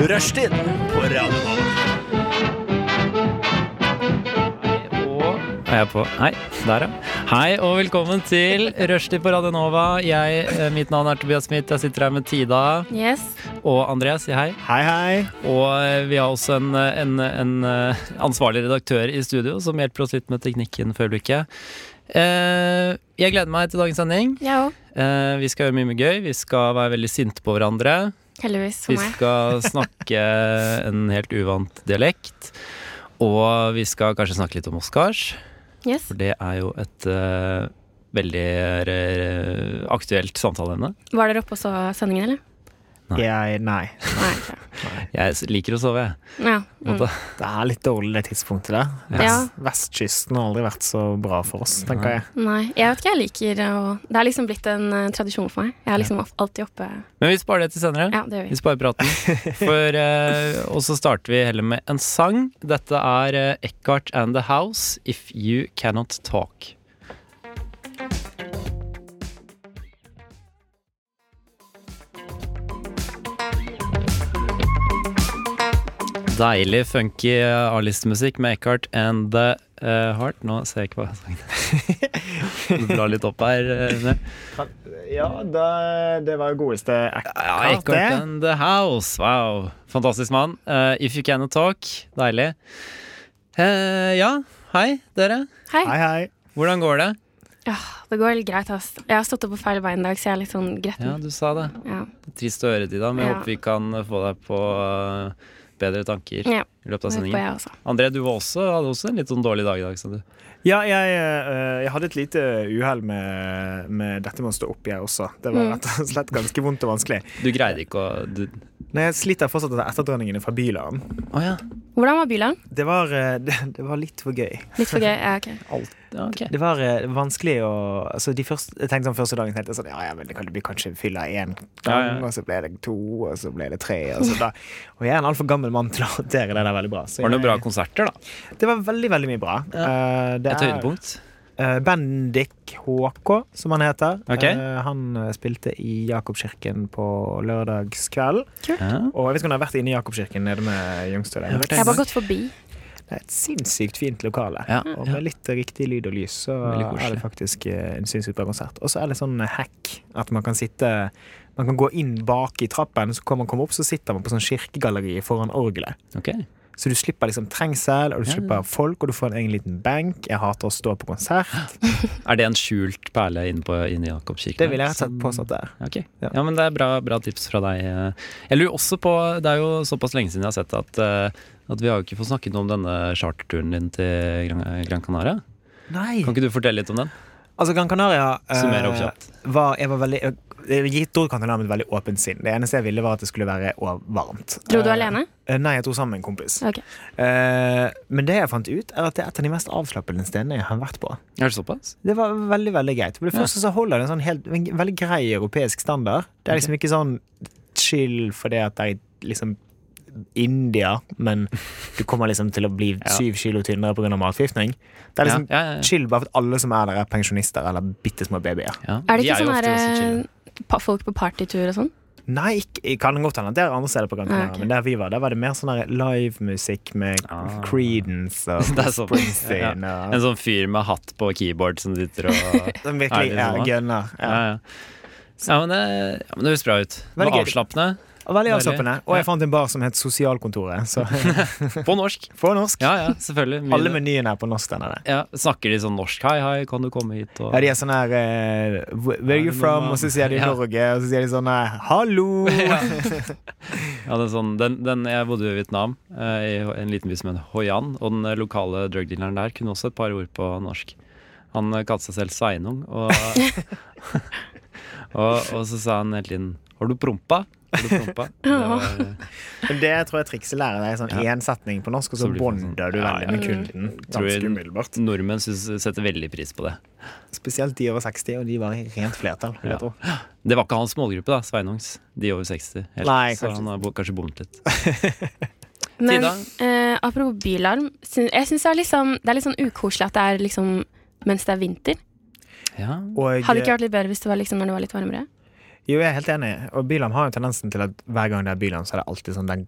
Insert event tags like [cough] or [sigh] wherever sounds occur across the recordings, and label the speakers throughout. Speaker 1: Rushtid på Radio Nova.
Speaker 2: Er jeg på? Hei, der ja. Hei og velkommen til Rushtid på Radio Nova. Jeg, eh, mitt navn er Tobias Smith. Jeg sitter her med Tida
Speaker 3: Yes.
Speaker 2: og Andreas. Si hei.
Speaker 1: Hei, hei.
Speaker 2: Og eh, vi har også en, eh, en, en eh, ansvarlig redaktør i studio som hjelper oss litt med teknikken for øyeblikket. Eh, Jeg gleder meg til dagens sending.
Speaker 3: Jeg òg.
Speaker 2: Eh, Vi skal gjøre mye mye gøy. Vi skal være veldig sinte på hverandre.
Speaker 3: Heldigvis
Speaker 2: Vi
Speaker 3: for meg.
Speaker 2: skal snakke en helt uvant dialekt. Og vi skal kanskje snakke litt om Oscars.
Speaker 3: Yes.
Speaker 2: For det er jo et eh, veldig eh, aktuelt samtaleemne.
Speaker 3: Var dere oppe og så sendingen, eller?
Speaker 2: Nei.
Speaker 4: Jeg, nei.
Speaker 3: Nei. ok.
Speaker 2: Jeg s- liker å sove, jeg.
Speaker 3: Ja.
Speaker 2: på en
Speaker 3: Mm.
Speaker 2: måte.
Speaker 4: Det er litt dårlig det tidspunktet der.
Speaker 3: ja.
Speaker 4: Vestkysten har aldri vært så bra for oss, tenker jeg.
Speaker 3: Nei. Jeg vet ikke, jeg liker å Det har liksom blitt en eh, tradisjon for meg. Jeg er liksom of- alltid oppe
Speaker 2: Men vi sparer det til senere.
Speaker 3: Ja, det gjør
Speaker 2: Vi
Speaker 3: vi.
Speaker 2: sparer praten. For, eh, og så starter vi heller med en sang. Dette er eh, Eckhart and The House, If You Cannot Talk. Deilig, funky A-listemusikk med Eckhart and The eh, Heart. Nå ser jeg ikke hva sangen er. Du blar litt opp her. eh,
Speaker 4: Ja, det, det var jo godeste
Speaker 2: ja,
Speaker 4: Eckhart,
Speaker 2: Eckhart
Speaker 4: det.
Speaker 2: and the House. Wow. Fantastisk mann. Eh, if you cannot talk. Deilig. Eh, ja, hei, dere.
Speaker 3: Hei.
Speaker 4: Hei, hei.
Speaker 2: Hvordan går det?
Speaker 3: Det går vel greit, ass. Jeg har stått opp på feil bein i dag, så jeg er litt sånn
Speaker 2: Ja,
Speaker 3: gretten.
Speaker 2: du sa det.
Speaker 3: Ja.
Speaker 2: Trist å høre, Tida, men jeg
Speaker 3: Ja.
Speaker 2: håper vi kan få deg på eh, bedre tanker
Speaker 3: Ja.
Speaker 2: i løpet av
Speaker 3: Det håper
Speaker 2: sendingen.
Speaker 3: jeg også.
Speaker 2: André, du var også, hadde også en litt sånn dårlig dag i dag, sa du.
Speaker 4: Ja, jeg, eh, jeg hadde et lite uhell med, med dette med å stå opp, jeg også. Det var
Speaker 3: Mm.
Speaker 4: rett og slett ganske vondt og vanskelig.
Speaker 2: Du greide ikke å du...
Speaker 4: Nei, jeg sliter fortsatt etter etterdrønningene fra bylarm.
Speaker 2: Å ja.
Speaker 3: Hvordan var bilen?
Speaker 4: Det var, eh, [laughs] det, det var litt for gøy.
Speaker 3: Litt for gøy? Ja, ok.
Speaker 2: ja. ok.
Speaker 4: Det var eh, vanskelig å altså de første, Jeg tenkte sånn første dagen tenkte jeg sånn, ja, ja, men det kan bli kanskje fylla én gang,
Speaker 2: Ja, ja.
Speaker 4: og så ble det to, og så ble det tre. Og, så da, og jeg er en altfor gammel mann til å håndtere det der veldig bra. Så
Speaker 2: Var det noen bra
Speaker 4: jeg,
Speaker 2: konserter, da?
Speaker 4: det var veldig, veldig mye bra. Eh, det
Speaker 2: Et høydepunkt?
Speaker 4: eh, Bendik HK, som han heter.
Speaker 2: Ok.
Speaker 4: Eh, han eh, spilte i Jakobkirken på lørdagskvelden.
Speaker 2: Ja.
Speaker 4: Og jeg vet ikke om du har vært inne i Jakobkirken nede med Youngstøl.
Speaker 2: Jeg har vært
Speaker 4: Det
Speaker 3: Jeg har bare gått forbi.
Speaker 4: er et sinnssykt fint lokale.
Speaker 2: Ja.
Speaker 4: Og
Speaker 2: ja.
Speaker 4: med litt riktig lyd og lys, så
Speaker 2: Veldig
Speaker 4: er
Speaker 2: koselig.
Speaker 4: det faktisk eh, en sinnssykt bra konsert. Og så er det sånn hack at man kan sitte Man kan gå inn bak i trappen, så kan man komme opp, så sitter man på sånn kirkegalleri foran orgelet.
Speaker 2: Ok.
Speaker 4: Så du slipper liksom trengsel, og du
Speaker 2: Ja.
Speaker 4: slipper folk, og du får en egen liten benk. Jeg hater å stå på konsert.
Speaker 2: Er det en skjult perle inne, på, inne i Jakobkirken?
Speaker 4: Det vil jeg rett og
Speaker 2: Som-
Speaker 4: slett påstå at det er.
Speaker 2: Ok, ja.
Speaker 4: Ja.
Speaker 2: men det er bra, bra tips fra deg. eh. Jeg lurer også på, det er jo såpass lenge siden jeg har sett at, eh, at vi har jo ikke fått snakket noe om denne charterturen din til Gran, Gran Canaria.
Speaker 4: Nei!
Speaker 2: Kan ikke du fortelle litt om den?
Speaker 4: Altså, Gran Canaria eh,
Speaker 2: Summer opp kjapt.
Speaker 4: var, jeg var veldig, jeg gitt Gran Canaria med et veldig åpent sinn. Det eneste jeg ville, var at det skulle være og varmt.
Speaker 3: Dro du
Speaker 4: Eh,
Speaker 3: alene?
Speaker 4: eh, Nei, jeg dro sammen med en kompis.
Speaker 3: Ok.
Speaker 4: Eh, men det jeg fant ut, er at det er et av de mest avslappende stedene jeg har vært på.
Speaker 2: Er det såpass?
Speaker 4: Det var veldig, veldig greit. For det
Speaker 2: Ja.
Speaker 4: første så holder det en sånn helt, en veldig grei europeisk standard. Det er liksom ikke sånn chill fordi at det er liksom India, men du kommer liksom til å bli
Speaker 2: [laughs] Ja.
Speaker 4: syv kilo tynnere pga. matforgiftning. Det er liksom
Speaker 2: ja, ja, ja.
Speaker 4: chill bare for at alle som er der, er pensjonister eller bitte små babyer.
Speaker 2: Ja,
Speaker 3: Er det
Speaker 2: de
Speaker 3: ikke
Speaker 2: jo
Speaker 3: sånn
Speaker 2: ofte ganske chille.
Speaker 3: her pa- folk på partytur og sånn?
Speaker 4: Nei, ikke, jeg kan godt hende at det er andre steder på Gran
Speaker 3: Ja,
Speaker 4: Canaria,
Speaker 3: ok.
Speaker 4: men der vi var, der var det mer sånn der livemusikk med
Speaker 2: Ah.
Speaker 4: Creedence og
Speaker 2: [laughs] Det er såpass. Ja.
Speaker 4: Springsteen
Speaker 3: eh,
Speaker 4: og
Speaker 2: En sånn fyr med hatt på keyboard som sitter og
Speaker 3: [laughs]
Speaker 4: Som
Speaker 2: Er
Speaker 4: virkelig
Speaker 2: det
Speaker 4: er
Speaker 2: sånn?
Speaker 4: gunner.
Speaker 2: Ja, ja.
Speaker 4: Ja.
Speaker 2: ja men det, ja, men det høres bra ut. Det
Speaker 4: Veldig
Speaker 2: var
Speaker 4: gøy.
Speaker 2: avslappende.
Speaker 4: Og veldig
Speaker 2: Veldig.
Speaker 4: avslappende. Og jeg fant en bar som het
Speaker 2: [laughs]
Speaker 4: Sosialkontoret. Så [laughs]
Speaker 2: På norsk.
Speaker 4: på norsk.
Speaker 2: Ja, ja, selvfølgelig. Mye-
Speaker 4: Alle menyene er på norsk. Den er det.
Speaker 2: ja, snakker de sånn norsk? Hei, hei, kan du komme hit? Og...
Speaker 4: Ja, de er sånn her eh, Where where are you from? Og så sier
Speaker 2: [laughs]
Speaker 4: de
Speaker 2: Ja.
Speaker 4: Norge, og så sier de sånn her
Speaker 2: [laughs]
Speaker 4: Hallo!
Speaker 2: Ja, det er sånn, den, den, jeg bodde jo i Vietnam, eh, i en liten by som het Hoi An. Og den eh, lokale drugdealeren der kunne også et par ord på norsk. Han eh, kalte seg selv Sveinung, og, [laughs] og, og så sa han hele tiden 'Har du prompa?' Har du prompa? Det var, eh,
Speaker 4: Men Det tror jeg trikset lærer deg. Sånn én setning på norsk, og
Speaker 2: Så
Speaker 4: så
Speaker 2: blir det sånn-
Speaker 4: bonder du
Speaker 2: Ja, ja.
Speaker 4: veldig med kunden.
Speaker 2: Tror jeg-
Speaker 4: Ganske umiddelbart.
Speaker 2: nordmenn synes, setter veldig pris på det.
Speaker 4: Spesielt de over 60, og de var i rent flertall.
Speaker 2: Ja.
Speaker 4: vil Jeg tro.
Speaker 2: Det var ikke hans målgruppe, da, Sveinungs. De over 60. helt.
Speaker 4: Nei,
Speaker 2: så
Speaker 4: kanskje-
Speaker 2: han har bo- kanskje bommet litt.
Speaker 3: Men
Speaker 2: Tida?
Speaker 3: eh, apropos bilarm, syn, jeg syns det, er liksom, det er litt sånn ukoselig at det er liksom mens det er vinter.
Speaker 2: Ja,
Speaker 4: Og
Speaker 3: Hadde det ikke vært litt bedre hvis det var liksom når det var litt varmere?
Speaker 4: Jo, jeg er helt enig. Og Byland har jo tendensen til at hver gang det er Byland, så er det alltid sånn den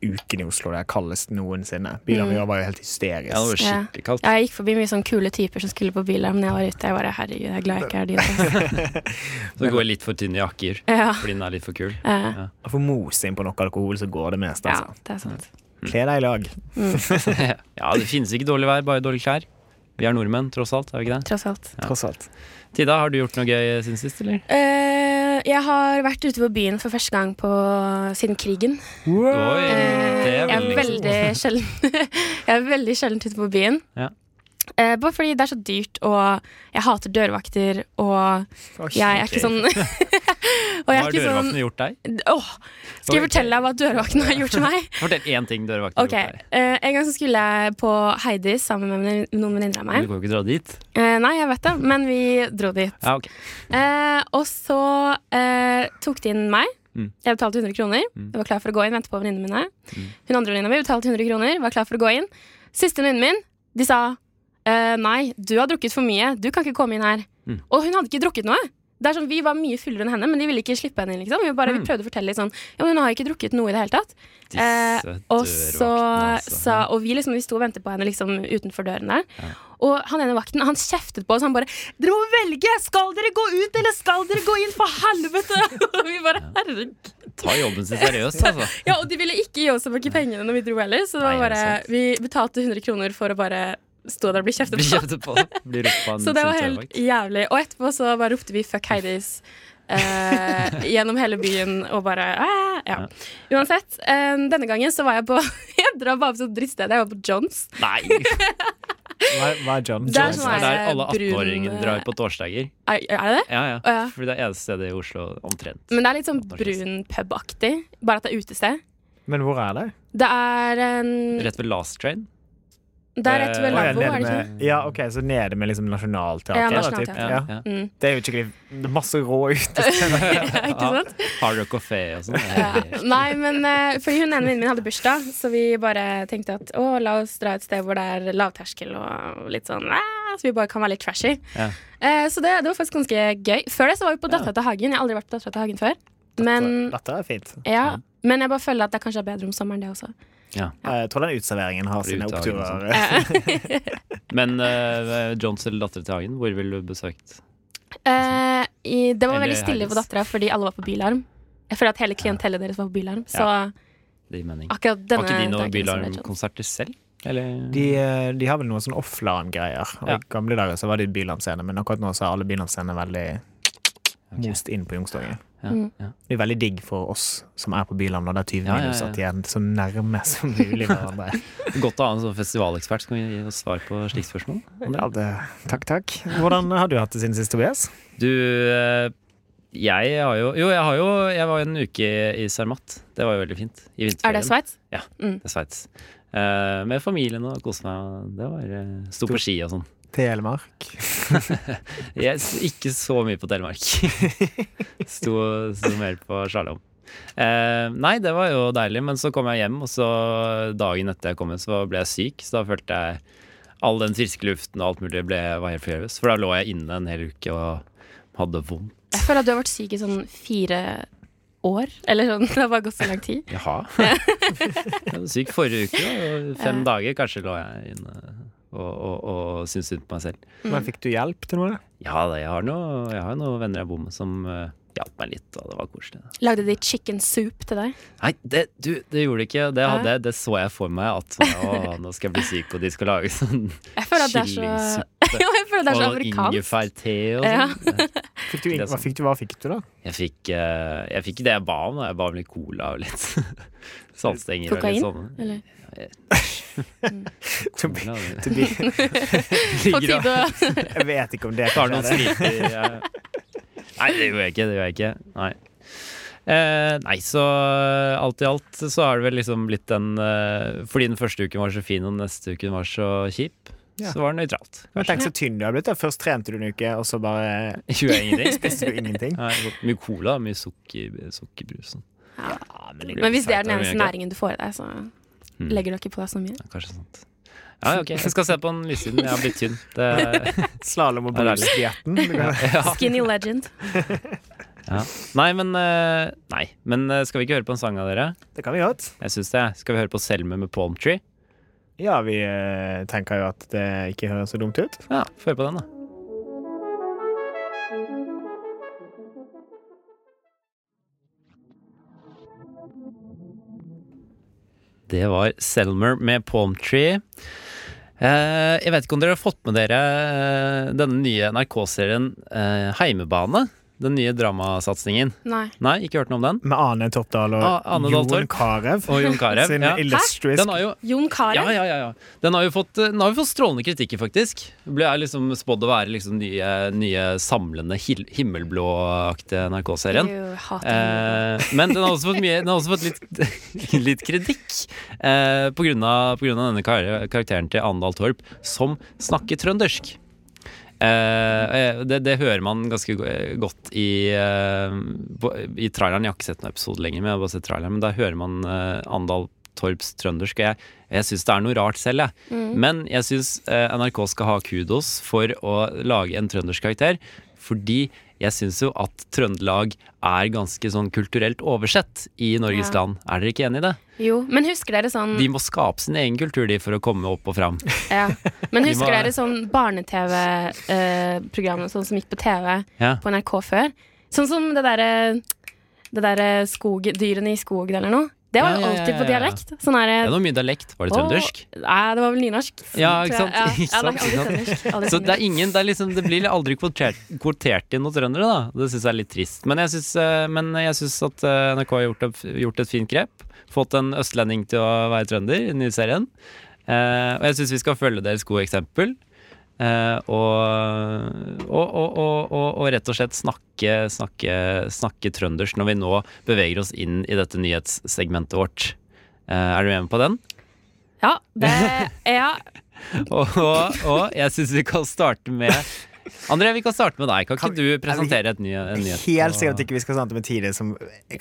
Speaker 4: uken i Oslo det er kaldest noensinne. Bilene vi gjorde var jo helt
Speaker 2: Mm. Ja, det
Speaker 4: hysterisk.
Speaker 2: var skikkelig kaldt.
Speaker 3: Ja, jeg gikk forbi mye sånn kule typer som skulle på bilarm når jeg var ute. Jeg bare, herregud, jeg er glad jeg ikke er de. altså.
Speaker 2: Så går jeg litt for tynne jakker
Speaker 3: Ja,
Speaker 2: fordi den er litt for kul. [laughs]
Speaker 3: eh,
Speaker 4: Få mos inn på nok alkohol, så går det mest,
Speaker 3: ja,
Speaker 4: altså.
Speaker 3: det er sant.
Speaker 4: Kle deg i lag.
Speaker 2: Ja, det finnes ikke dårlig vær, bare dårlige klær. Vi er nordmenn, tross alt. er vi ikke det?
Speaker 3: Tross alt.
Speaker 4: Tross alt.
Speaker 2: Tida, har du gjort noe gøy siden sist, eller?
Speaker 3: Eh, jeg har vært ute på byen for første gang på, siden krigen.
Speaker 2: Oi, det
Speaker 3: Eh,
Speaker 2: er
Speaker 3: jeg, er
Speaker 2: veldig
Speaker 3: veldig sjelden, [laughs] jeg er veldig sjelden ute på byen.
Speaker 2: Ja.
Speaker 3: Eh, bare fordi det er så dyrt, og jeg hater dørvakter, og jeg er ikke sånn [laughs]
Speaker 2: Hva
Speaker 3: Og jeg er
Speaker 2: har
Speaker 3: ikke sånn
Speaker 2: dørvaktene gjort deg?
Speaker 3: Åh, Skal jeg fortelle deg hva dørvakten har gjort til meg?
Speaker 2: Fortell én ting dørvaktene har gjort
Speaker 3: Ok,
Speaker 2: deg.
Speaker 3: eh, En gang så skulle jeg på Heidis sammen med vennin- noen venninner av
Speaker 2: Men Du
Speaker 3: meg.
Speaker 2: kan jo ikke dra dit.
Speaker 3: Eh, nei, jeg vet det, men vi dro dit.
Speaker 2: Ja, ok.
Speaker 3: Eh, og så eh, tok de inn meg.
Speaker 2: Mm.
Speaker 3: Jeg betalte 100 kroner. Jeg var klar for å gå inn, ventet på venninnene mine. Hun andre venninna mi betalte 100 kroner, var klar for å gå inn. Siste venninnen min, de sa eh, nei, du har drukket for mye, du kan ikke komme inn her.
Speaker 2: Mm.
Speaker 3: Og hun hadde ikke drukket noe. Det er sånn, Vi var mye fullere enn henne, men de ville ikke slippe henne inn. liksom Vi, bare,
Speaker 2: Mm.
Speaker 3: vi prøvde å fortelle litt sånn Ja, men hun har ikke drukket noe i det hele tatt.
Speaker 2: Disse
Speaker 3: Eh, og, så,
Speaker 2: dørvaktene, altså.
Speaker 3: sa, og vi liksom, vi sto og ventet på henne liksom, utenfor døren der.
Speaker 2: Ja.
Speaker 3: Og han ene vakten han kjeftet på oss. Han bare 'Dere må velge! Skal dere gå ut, eller skal dere gå inn? For helvete!' [laughs] Og vi bare, herregud
Speaker 2: Ta jobben sin seriøst, altså.
Speaker 3: [laughs] Ja, Og de ville ikke gi oss tilbake pengene når vi dro heller, så
Speaker 2: Nei, det
Speaker 3: det var
Speaker 2: er
Speaker 3: bare,
Speaker 2: sant.
Speaker 3: vi betalte 100 kroner for å bare stå der og bli kjeftet
Speaker 2: Bli
Speaker 3: på.
Speaker 2: kjeftet på. Bli ropt på av en
Speaker 3: Så det var
Speaker 2: sint
Speaker 3: helt
Speaker 2: dørvakt.
Speaker 3: jævlig. Og etterpå så bare ropte vi 'fuck Heidis' eh, gjennom hele byen og bare eh, ja. Uansett, eh, denne gangen så var jeg på [laughs] Jeg drar bare på sånn drittsted. Jeg var på Johns. [laughs]
Speaker 2: Nei!
Speaker 4: Hva, hva er John?
Speaker 3: Det er
Speaker 2: Det
Speaker 3: sånn
Speaker 2: er der
Speaker 3: her
Speaker 2: alle
Speaker 3: brun-
Speaker 2: 18-åringer drar på torsdager.
Speaker 3: Er, er det det?
Speaker 2: Ja, ja.
Speaker 3: Å, ja.
Speaker 2: Fordi det er eneste stedet i Oslo omtrent.
Speaker 3: Men det er litt sånn
Speaker 2: Antarktis.
Speaker 3: brun pub-aktig, bare at det er utested.
Speaker 4: Men hvor er det?
Speaker 3: Det er en
Speaker 2: Rett ved Last Train.
Speaker 3: Det er rett
Speaker 2: eh,
Speaker 3: ved
Speaker 4: Å, ja,
Speaker 3: lavvo,
Speaker 4: nede
Speaker 3: er det ikke?
Speaker 4: med, ja, ok, så nede med liksom
Speaker 3: Ja,
Speaker 4: Nationaltheatret. da, typ.
Speaker 3: Nationaltheatret.
Speaker 4: Ja.
Speaker 2: ja.
Speaker 3: Mm.
Speaker 4: Det er jo skikkelig det er masse rå ute.
Speaker 3: Ikke sant?
Speaker 2: Hard Rock Café og sånn.
Speaker 3: Ja. Nei, men eh, fordi hun ene venninnen min hadde bursdag, så vi bare tenkte at å, la oss dra et sted hvor det er lavterskel og litt sånn "Ah", Så vi bare kan være litt trashy.
Speaker 2: Ja.
Speaker 3: Eh, så det, det var faktisk ganske gøy. Før det så var vi på Dattera til Hagen. Jeg har aldri vært på Dattera til Hagen før. Men,
Speaker 4: Dette er fint.
Speaker 3: ja, men jeg bare føler at det kanskje er bedre om sommeren, det
Speaker 2: [laughs]
Speaker 3: også.
Speaker 4: Jeg tror den uteserveringen har sine
Speaker 2: Utehagen og sånt.
Speaker 4: oppturer.
Speaker 2: Men eh, Johns eller Datter til Hagen, hvor ville du besøkt?
Speaker 3: [laughs] Eh, i, det var
Speaker 2: Eller
Speaker 3: veldig stille på
Speaker 2: Heidis.
Speaker 3: Dattera fordi alle var på bilarm. Jeg føler at hele klientellet deres var på bilarm. Så
Speaker 2: Det gir mening.
Speaker 3: akkurat
Speaker 2: Har
Speaker 3: denne
Speaker 2: ikke de noen
Speaker 3: dagen så ble det sånn.
Speaker 2: Bylarm-konserter selv? Eller?
Speaker 4: De, eh, de har vel noen sånn offline-greier. Og
Speaker 2: Ja.
Speaker 4: I gamle dager så var det Bylandscene, men akkurat nå så er alle Bylandscenene veldig most inn på Youngstorget.
Speaker 2: Ja,
Speaker 3: Mm.
Speaker 2: ja.
Speaker 4: Det er veldig digg for oss som er på Byland, og det er 20
Speaker 2: Ja, ja,
Speaker 4: minus,
Speaker 2: ja.
Speaker 4: at de er så nærme
Speaker 2: [laughs]
Speaker 4: som mulig hverandre.
Speaker 2: Godt å ha en sånn festivalekspert som kan gi oss svar på slike spørsmål.
Speaker 4: Ja, det, takk, takk. Hvordan har du hatt det siden sist, Tobias?
Speaker 2: Du, eh, jeg har jo Jo, jeg har jo Jeg var jo en uke i Cermat. Det var jo veldig fint. I vinterferien.
Speaker 3: Er det Sveits?
Speaker 2: Det er Sveits. Eh, med familien og kose meg. Det var eh, Sto på ski og sånn.
Speaker 4: Telemark.
Speaker 2: Jeg s- ikke så mye på Telemark. [laughs] sto, sto mer på slalåm. Eh, nei, det var jo deilig, men så kom jeg hjem, og så dagen etter jeg kom hjem, så ble jeg syk. Så da følte jeg all den friske luften og alt mulig ble, var helt forgjeves. For da lå jeg inne en hel uke og hadde vondt.
Speaker 3: Jeg føler at du har vært syk i sånn fire år. Eller sånn. [laughs] Det har bare gått så lang tid.
Speaker 2: Jaha. jeg var syk forrige uke, og fem dager kanskje lå jeg inne og, og, og syntes synd på meg selv.
Speaker 4: Men fikk du hjelp til noe?
Speaker 2: Ja, da, jeg har noe- jeg har jo noen venner jeg bor med som eh, hjalp meg litt, og det var koselig. da.
Speaker 3: Lagde de chicken soup til deg?
Speaker 2: Nei, det, du, det gjorde det ikke. Det, hadde, jeg- det så jeg for meg at sånn, å, nå skal jeg bli syk, og de skal lage sånn
Speaker 3: Jeg føler at [laughs] det er så, [laughs]
Speaker 2: kyllingsuppe.
Speaker 3: Jo, jeg føler at det er så
Speaker 2: Og
Speaker 3: afrikansk.
Speaker 2: ingefærte og
Speaker 3: Ja.
Speaker 2: sånn.
Speaker 4: Fikk du,
Speaker 2: Det er
Speaker 4: hva,
Speaker 2: sant.
Speaker 4: fikk du, hva fikk du, da?
Speaker 2: Jeg fikk, eh, jeg fikk det jeg ba om. da. Jeg ba om litt cola og litt [laughs] saltstenger. og litt sånn.
Speaker 3: Kokain,
Speaker 2: sånne.
Speaker 3: [laughs]
Speaker 2: [laughs]
Speaker 3: eller?
Speaker 4: [laughs] Tobi-
Speaker 2: Cola, det-
Speaker 4: [laughs] Tobi-
Speaker 3: På
Speaker 2: Ligger og
Speaker 3: tide å
Speaker 4: Jeg vet ikke om det
Speaker 2: tar
Speaker 4: kanskje
Speaker 2: noen
Speaker 4: er det.
Speaker 2: skritt i eh. Nei, det gjorde jeg ikke. Det gjorde jeg ikke. Nei. Eh, nei, så eh, alt i alt så har det vel liksom blitt den eh, Fordi den første uken var så fin, og den neste uken var så kjip,
Speaker 4: Ja.
Speaker 2: så var det nøytralt. [laughs]
Speaker 4: Men Tenk så tynn du har blitt. da. Først trente du en uke, og så bare
Speaker 2: Gjorde jeg ingenting.
Speaker 4: spiste du [laughs] ingenting.
Speaker 2: Nei, godt. mye cola, mye sukker, sukkerbrus. sånn.
Speaker 3: Men hvis det er den
Speaker 2: Nei, det
Speaker 3: eneste
Speaker 2: gjør jeg
Speaker 3: næringen du får i deg,
Speaker 2: Hmm.
Speaker 3: så legger du ikke på deg så mye.
Speaker 2: Ja, Kanskje sant. Ja, ja, ok. Jeg skal se på den lyssiden. Jeg har blitt tynn. Det,
Speaker 3: [laughs]
Speaker 4: Slalåm og
Speaker 2: Ja, det er
Speaker 4: [laughs] brusdietten.
Speaker 2: ja.
Speaker 3: Skinny legend.
Speaker 2: Ja. Nei, men, eh, nei, men eh, skal vi ikke høre på en sang av dere?
Speaker 4: Det kan vi godt.
Speaker 2: Jeg syns det. Skal vi høre på Selme med Palm Tree?
Speaker 4: Ja, vi eh, tenker jo at det ikke høres så dumt ut.
Speaker 2: Ja, få høre på den, da. Det var Selmer med Palm Tree. Eh, jeg vet ikke om dere har fått med dere eh, denne nye NRK-serien eh, Heimebane? Den nye dramasatsingen.
Speaker 3: Nei.
Speaker 2: Nei, ikke hørt noe
Speaker 4: [laughs]
Speaker 2: om den?
Speaker 4: Med Ane Toppdal og
Speaker 2: Ah, Ane Dahl
Speaker 4: Jon
Speaker 2: Torp.
Speaker 4: Carew
Speaker 2: Og Jon Carew.
Speaker 4: sin
Speaker 2: Ja.
Speaker 4: illustrisk
Speaker 2: Den har jo
Speaker 3: Jon Carew?
Speaker 2: Ja, ja, ja, ja. Den har jo fått, eh, den har jo fått strålende kritikker, faktisk. Ble jeg liksom spådd å være liksom nye, nye samlende hil- himmelblåaktige NRK-serien.
Speaker 3: Jeg hater den.
Speaker 2: Eh, men den har også fått, mye, den har også fått litt, [laughs] litt kritikk eh, på, grunn av, på grunn av denne kar karakteren til Andal Torp, som snakker trøndersk. Eh, eh, det, det hører man ganske go- eh, godt i, eh, på, i traileren. Jeg har ikke sett noen episode lenger, men jeg har bare sett traileren Men da hører man eh, Andal Torps trøndersk. Og jeg, jeg syns det er noe rart selv, jeg. Men jeg syns eh, NRK skal ha kudos for å lage en trøndersk karakter. Fordi jeg syns jo at Trøndelag er ganske sånn kulturelt oversett i Norges
Speaker 3: Ja.
Speaker 2: land. Er dere ikke enig i det?
Speaker 3: Jo, men husker dere sånn
Speaker 2: De må skape sin egen kultur, de, for å komme opp og fram.
Speaker 3: ja. Men
Speaker 2: [laughs] de
Speaker 3: husker
Speaker 2: må-
Speaker 3: dere sånn barne-TV-programmet sånn som gikk på TV [laughs]
Speaker 2: Ja.
Speaker 3: på NRK før? Sånn som det derre det derre skog, dyrene i skogen eller noe. Det
Speaker 2: Ja,
Speaker 3: var jo
Speaker 2: ja, ja,
Speaker 3: alltid på
Speaker 2: ja, ja.
Speaker 3: dialekt. Sånn er
Speaker 2: Det
Speaker 3: det
Speaker 2: var mye dialekt. Var det trøndersk?
Speaker 3: Nei, det var vel nynorsk.
Speaker 2: Ja,
Speaker 3: tror
Speaker 2: ikke
Speaker 3: jeg.
Speaker 2: sant?
Speaker 3: Ja,
Speaker 2: [laughs] Ikke
Speaker 3: ja, det er
Speaker 2: sant, ikke sant. [laughs]
Speaker 3: aldri trøndersk. Aldri
Speaker 2: Så det
Speaker 3: trøndersk.
Speaker 2: er ingen, det, er liksom, det blir aldri kvotert, kvotert inn noen trøndere, da. Det syns jeg er litt trist. Men jeg syns, eh, men jeg syns at eh, NRK har gjort, et- gjort et fint grep. Fått en østlending til å være trønder i den nye serien. Eh, og jeg syns vi skal følge deres gode eksempel. Eh, og, og, og, og, og, og rett og slett snakke, snakke, snakke trønders når vi nå beveger oss inn i dette nyhetssegmentet vårt. Eh, er du med på den?
Speaker 3: Ja,
Speaker 2: [laughs]
Speaker 3: det, ja,
Speaker 2: Og, og, og jeg syns vi kan starte med André, vi kan starte med deg. Kan ikke
Speaker 4: Kan-
Speaker 2: du presentere et ny, en nyhet?
Speaker 4: Helt sikkert ikke vi skal snakke om en tid som,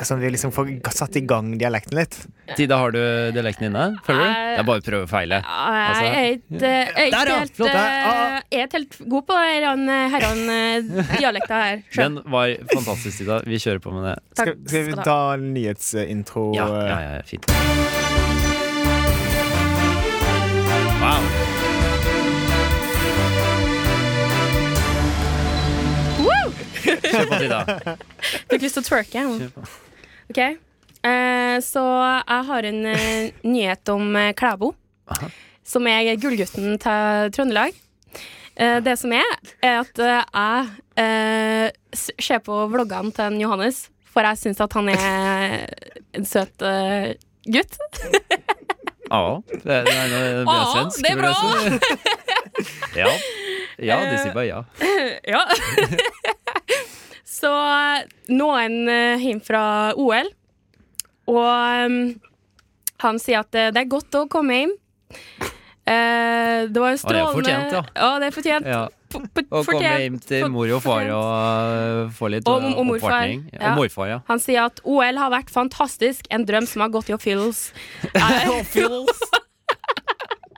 Speaker 4: som vi liksom får satt i gang dialekten litt.
Speaker 2: Tida, har du dialekten inne? Føler du?
Speaker 3: Nei.
Speaker 2: Jeg bare prøver å feile. Altså,
Speaker 3: Nei, jeg er ikke- jeg er
Speaker 2: Der,
Speaker 3: ikke
Speaker 2: ja.
Speaker 3: helt,
Speaker 2: Flott. Der,
Speaker 4: ah.
Speaker 3: eh, jeg er ikke helt god på eh, herran-dialekta her. sjøl.
Speaker 2: Den var fantastisk, Tida. Vi kjører på med det.
Speaker 3: Takk
Speaker 4: Skal, skal vi
Speaker 3: du ha.
Speaker 4: ta en nyhetsintro?
Speaker 2: Ja, ja, ja fint. Wow. Kjør på, Tida.
Speaker 3: Fikk lyst til å twerke. jeg.
Speaker 2: Kjør på.
Speaker 3: Ok Eh, Så jeg har en eh, nyhet om eh, Klæbo,
Speaker 2: Aha.
Speaker 3: som er gullgutten til Trøndelag. Eh, det som er, er at eh, jeg eh, s- ser på vloggene til en Johannes, for jeg syns at han er en søt eh, gutt.
Speaker 2: Ja, det det er noe det er
Speaker 3: Ja,
Speaker 2: svensk.
Speaker 3: det er
Speaker 2: vil jeg si. ja. ja, de sier bare ja.
Speaker 3: Ja. [laughs] Så noen eh, hjem fra OL, og em, han sier at eh, det er godt å komme hjem. Eh, det
Speaker 2: Ja, det
Speaker 3: var en
Speaker 2: er
Speaker 3: strålende
Speaker 2: fortjent, ja.
Speaker 3: det er fortjent.
Speaker 2: ja.
Speaker 3: P- p-
Speaker 2: Og komme
Speaker 3: fortjent.
Speaker 2: hjem til
Speaker 3: For-
Speaker 2: mor og far
Speaker 3: fortjent.
Speaker 2: og øh, få litt
Speaker 3: Og-
Speaker 2: øh,
Speaker 3: og morfar.
Speaker 2: oppvartning.
Speaker 3: Ja.
Speaker 2: Og morfar, ja.
Speaker 3: Han sier at OL har vært fantastisk, en drøm som har gått
Speaker 2: [laughs]
Speaker 3: i oppfyllelse.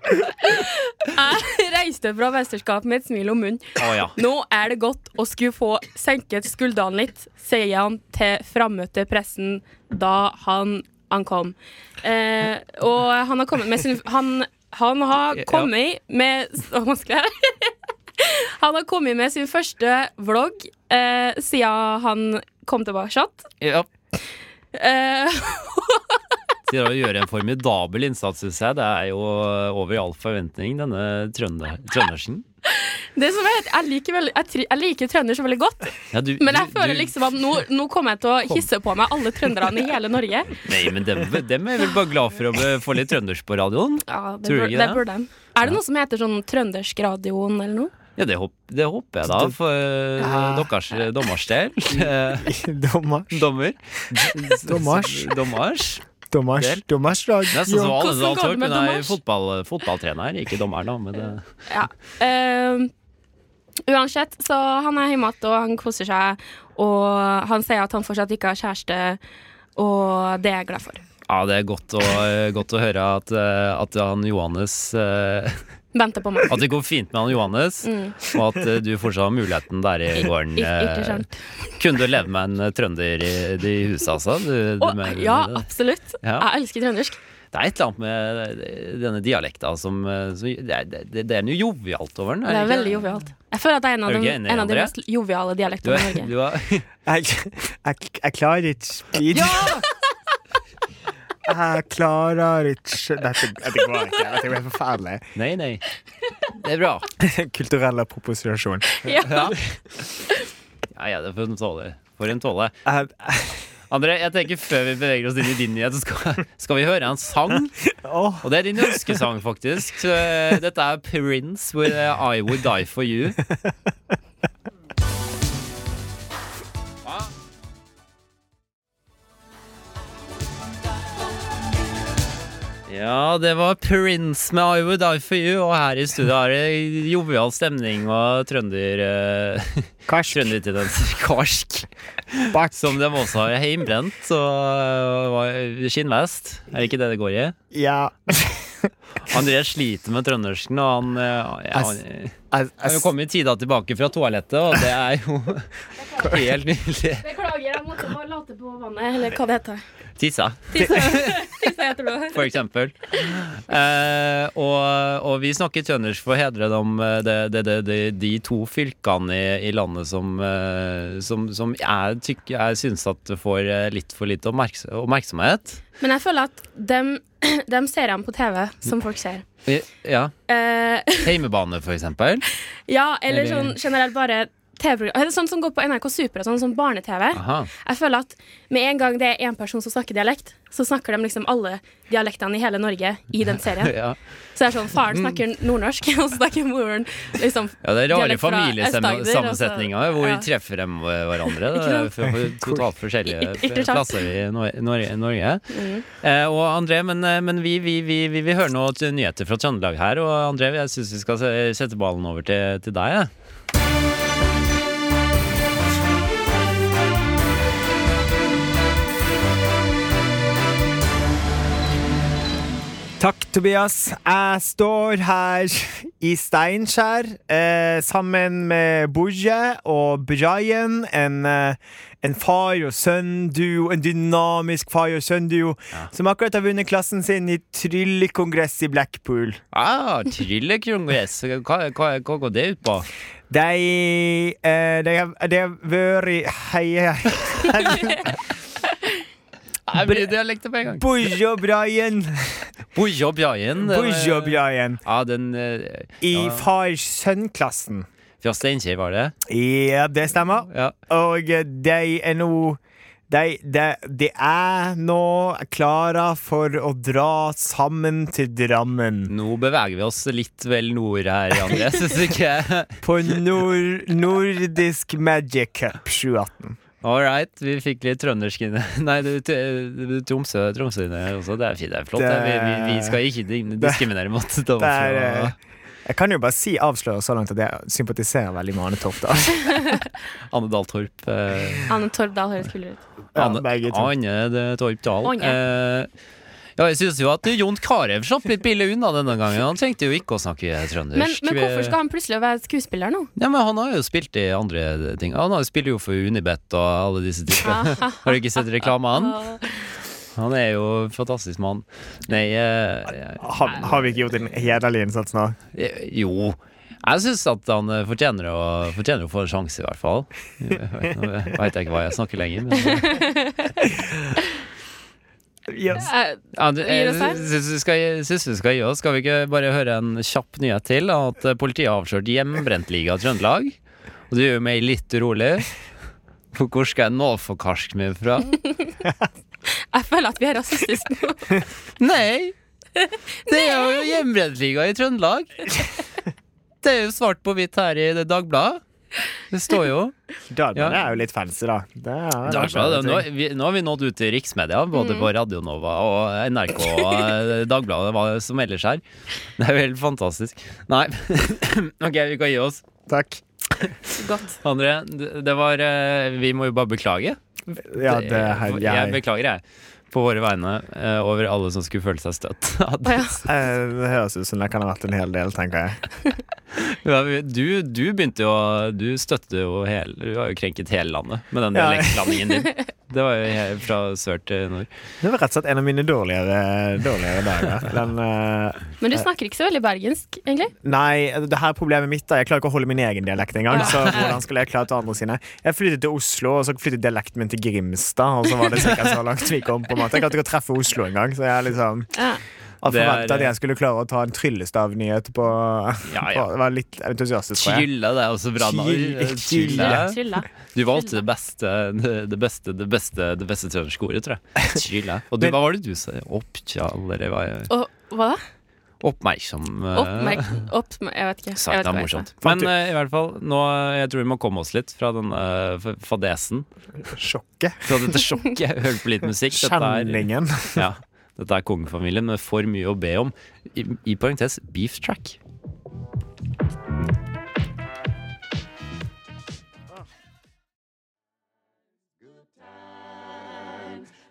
Speaker 3: [laughs] Jeg reiste fra mesterskapet med et smil om munnen.
Speaker 2: Å ja.
Speaker 3: Nå er det godt å skulle få senket skuldrene litt, sier han til frammøtte pressen da han ankom. Eh, og han har kommet med sin Han, han har
Speaker 2: Ja.
Speaker 3: kommet med Å, vanskelig her. Han har kommet med sin første vlogg eh, siden han kom tilbake.
Speaker 2: ja.
Speaker 3: Eh,
Speaker 2: Sier å gjøre en formidabel innsats, syns jeg. Det er jo eh, over i all forventning, denne trønder, trøndersen.
Speaker 3: det som er, jeg liker, veldig, jeg, tri- jeg liker trønders veldig godt,
Speaker 2: Ja, du-
Speaker 3: men jeg
Speaker 2: du-
Speaker 3: føler
Speaker 2: du-
Speaker 3: liksom at nå, nå kommer jeg til å hisse på meg alle trønderne i hele Norge.
Speaker 2: Nei, men dem, dem er vel bare glad for å be- få litt trønders på radioen.
Speaker 3: Ja, det,
Speaker 2: Tror du
Speaker 3: bør,
Speaker 2: ikke
Speaker 3: det
Speaker 2: det?
Speaker 3: burde de. Er det noe som heter sånn Trøndersgradioen eller noe?
Speaker 2: Ja, det, håp, det håper jeg da, for øh, deres øh, dommers del. [laughs] Eh,
Speaker 4: [laughs]
Speaker 3: [laughs]
Speaker 4: Dommers.
Speaker 2: Dommer.
Speaker 4: Dommers.
Speaker 2: Dommers.
Speaker 4: Dommers.
Speaker 2: Del.
Speaker 4: Dommerslag.
Speaker 2: Det er sånn som
Speaker 4: Ja.
Speaker 2: alle
Speaker 3: Hvordan
Speaker 2: sa,
Speaker 3: går det
Speaker 2: Torp.
Speaker 3: med
Speaker 2: Hun er
Speaker 3: dommers?
Speaker 2: fotball, fotballtrener, ikke dommer, da. Men eh, det,
Speaker 3: Ja. Ehm, uansett, så han er hjemme igjen, og han koser seg. Og han sier at han fortsatt ikke har kjæreste, og det er jeg glad for.
Speaker 2: Ja, det er godt å, godt å høre at, eh, at han Johannes eh,
Speaker 3: Venter på meg.
Speaker 2: At det går fint med han Johannes, og at eh, du fortsatt har muligheten der i gården.
Speaker 3: Mm. Ik- ikke
Speaker 2: eh,
Speaker 3: sant.
Speaker 2: Kunne du leve med en eh, trønder i det i huset, altså? Du, du
Speaker 3: Og,
Speaker 2: mener
Speaker 3: ja,
Speaker 2: det?
Speaker 3: absolutt.
Speaker 2: Ja.
Speaker 3: Jeg elsker trøndersk.
Speaker 2: Det er et eller annet med eh, denne dialekta som, eh, som det, er- det, det er noe jovialt over den.
Speaker 3: Det er
Speaker 2: ikke
Speaker 3: veldig jovialt. Jeg føler at det er
Speaker 2: Er
Speaker 3: en av
Speaker 2: du
Speaker 3: de,
Speaker 2: ikke enig,
Speaker 3: en av de
Speaker 2: Andrea?
Speaker 3: mest joviale
Speaker 2: Du,
Speaker 3: dialektene i
Speaker 2: er-
Speaker 3: Norge.
Speaker 2: du er,
Speaker 4: Jeg, jeg, jeg klarer ikke bidra. [laughs] Jeg klarer ikke Dette, dette går ikke. Dette blir forferdelig.
Speaker 2: [laughs] nei, nei. Det er bra.
Speaker 4: [laughs] Kulturell appropriasjon.
Speaker 2: Ja, ja, ja det får en tåle. Får en tåle.
Speaker 4: Jeg-
Speaker 2: André, jeg tenker før vi beveger oss inn i din nyhet, så skal, skal vi høre en sang.
Speaker 4: Åh,
Speaker 2: Og det er din ønskesang, faktisk. Så, eh, Dette er Prince with eh, I Would Die For You. Ja, det var Prince med I Would Die For You, og her i studio er det jovial stemning og trønder... eh,
Speaker 4: karsk,
Speaker 2: Trøndertendenser. Karsk.
Speaker 4: bart.
Speaker 2: Som de også har heimbrent og øh, skinnvest. Er det ikke det det går i?
Speaker 4: Ja. eh,
Speaker 2: André sliter med trøndersken, og han, øh, ja, han øh,
Speaker 4: Jeg,
Speaker 2: har jo
Speaker 4: jeg,
Speaker 2: kommet tida tilbake fra toalettet, og det er jo helt nydelig.
Speaker 3: Beklager, jeg måtte bare late på vannet, eller hva det heter.
Speaker 2: Tissa,
Speaker 3: Tissa tissa
Speaker 2: [laughs]
Speaker 3: heter det.
Speaker 2: for eksempel. Eh, og, og vi snakker trøndersk for å hedre dem, eh, det, det, det, det, de to fylkene i, i landet som, eh, som, som jeg, tykker- jeg syns at får eh, litt for lite oppmerks- oppmerksomhet.
Speaker 3: Men jeg føler at dem, [clears throat] dem ser jeg på TV, som folk ser.
Speaker 2: Ja.
Speaker 3: Eh, [laughs]
Speaker 2: Heimebane, for eksempel.
Speaker 3: ja, eller
Speaker 2: Eller-
Speaker 3: sånn generelt bare TV-program. Eller Sånn som går på NRK Super og sånn, sånn barne-TV.
Speaker 2: Aha.
Speaker 3: Jeg føler at med en gang det er én person som snakker dialekt, så snakker de liksom alle dialektene i hele Norge i den [laughs] serien.
Speaker 2: Ja.
Speaker 3: Så det er sånn, faren snakker nordnorsk, [laughs] og så snakker moren liksom
Speaker 2: ja, det er rare
Speaker 3: Dialekt fra Aust-Agder,
Speaker 2: familiesammensetninger
Speaker 3: altså.
Speaker 2: hvor
Speaker 3: Ja.
Speaker 2: de treffer dem eh, hverandre. Det er
Speaker 3: Ikke sant?
Speaker 2: for- for totalt forskjellige
Speaker 3: I- ikke sant? Mm.
Speaker 2: plasser i Nor- Norge. Norge. Eh, og André, men, eh, men vi, vi, vi, vi vil høre noe til nyheter fra Trøndelag her. Og André, jeg syns vi skal se- sette ballen over til, til deg. jeg.
Speaker 4: Takk, Tobias. Jeg står her i Steinkjer eh, sammen med Booje og Brian. En, eh, en far og sønn-duo, en dynamisk far og sønn-duo, som akkurat har vunnet klassen sin i tryllekongress i Blackpool.
Speaker 2: Ah, Tryllekongress, hva, hva, hva går det ut på?
Speaker 4: De, eh, de, har, de har vært Hei, hei. [laughs]
Speaker 2: Jeg blir dialekter på en gang.
Speaker 4: Booje og Brian.
Speaker 2: Bojo Brian. det var-
Speaker 4: Booje og Brian
Speaker 2: Ja, den eh,
Speaker 4: i
Speaker 2: ja,
Speaker 4: far-sønn-klassen.
Speaker 2: Fra Steinkjer, var det?
Speaker 4: Ja, det stemmer.
Speaker 2: Ja.
Speaker 4: Og eh, de er nå de, de, de er nå klare for å dra sammen til Drammen.
Speaker 2: Nå beveger vi oss litt vel nord her, André. Syns du ikke?
Speaker 4: På nor Nordisk Magic Cup 2018.
Speaker 2: All right, vi fikk litt trøndersk inne. Nei, du, t- du, Tromsø, Tromsø inne også. Det er fint, det er flott.
Speaker 4: Det-
Speaker 2: Vi, vi, vi skal ikke di- diskriminere mot Tromsø.
Speaker 4: Det er, eh, jeg kan jo bare si avsløre så langt at jeg sympatiserer veldig med Ane Torp. da. [laughs]
Speaker 2: Anne Dahl Torp. eh,
Speaker 3: Anne Torp Dahl høres kulere ut.
Speaker 4: Ja,
Speaker 2: Anne,
Speaker 4: begge to.
Speaker 2: Anne de Torp Dahl.
Speaker 3: Anne.
Speaker 2: Eh, ja, jeg syns jo at Jon Carew slapp litt billig unna denne gangen. Han trengte jo ikke å snakke trøndersk.
Speaker 3: Men, men hvorfor skal han plutselig være skuespiller nå?
Speaker 2: Ja, men Han har jo spilt i andre ting. Han har jo spilt jo for Unibet og alle disse tingene. Har du ikke sett reklamene? Han er jo en fantastisk mann. Nei eh,
Speaker 4: Har, har vi ikke gjort en hederlig innsats nå?
Speaker 2: eh, Jo. Jeg syns at han eh, fortjener å, fortjener å få en sjanse, i hvert fall. Nå veit jeg ikke hva jeg snakker lenger, men
Speaker 4: Yes.
Speaker 3: Eh,
Speaker 2: Andre-
Speaker 3: Gir oss her?
Speaker 2: jeg syns vi skal- syns vi skal gi oss. Skal vi ikke bare høre en kjapp nyhet til? At eh, politiet har avslørt hjemmebrentliga i Trøndelag. Og det gjør meg litt urolig. For hvor skal jeg nå få karsken min fra?
Speaker 3: jeg føler at vi er rasistiske nå.
Speaker 2: [laughs] Nei! Det er jo hjemmebrentliga i Trøndelag. Det er jo svart på hvitt her i det Dagbladet. Det står jo.
Speaker 4: Dagbladet
Speaker 2: Ja.
Speaker 4: er jo litt fancy, da. Det er, Mm.
Speaker 2: Dagbladet, nå, er vi, nå har vi nådd ut til riksmedia, både på Radionova og NRK og eh, Dagbladet hva som ellers her. Det er jo helt fantastisk. Nei, [laughs] OK, vi kan gi oss.
Speaker 4: Takk.
Speaker 3: [laughs] Godt.
Speaker 2: André, det det var eh, Vi må jo bare beklage.
Speaker 4: Ja, det er,
Speaker 2: jeg
Speaker 4: jeg,
Speaker 2: beklager, jeg. på våre vegne eh, over alle som skulle føle seg støtt. [laughs] At-
Speaker 3: Å ja.
Speaker 4: Eh, Det høres ut som det kan ha vært en hel del, tenker jeg.
Speaker 2: Ja, vi- Du, du begynte jo å- Du støtte jo hele Du har jo krenket hele landet med den
Speaker 4: Ja.
Speaker 2: lenkelandingen din. Det var jo he- fra sør til nord.
Speaker 4: Det var rett og slett en av mine dårligere, dårligere dager. Den, eh,
Speaker 3: Men du snakker ikke så veldig bergensk, egentlig.
Speaker 4: Nei, det her er problemet mitt da Jeg klarer ikke å holde min egen dialekt engang.
Speaker 3: Ja.
Speaker 4: Så hvordan skulle jeg klare til andre sine? Jeg flyttet til Oslo, og så flyttet dialekten min til Grimstad. Og så var det sikkert så langt vi kom på en måte Jeg klarte ikke å treffe Oslo engang. Så jeg liksom
Speaker 3: Ja.
Speaker 4: hadde
Speaker 2: Det er- eh,
Speaker 4: forventet at jeg skulle klare å ta en tryllestavnyhet på,
Speaker 2: Ja,
Speaker 4: på
Speaker 2: ja.
Speaker 4: Det var litt entusiastisk, tror jeg.
Speaker 2: Kylle, det er også bra navn.
Speaker 4: Kylle.
Speaker 2: Kylle.
Speaker 3: Trylla.
Speaker 2: Du valgte det beste, det beste, det beste, det beste trønderske ordet, tror jeg. Trylle. Og du,
Speaker 4: Men-
Speaker 2: hva var det du sa? Opptja, eller hva?
Speaker 3: Og hva da?
Speaker 2: Oppmerksom. eh,
Speaker 3: Oppmerk... Oppmer jeg vet ikke.
Speaker 2: Sagt, det er
Speaker 3: Jeg vet ikke hva jeg
Speaker 2: morsomt.
Speaker 4: sa.
Speaker 2: Men eh, i hvert fall, nå, eh, jeg tror vi må komme oss litt fra denne eh, f- fadesen.
Speaker 4: Sjokket.
Speaker 2: Fra dette sjokket. Hørte på litt musikk. Dette er,
Speaker 4: Kjenningen. [laughs]
Speaker 2: [laughs] ja, dette er kongefamilien med for mye å be om. I, i parentes beef track.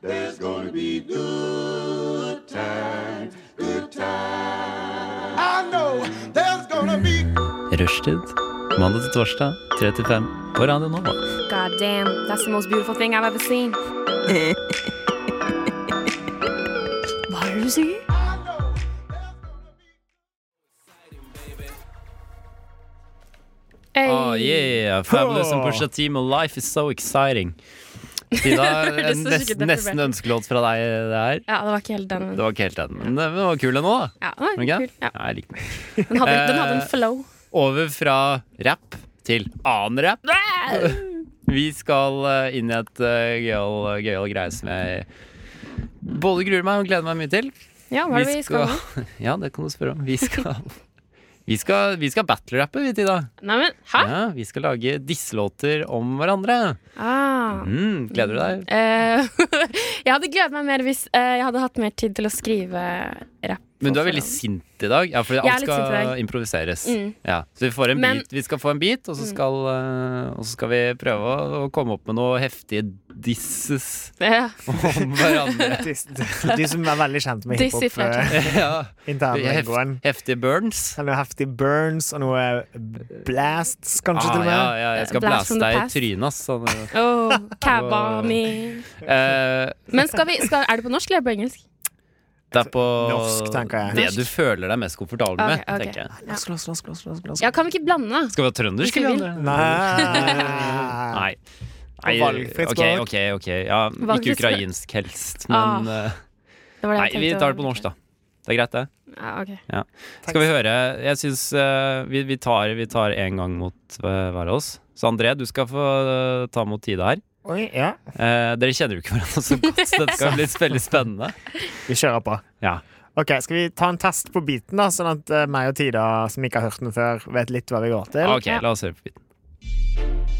Speaker 5: There's gonna be good times, good times. I know there's gonna be
Speaker 2: Rushtid. Mandag til torsdag, 3 til 5 på Radio Nova.
Speaker 3: sa. God damn, that's the most beautiful thing I've ever seen. [laughs] Hva er det du sier? Hey.
Speaker 2: Oh yeah, fabulous and Pusha T med Life is so exciting.
Speaker 3: [laughs]
Speaker 2: Frida,
Speaker 3: Det
Speaker 2: en
Speaker 3: hørtes så
Speaker 2: nest,
Speaker 3: skikkelig
Speaker 2: nesten ønskelåt fra deg det her.
Speaker 3: Ja, det var ikke helt den.
Speaker 2: Det var ikke helt den, men den var kul den òg, da.
Speaker 3: Ja, den, var
Speaker 2: Var den ikke
Speaker 3: kul.
Speaker 2: det?
Speaker 3: Ja.
Speaker 2: Ja, jeg liker den.
Speaker 3: Den, hadde, den hadde
Speaker 2: Eh,
Speaker 3: en
Speaker 2: [laughs]
Speaker 3: flow.
Speaker 2: Over fra rap til annen rap. Vi skal eh, inn i et eh, gøyal gøyal greie som jeg både gruer meg og gleder meg mye til.
Speaker 3: Ja, hva er det vi skal nå?
Speaker 2: [laughs] Ja, det kan du spørre om. Vi skal, [laughs] vi skal, vi skal battle-rappe, vi, Tida.
Speaker 3: Nei, men, hæ?
Speaker 2: Ja, vi skal lage disselåter om hverandre.
Speaker 3: Ah.
Speaker 2: Mm, gleder du deg?
Speaker 3: Eh, [laughs] jeg hadde gledet meg mer hvis eh, jeg hadde hatt mer tid til å skrive rapp.
Speaker 2: Men du er
Speaker 3: på
Speaker 2: veldig
Speaker 3: forhånd.
Speaker 2: sint i dag. Ja, fordi
Speaker 3: Jeg er
Speaker 2: alt
Speaker 3: litt sint i
Speaker 2: skal
Speaker 3: dag.
Speaker 2: improviseres.
Speaker 3: Mm.
Speaker 2: Ja, så vi, får en
Speaker 3: Men- Mm.
Speaker 2: bit, vi skal få en bit, og så skal, eh, og så skal vi prøve å, å komme opp med noe heftige
Speaker 3: [laughs]
Speaker 2: disses
Speaker 3: Ja.
Speaker 2: om hverandre.
Speaker 4: De, de som er veldig kjent med
Speaker 3: Dizzy
Speaker 4: hiphop.
Speaker 3: Fletcher.
Speaker 4: eh,
Speaker 2: ja. Heft,
Speaker 4: Internlingvoen.
Speaker 2: heftige burns.
Speaker 4: Eller heftig burns og noe blasts, kanskje,
Speaker 2: Ah,
Speaker 4: til og
Speaker 2: ja,
Speaker 4: med.
Speaker 2: ja, jeg skal
Speaker 3: Blast
Speaker 2: blæse
Speaker 3: from the
Speaker 2: deg i
Speaker 3: past.
Speaker 2: trynet, ass. Sånn, eh,
Speaker 3: Oh, cabba mi. Men skal vi, skal, er det på norsk eller på engelsk?
Speaker 2: det er på
Speaker 4: Norsk, tenker jeg.
Speaker 2: det du føler deg mest komfortabel med,
Speaker 3: Ok, ok.
Speaker 2: tenker jeg.
Speaker 4: Norsk, norsk, norsk, norsk, norsk, norsk.
Speaker 3: Ja, kan vi ikke blande, da?
Speaker 2: Skal vi ha trøndersk?
Speaker 3: Hvis vi
Speaker 2: eller?
Speaker 4: Nei.
Speaker 2: Nei.
Speaker 4: Og valgfritt
Speaker 2: ok,
Speaker 4: språk.
Speaker 2: ok, ok. Ja, ikke
Speaker 3: Valgfritt språk. Ah.
Speaker 2: ukrainsk helst, men eh,
Speaker 3: Det var det
Speaker 2: Nei,
Speaker 3: jeg
Speaker 2: vi
Speaker 3: tenkte
Speaker 2: tar det
Speaker 3: å-
Speaker 2: på norsk, da. Det er greit, det.
Speaker 3: Ja, ok.
Speaker 2: Skal vi høre Jeg syns eh, vi, vi tar vi tar én gang mot eh, hver av oss. Så André, du skal få eh, ta mot Tida her.
Speaker 4: [laughs] Oi, ja.
Speaker 2: Eh, dere kjenner jo ikke hverandre så godt, så dette skal bli veldig spennende.
Speaker 4: Vi kjører på.
Speaker 2: Ja.
Speaker 4: Ok, Skal vi ta en test på biten, da, sånn at eh, meg og Tida, som ikke har hørt den før, vet litt hva vi går til?
Speaker 2: Ok, la oss høre på biten.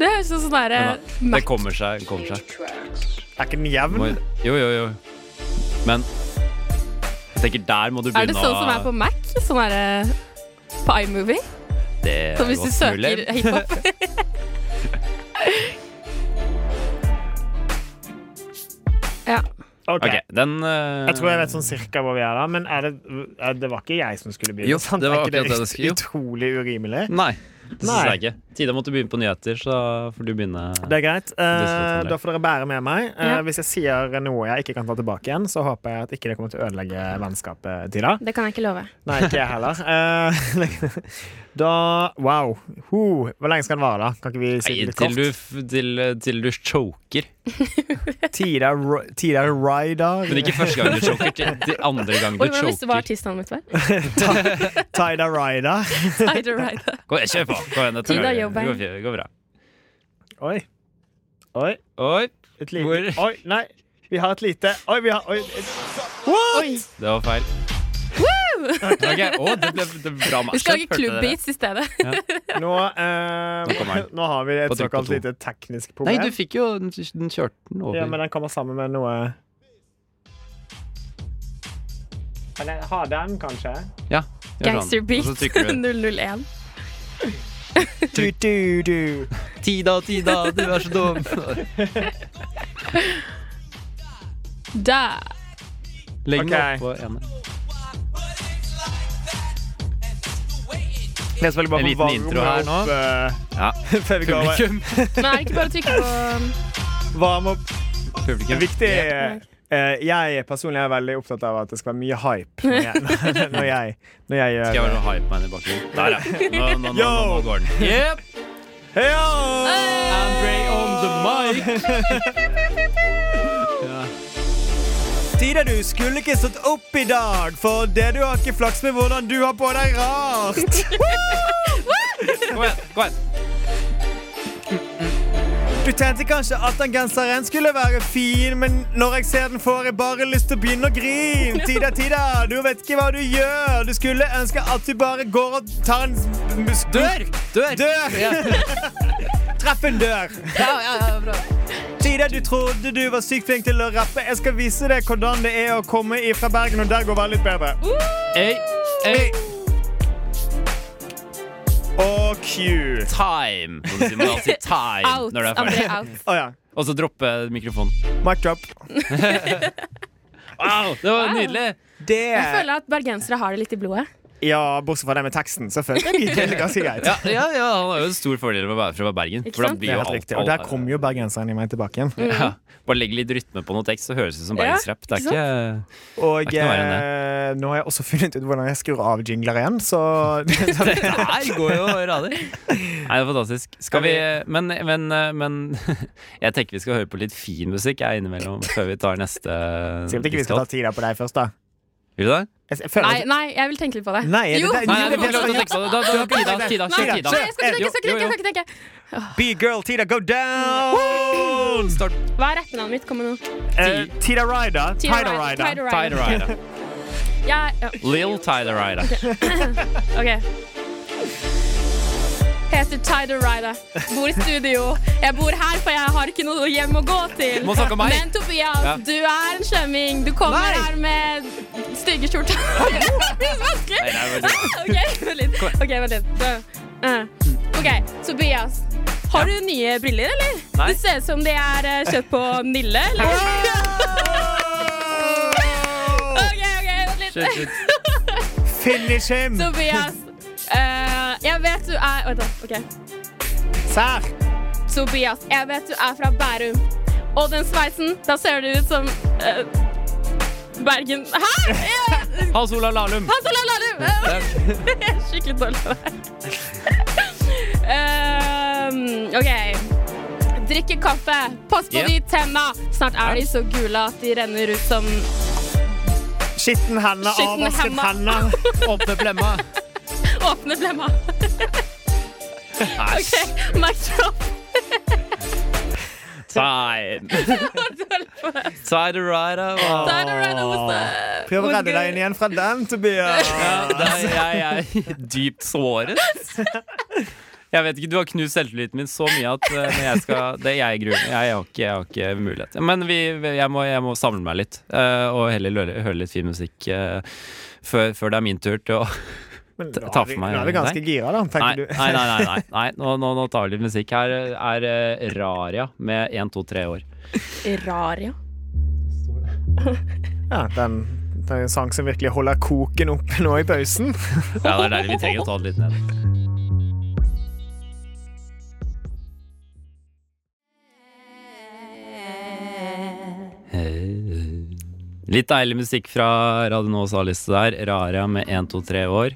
Speaker 3: Det høres ut som sånn derre
Speaker 2: Men da, Det kommer seg. det kommer seg.
Speaker 4: Er ikke den jevn?
Speaker 2: Må, jo, jo, jo. Men jeg tenker der må du
Speaker 3: Er
Speaker 2: begynne
Speaker 3: det sånn som er på Mac? Sånn derre på iMovie?
Speaker 2: det er
Speaker 3: Som hvis du
Speaker 2: godt
Speaker 3: søker
Speaker 2: mulig. [laughs]
Speaker 3: hiphop? ja.
Speaker 4: Ok.
Speaker 2: Ok, den eh,
Speaker 4: Jeg tror jeg vet sånn cirka hvor vi er, da, men er det, er, det var ikke jeg som skulle begynne.
Speaker 2: Jo,
Speaker 4: sant?
Speaker 2: det var
Speaker 4: Er ikke
Speaker 2: akkurat det det skulle- Mm. jo.
Speaker 4: Utrolig urimelig.
Speaker 2: Nei, det syns
Speaker 4: Nei.
Speaker 2: jeg ikke. Tida måtte begynne på nyheter, så får du begynne.
Speaker 4: Det er greit. Eh,
Speaker 2: Det er
Speaker 4: da får dere bære med meg. Eh,
Speaker 3: Ja.
Speaker 4: Hvis jeg sier noe jeg ikke kan ta tilbake igjen, så håper jeg at ikke det kommer til å ødelegge vennskapet til deg.
Speaker 3: Det kan jeg ikke love.
Speaker 4: Nei, ikke jeg heller. [laughs] Eh, [laughs] da Wow. Ho, hvor lenge skal den vare, da? Kan ikke vi si
Speaker 2: Nei,
Speaker 4: det litt
Speaker 2: til
Speaker 4: kort?
Speaker 2: du, f- til, til du choker.
Speaker 4: Tida, Ro- Tida Ryder.
Speaker 2: Men ikke første
Speaker 3: [laughs]
Speaker 2: gang du choker, til, til andre gang du
Speaker 3: Oi, hva hvis det
Speaker 2: choker.
Speaker 3: var artistnavnet mitt
Speaker 2: [laughs]
Speaker 3: var?
Speaker 4: Tida Ryder.
Speaker 3: Tider Rider.
Speaker 2: Kom, igjen, kjør på! Kom igjen, dette
Speaker 3: Tida
Speaker 2: går-
Speaker 3: jobber.
Speaker 2: det går, fint, det går bra.
Speaker 4: Oi. Oi.
Speaker 2: Oi,
Speaker 4: Et lite
Speaker 2: Hvor-
Speaker 4: Oi, nei. Vi har et lite Oi, vi har Oi. Et... What?
Speaker 2: det var feil. [laughs] Ok, å, det ble, det ble bra
Speaker 3: Vi
Speaker 2: match.
Speaker 3: skal lage klubbbeats i stedet.
Speaker 4: Nå, eh,
Speaker 2: Nå kommer den.
Speaker 4: nå har vi et
Speaker 2: På trykk på
Speaker 4: såkalt
Speaker 2: to.
Speaker 4: lite teknisk
Speaker 2: Nei,
Speaker 4: problem.
Speaker 2: du fikk jo Den, den kjørte den over.
Speaker 4: Ja, men den kommer sammen med noe Eller ha den, kanskje?
Speaker 2: Ja, gjør sånn.
Speaker 3: Gangsterbeat [laughs]
Speaker 2: Og så trykker du.
Speaker 3: 001.
Speaker 4: Du, du, du.
Speaker 2: Tida, Tida, du er så dum.
Speaker 3: Da.
Speaker 2: Legg
Speaker 4: Ok.
Speaker 2: meg oppå ene.
Speaker 4: Jeg spiller bare
Speaker 2: En liten
Speaker 4: på varme
Speaker 2: intro her nå.
Speaker 4: opp, eh,
Speaker 2: [laughs] Ja.
Speaker 4: [laughs] Før vi går over.
Speaker 2: Publikum.
Speaker 3: Men er det ikke bare å trykke på um,
Speaker 4: Varme opp. Det er
Speaker 2: Publikum.
Speaker 4: viktig. eh, jeg er personlig er veldig opptatt av at det skal være mye hype når
Speaker 2: [laughs]
Speaker 4: jeg, [laughs] når jeg, når jeg gjør
Speaker 2: Skal jeg være sånn hype man i bakgrunnen?
Speaker 4: [laughs]
Speaker 2: Der, ja. Nå, nå, nå, nå, nå
Speaker 4: Yo!
Speaker 2: går den. Yep.
Speaker 4: Heyo!
Speaker 2: Andre on the mic.
Speaker 4: Tida, du skulle ikke stått opp i dag, for det du har ikke flaks med hvordan du har på deg rart.
Speaker 2: Kom igjen. kom igjen
Speaker 4: Du tenkte kanskje at den genseren skulle være fin, men når jeg ser den, får jeg bare lyst til å begynne å grine. Tida, tida, du vet ikke hva du gjør. Du skulle ønske at du bare går og tar en s-
Speaker 2: Dør! Dør!
Speaker 4: Dør!
Speaker 2: Ja.
Speaker 4: Treff en dør.
Speaker 2: Ja, ja, ja, bra.
Speaker 4: Tida, du trodde du var sykt flink til å rappe. Jeg skal vise deg hvordan det er å komme ifra Bergen, og der går det litt bedre.
Speaker 2: Hey, hey.
Speaker 4: Og Q.
Speaker 2: Time. må Du si. Man må alltid si time
Speaker 3: out?
Speaker 2: når du er
Speaker 3: André
Speaker 2: ferdig.
Speaker 3: out.
Speaker 4: Å ja.
Speaker 2: Og så droppe mikrofonen.
Speaker 4: Mic drop.
Speaker 2: Wow, det var
Speaker 3: Wow.
Speaker 2: nydelig.
Speaker 3: Jeg
Speaker 4: Det
Speaker 3: føler at bergensere har det litt i blodet.
Speaker 4: Ja, bortsett fra det med teksten, så føler jeg det
Speaker 2: [laughs]
Speaker 4: er ganske greit.
Speaker 2: Ja, ja, ja, han har jo en stor fordel med å være fra Bergen.
Speaker 3: Ikke
Speaker 2: For da
Speaker 3: sant?
Speaker 4: Det
Speaker 2: blir jo
Speaker 4: er helt
Speaker 2: alt, Mm.
Speaker 4: riktig. Og der kom jo bergenseren i meg tilbake igjen.
Speaker 2: ja. Bare legg litt rytme på noe tekst, så høres det ut som
Speaker 3: Ja,
Speaker 2: bergensrapp. Det er
Speaker 3: ikke
Speaker 2: ikke
Speaker 4: Og
Speaker 2: Det er ikke noe verre
Speaker 4: eh, nå har jeg også funnet ut hvordan jeg skrur av jingler igjen, så [laughs]
Speaker 2: Det her går jo rader. Nei, det er fantastisk. Skal vi Men, men, eh, men [laughs] jeg tenker vi skal høre på litt fin musikk jeg, innimellom før vi tar neste
Speaker 4: Sikkert ikke vi skal ta tida på deg først, da.
Speaker 2: Vil du det?
Speaker 4: Jeg, jeg føler
Speaker 3: Nei,
Speaker 4: at-
Speaker 3: nei, jeg vil tenke litt på det.
Speaker 4: Nei, er det
Speaker 3: jo,
Speaker 4: det-
Speaker 2: Nei,
Speaker 4: Jo,
Speaker 2: jeg får ikke lov til å
Speaker 4: det-
Speaker 2: tenke på det. Da, da, Tida, Tida,
Speaker 3: Nei,
Speaker 2: kjør
Speaker 3: nei,
Speaker 2: Tida.
Speaker 3: jeg skal ikke tenke, jeg skal
Speaker 2: Jo, jo.
Speaker 3: ikke tenke, jeg skal ikke tenke.
Speaker 4: Be girl, Tida, go down!
Speaker 2: Start.
Speaker 3: Hva er rappenavnet mitt? Kom med noe.
Speaker 4: Eh, Tida Ryder.
Speaker 3: Tida
Speaker 4: Tida
Speaker 3: Ryder, Tida
Speaker 4: Ryder.
Speaker 3: Ryder.
Speaker 2: Tide Rider.
Speaker 3: Ja, ja.
Speaker 2: Lill Tide Rider.
Speaker 3: Ok. Heter Tider Rider. Bor i studio. Jeg bor her, for jeg har ikke noe hjem å gå til.
Speaker 2: Må snakke om meg.
Speaker 3: Men Tobias,
Speaker 2: Ja.
Speaker 3: du er en slemming. Du kommer
Speaker 2: Nei.
Speaker 3: her med stygge
Speaker 2: [laughs]
Speaker 3: skjorter. Vanskelig.
Speaker 2: Nei, nei, vent litt.
Speaker 3: Ah, OK, vent litt. Ok, vent litt. Da. Eh. OK, Tobias. Har du nye briller, eller?
Speaker 2: Nei.
Speaker 3: Det ser ut som de er eh, kjøpt på Nille, eller? OK, OK, vent litt.
Speaker 2: Shit, shit.
Speaker 4: Finish him!
Speaker 3: Tobias. eh, jeg vet du er Vent, da. OK.
Speaker 4: Sær!
Speaker 3: Tobias, jeg vet du er fra Bærum. Og den sveisen, da ser du ut som eh, Bergen Hæ?!
Speaker 4: [laughs]
Speaker 3: Jeg-
Speaker 2: Hans Olav Lahlum.
Speaker 3: Hans Olav Lahlum! Jeg er [laughs] skikkelig dårlig [laughs] på det her. Um, OK. Drikke kaffe. Pass på
Speaker 2: Ja.
Speaker 3: de tenna. Snart er de så gule at de renner ut som
Speaker 4: Skitten henne,
Speaker 3: Skitten
Speaker 4: avvasket
Speaker 3: henne.
Speaker 4: henne.
Speaker 2: Åpne flemma.
Speaker 3: åpne blemma. [laughs]
Speaker 2: Æsj.
Speaker 3: OK, mic drop.
Speaker 2: Time.
Speaker 3: Dårlig på det.
Speaker 2: Tide Rider. Wow.
Speaker 3: Da er det right over the-
Speaker 4: Prøv å redde deg inn igjen fra den, Tobias.
Speaker 2: Ja, der, jeg er dypt såret. Jeg vet ikke, Du har knust selvtilliten min så mye at eh, når jeg skal Det jeg gruer meg. Jeg, har ikke- jeg har ikke mulighet. Men vi, jeg, må, jeg må samle meg litt, eh, og heller høre, høre litt fin musikk eh, før, før det er min tur til å
Speaker 4: Men
Speaker 2: Ta-
Speaker 4: nå
Speaker 2: ta
Speaker 4: er
Speaker 2: for
Speaker 4: vi-
Speaker 2: meg,
Speaker 4: Nå er vi ganske
Speaker 2: nei.
Speaker 4: gira, da,
Speaker 2: Nei,
Speaker 4: tenker du.
Speaker 2: nei, nei. nei, nei, nei. Nå, nå, nå tar vi litt musikk. Her er eh, Raria med 1, 2, 3 år.
Speaker 3: Rar, ja.
Speaker 4: Ja, den, den er en sang som virkelig holder koken oppe nå i pausen.
Speaker 2: Ja, det er deilig. Vi trenger å ta det litt ned. Eh, Litt deilig musikk fra Radio Nås A-liste der. Raria med 1, 2, 3 år.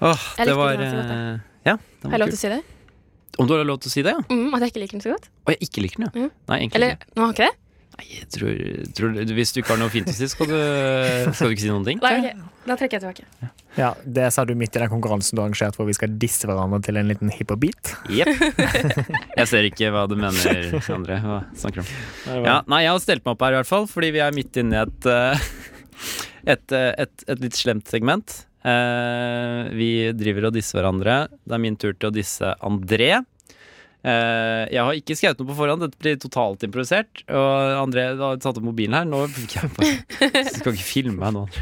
Speaker 2: Åh,
Speaker 3: Jeg
Speaker 2: det
Speaker 3: likte
Speaker 2: var
Speaker 3: den ganske godt, jeg.
Speaker 2: eh, Ja, den
Speaker 3: Har jeg
Speaker 2: var
Speaker 3: lov
Speaker 2: kul.
Speaker 3: til å si det?
Speaker 2: Om du har lov til å si det, ja?
Speaker 3: Mm, at jeg ikke liker den så godt?
Speaker 2: Å, jeg ikke liker den, ja.
Speaker 3: Mm.
Speaker 2: Nei, egentlig
Speaker 3: Eller,
Speaker 2: ikke.
Speaker 3: nå har jeg ikke det?
Speaker 2: Nei, jeg tror, tror, du- hvis du ikke har noe fint å si, skal du, skal du ikke si noen ting?
Speaker 3: Nei, ok. Da trekker jeg tilbake.
Speaker 4: Ja, Det sa du midt i den konkurransen du arrangerte hvor vi skal disse hverandre til en liten hiphop-beat.
Speaker 2: Jepp. [laughs] Jeg ser ikke hva du mener, André. Hva snakker du om? Ja, nei, jeg har stelt meg opp her i hvert fall, fordi vi er midt inne i et, eh, [laughs] et, eh, et, et litt slemt segment. Eh, vi driver og disser hverandre. Det er min tur til å disse André. Eh, jeg har ikke skrevet noe på forhånd, dette blir totalt improvisert. Og André du har tatt opp mobilen her. Nå [laughs] fikk jeg bare Du skal ikke filme meg nå, André.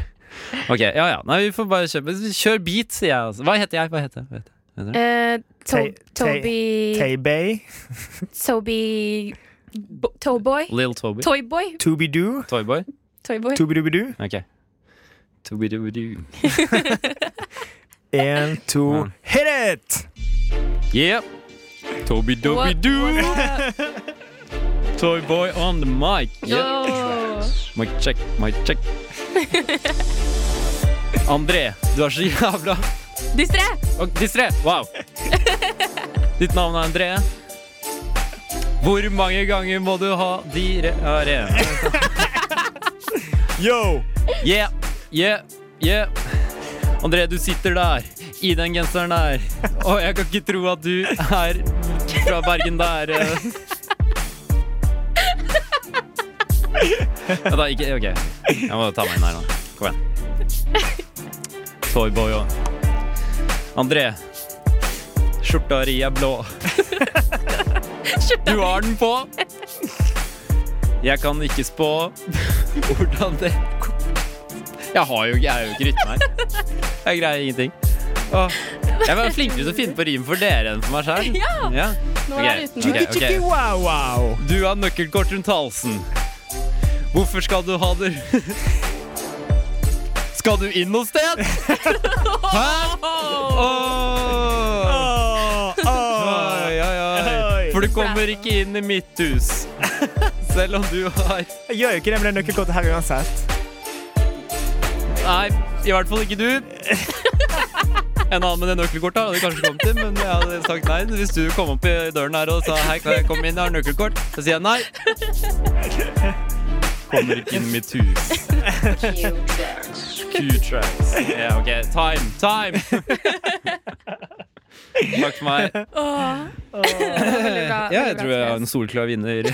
Speaker 2: Ok, ja ja. Nei, vi får bare kjøre. Kjør beat, sier jeg. Altså. Hva heter jeg? Hva heter jeg? Hva heter jeg? Heter det?
Speaker 3: Eh, to
Speaker 4: Tay- Tay-
Speaker 3: Toby
Speaker 4: Taybay,
Speaker 3: Toby Bo- Towboy?
Speaker 2: Lil Toby?
Speaker 3: Toyboy?
Speaker 4: Toobidoo,
Speaker 2: Toyboy?
Speaker 3: Toyboy.
Speaker 4: Toobidoobidoo.
Speaker 2: Ok. Toobidoobidu.
Speaker 4: Én, to,
Speaker 2: Wow.
Speaker 4: hit it!
Speaker 2: Yeah! Toobidoobidu! Toyboy on the mic! Yeah.
Speaker 3: Åh.
Speaker 2: Mic check, mic check. André, du er så jævla
Speaker 3: Distré!
Speaker 2: Og distré! Wow! Ditt navn er André. Hvor mange ganger må du ha de re... ja, re-
Speaker 4: Yo!
Speaker 2: Yeah, yeah, yeah. André, du sitter der, i den genseren der. Og jeg kan ikke tro at du er fra Bergen der. eh. Ja, da, ikke, ok, jeg må ta meg inn her nå. Kom igjen. Toyboy og André, skjorta di er blå. Du har den på. Jeg kan ikke spå hvordan det jeg har jo ikke, jeg er jo ikke rytme [laughs] her. Jeg greier ingenting. Åh. Jeg var flinkere til å finne på rim for dere enn for meg sjøl.
Speaker 3: Ja. Nå er det utenfor.
Speaker 2: Ok, ok.
Speaker 4: Chickie wow wow.
Speaker 2: Du har nøkkelkort rundt halsen. Hvorfor skal du ha det [laughs] Skal du inn noe [laughs] sted? Hæ? Åh. Oi, oi, oi. For du kommer ikke inn i mitt hus. [laughs] Selv om du har
Speaker 4: Jeg gjør jo ikke det med det nøkkelkortet her uansett.
Speaker 2: Nei, i hvert fall ikke du. En annen med det nøkkelkortet hadde jeg kanskje kommet til, men jeg hadde sagt nei. Hvis du kom opp i døren her og sa hei, kan jeg komme inn, jeg har nøkkelkort, så sier jeg nei. Kommer ikke inn i mitt hus. Q-tracks. Ja, ok. Time, time. Takk for meg.
Speaker 3: Åh. Veldig bra,
Speaker 2: Ja, jeg
Speaker 3: veldig bra
Speaker 2: tror jeg har
Speaker 3: Andreas.
Speaker 2: en solklar vinner.
Speaker 4: Ja,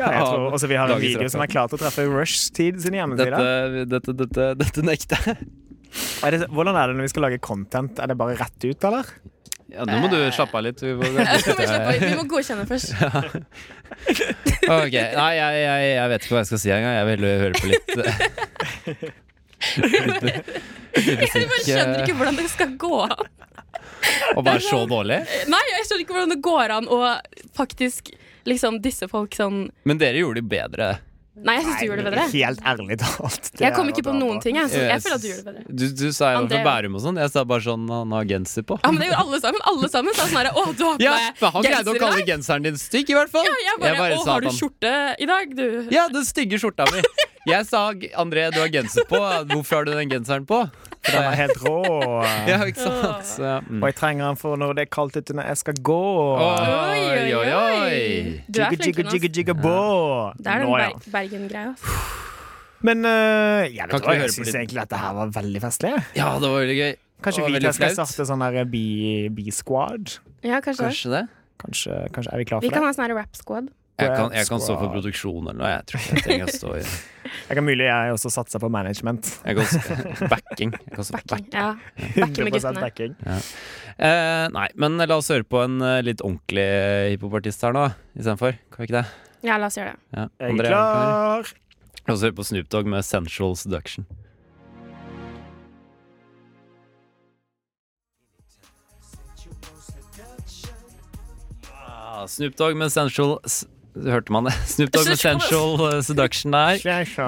Speaker 4: jeg
Speaker 2: Ja,
Speaker 4: tror også vi har en
Speaker 2: dagens
Speaker 4: video som er klar til å treffe Rush-tid sine
Speaker 2: Dette,
Speaker 4: hjemmesider.
Speaker 2: dette, dette, dette nekter jeg.
Speaker 4: Er det- Hvordan er det når vi skal lage content? Er det bare rett ut, eller?
Speaker 2: Ja, nå må du slappe av litt. Vi
Speaker 3: [laughs]
Speaker 2: må-
Speaker 3: Vi må slappe av. Vi må godkjenne først.
Speaker 2: Ok, Nei, jeg, jeg, jeg vet ikke hva jeg skal si engang. Jeg vil høre på litt eh,
Speaker 3: Jeg bare skjønner ikke hvordan det skal gå an.
Speaker 2: Og være så dårlig.
Speaker 3: Nei, jeg skjønner ikke hvordan det går an å faktisk liksom disse folk sånn
Speaker 2: Men dere gjorde det bedre.
Speaker 3: Nei, jeg syns du gjorde det bedre.
Speaker 4: Helt ærlig talt. det
Speaker 3: Jeg kom
Speaker 4: er
Speaker 3: ikke
Speaker 4: å
Speaker 3: på
Speaker 4: dra
Speaker 3: noen ting. Jeg, så jeg
Speaker 2: Yes.
Speaker 3: føler at du gjorde det bedre.
Speaker 2: Du, du sa jo
Speaker 3: André- Ah,
Speaker 2: fra Bærum og sånn. Jeg sa bare sånn han har genser på.
Speaker 3: Ja, men det gjorde alle sammen. Alle sammen sa sånn herre Å, du har på
Speaker 2: Ja,
Speaker 3: deg
Speaker 2: men Han greide
Speaker 3: genser
Speaker 2: å
Speaker 3: i
Speaker 2: kalle
Speaker 3: dag.
Speaker 2: genseren din stygg, i hvert fall.
Speaker 3: Ja, jeg bare, Å,
Speaker 2: sa
Speaker 3: har
Speaker 2: at
Speaker 3: du
Speaker 2: han-
Speaker 3: skjorte i dag, du?
Speaker 2: Ja, den stygge skjorta mi. Jeg sa André, du har genser på. Hvorfor har du den genseren på? For
Speaker 4: Den er
Speaker 2: det-
Speaker 4: helt rå.
Speaker 2: [laughs] Ja, ikke sant? Så, ja, mm.
Speaker 4: Og jeg trenger den for når det er kaldt ute når jeg skal gå.
Speaker 2: Oi, oi, oi.
Speaker 3: Du er
Speaker 4: Jigga,
Speaker 3: flink,
Speaker 4: jigga, jigga,
Speaker 3: Jonas.
Speaker 4: jigga, bå.
Speaker 3: Det er den
Speaker 4: Nå, ja.
Speaker 3: Ber Bergen-greia. ass.
Speaker 4: Men eh, ja,
Speaker 2: Kan ikke
Speaker 4: vet du hva,
Speaker 2: vi høre
Speaker 4: jeg
Speaker 2: på
Speaker 4: syns
Speaker 2: litt?
Speaker 4: egentlig at det her var veldig festlig.
Speaker 2: ja, det var veldig gøy.
Speaker 4: Kanskje
Speaker 2: Og
Speaker 4: vi
Speaker 2: veldig
Speaker 4: skal
Speaker 2: flaut.
Speaker 4: starte sånn her bi- bi-squad?
Speaker 3: Ja, kanskje det.
Speaker 2: Kanskje det.
Speaker 4: Kanskje, kanskje er vi klar
Speaker 3: Vi
Speaker 4: for
Speaker 3: kan
Speaker 4: det?
Speaker 3: ha sånn her rap-squad.
Speaker 2: Jeg kan, jeg kan stå for
Speaker 4: Squad.
Speaker 2: produksjon eller noe. Jeg tror ikke jeg trenger å stå i
Speaker 4: Jeg kan mulig jeg også satse på management.
Speaker 2: Jeg kan stå, backing. Jeg kan stå for back.
Speaker 3: Ja.
Speaker 4: [laughs]
Speaker 3: Backe med
Speaker 4: 100
Speaker 3: guttene.
Speaker 4: backing.
Speaker 2: Eh, nei, men la oss høre på en eh, litt ordentlig hiphopartist her nå, istedenfor. Kan vi ikke det?
Speaker 3: Ja, la oss gjøre det.
Speaker 2: Ja.
Speaker 4: Jeg er
Speaker 2: André, kan
Speaker 4: klar.
Speaker 2: vi- La oss høre på Snoop Dogg med Sensual Seduction. Ah, Snoop Dogg med Sensual s- Hørte man det? [laughs] Snoop Dogg med Sensual eh, Seduction der.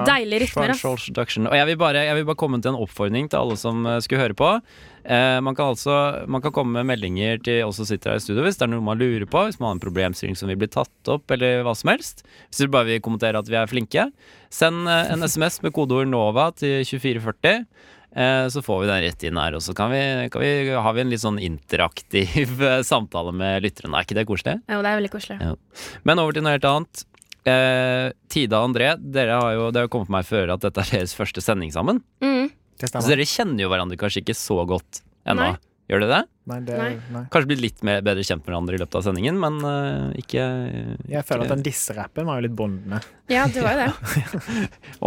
Speaker 3: Deilig rytmer, ass.
Speaker 2: Control Seduction. Og jeg vil, bare, jeg vil bare komme til en oppfordring til alle som eh, skulle høre på. Eh, man, kan altså, man kan komme med meldinger til oss som sitter her i studio hvis det er noe man lurer på, hvis man har en problemstilling som vil bli tatt opp, eller hva som helst. Hvis du bare vil kommentere at vi er flinke, send eh, en SMS med kodeord NOVA til 2440. eh, Så får vi den rett inn her, og så kan vi, kan vi, har vi en litt sånn interaktiv eh, samtale med lytterne. Er ikke det koselig?
Speaker 3: Jo, det er veldig koselig.
Speaker 2: Men over til noe helt annet. Eh, Tida og André, dere har jo, det har jo kommet for meg før at dette er deres første sending sammen.
Speaker 3: Mm.
Speaker 4: Det
Speaker 2: Så
Speaker 4: stemmer.
Speaker 2: dere kjenner jo hverandre kanskje ikke så godt ennå.
Speaker 3: Nei.
Speaker 2: Gjør dere det?
Speaker 4: Nei, det,
Speaker 3: Nei.
Speaker 4: nei.
Speaker 2: Kanskje blitt litt mer, bedre kjent med hverandre i løpet av sendingen, men eh, ikke
Speaker 4: Jeg føler at den disserappen var jo litt [laughs] båndende.
Speaker 3: Ja, det var jo det.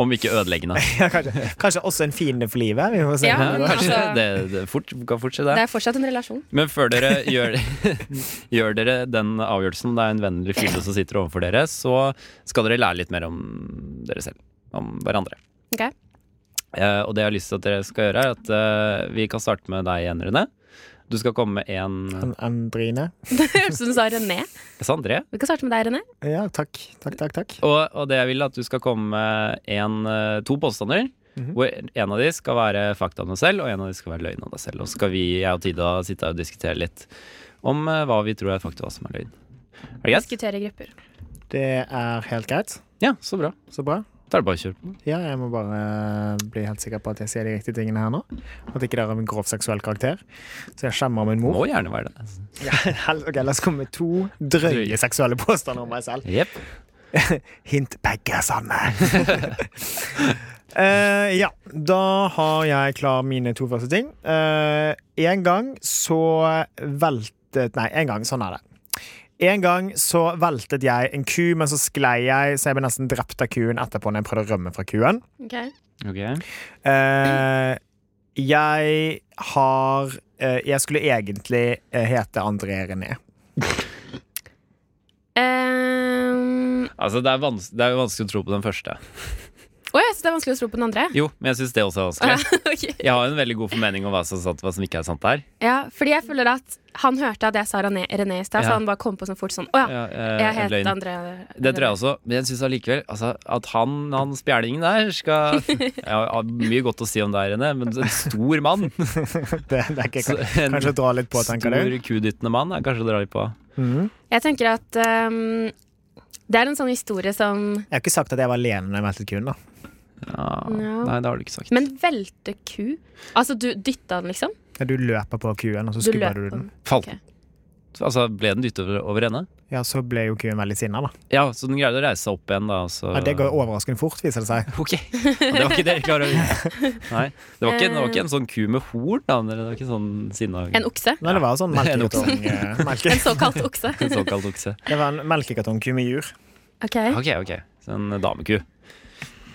Speaker 2: Om ikke ødeleggende.
Speaker 4: Ja, kanskje, kanskje også en fiende for livet. Vi får se.
Speaker 3: Ja, men
Speaker 2: kanskje.
Speaker 3: altså-
Speaker 2: Det, det fort, kan fort skje, det.
Speaker 3: Det er fortsatt en relasjon.
Speaker 2: Men før dere gjør, [laughs] gjør dere den avgjørelsen, om det er en vennlig fyr som sitter overfor dere, så skal dere lære litt mer om dere selv. Om hverandre.
Speaker 3: Ok.
Speaker 2: Eh, og det jeg har lyst til at dere skal gjøre, er at eh, vi kan starte med deg igjen, Rune. Du skal komme med en
Speaker 4: An- Sånn Andrine?
Speaker 3: Det høres ut som du sa René.
Speaker 2: Jeg sa André.
Speaker 3: Vi kan starte med deg, René.
Speaker 4: Ja, takk. Takk, takk, takk.
Speaker 2: Og, og det jeg vil, er at du skal komme med en, eh, to påstander. Hvor en av de skal være fakta om deg selv, og en av de skal være løgn om deg selv. Og så skal vi, jeg og Tida, sitte her og diskutere litt om eh, hva vi tror er fakta, og hva som er løgn. Er det greit?
Speaker 3: Diskutere grupper.
Speaker 4: Det er helt greit.
Speaker 2: Ja, så bra.
Speaker 4: Så bra.
Speaker 2: Da er det bare å kjøre på.
Speaker 4: Ja, jeg må bare eh, bli helt sikker på at jeg sier de riktige tingene her nå. At ikke det er av en grov seksuell karakter. Så jeg skjemmer min [laughs] mor.
Speaker 2: Må gjerne være det. altså.
Speaker 4: Ja, hel- ok, La oss komme med to drøye seksuelle påstander om meg selv.
Speaker 2: Jepp.
Speaker 4: Hint begge er sanne. [laughs] Eh, ja, da har jeg klar mine to første ting. Eh, en gang så veltet Nei, en gang. Sånn er det. En gang så veltet jeg en ku, men så sklei jeg, så jeg ble nesten drept av kuen etterpå når jeg prøvde å rømme fra kuen.
Speaker 3: Ok.
Speaker 2: Ok.
Speaker 4: Eh, jeg har eh, Jeg skulle egentlig eh, hete André René.
Speaker 3: Ehm,
Speaker 2: Altså, det er, vans det er jo vanskelig å tro på den første.
Speaker 3: Å ja, så det er vanskelig å tro på den andre?
Speaker 2: Jo, men jeg syns det også er
Speaker 3: Å, ja,
Speaker 2: vanskelig.
Speaker 3: [laughs] ok.
Speaker 2: Jeg har en veldig god formening om hva som er sant og hva som ikke er sant her.
Speaker 3: ja, fordi jeg føler at han hørte at jeg sa René, René i stad,
Speaker 2: Ja.
Speaker 3: så han bare kom på sånn fort sånn Å ja,
Speaker 2: Ja, eh,
Speaker 3: jeg het
Speaker 2: løgn.
Speaker 3: André.
Speaker 2: Det tror jeg også, men jeg syns allikevel altså, at han, han spjælingen der,
Speaker 3: [laughs]
Speaker 2: skal ja, har Mye godt å si om deg, René, men en stor mann.
Speaker 4: Det, det er ikke,
Speaker 2: Så en
Speaker 4: kanskje å dra litt [laughs] på, tenker du? Mhm.
Speaker 2: Stor kudyttende mann er kanskje å dra litt på.
Speaker 3: Jeg tenker at ehm, det er en sånn historie som
Speaker 4: Jeg har ikke sagt at jeg var alene når jeg meldte kun. da
Speaker 2: Ja,
Speaker 3: Ja.
Speaker 2: Nei, det har du ikke sagt.
Speaker 3: Men velte ku? Altså, du dytta den, liksom?
Speaker 4: Ja, Du løper på kuen, og så
Speaker 3: Du løp
Speaker 4: skubber du
Speaker 3: på
Speaker 4: den.
Speaker 3: den.
Speaker 2: Falt
Speaker 3: Ok.
Speaker 2: den. Altså, ble den dyttet over, over ende?
Speaker 4: Ja, Så ble jo kuen veldig sinna. da.
Speaker 2: Ja, så den greide å reise seg opp igjen, da. og Så...
Speaker 4: Ja, det går overraskende fort, viser det seg.
Speaker 2: Ok. Ja, det var ikke det jeg klarer å
Speaker 3: [laughs]
Speaker 2: Nei. Det var ikke, det var ikke en sånn ku med horn, da. eller Det var ikke sånn sinna
Speaker 3: Eh. En okse?
Speaker 4: Men det var sånn
Speaker 2: Det er nok
Speaker 4: melkekartong eh, melke.
Speaker 3: En såkalt okse?
Speaker 4: [laughs]
Speaker 2: En såkalt okse.
Speaker 4: Det var en melkekartongku med [laughs] jur.
Speaker 3: Ok.
Speaker 2: Ok, ok. Så en dameku.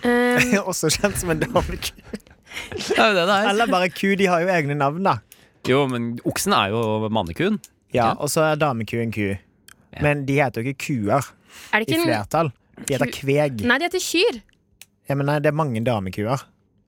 Speaker 3: Ehm,
Speaker 4: Også kjent som en dameku.
Speaker 2: Det er jo det det er.
Speaker 4: Eller bare ku. De har jo egne navn, da.
Speaker 2: Jo, men oksen er jo mannekuen. Ja.
Speaker 4: Ja, Og så er dameku en ku. Men de heter jo ikke kuer
Speaker 3: er det
Speaker 4: i
Speaker 3: ikke en
Speaker 4: flertall. De heter
Speaker 3: Ku-
Speaker 4: kveg.
Speaker 3: Nei, de heter kyr.
Speaker 4: Jeg mener, det er mange damekuer.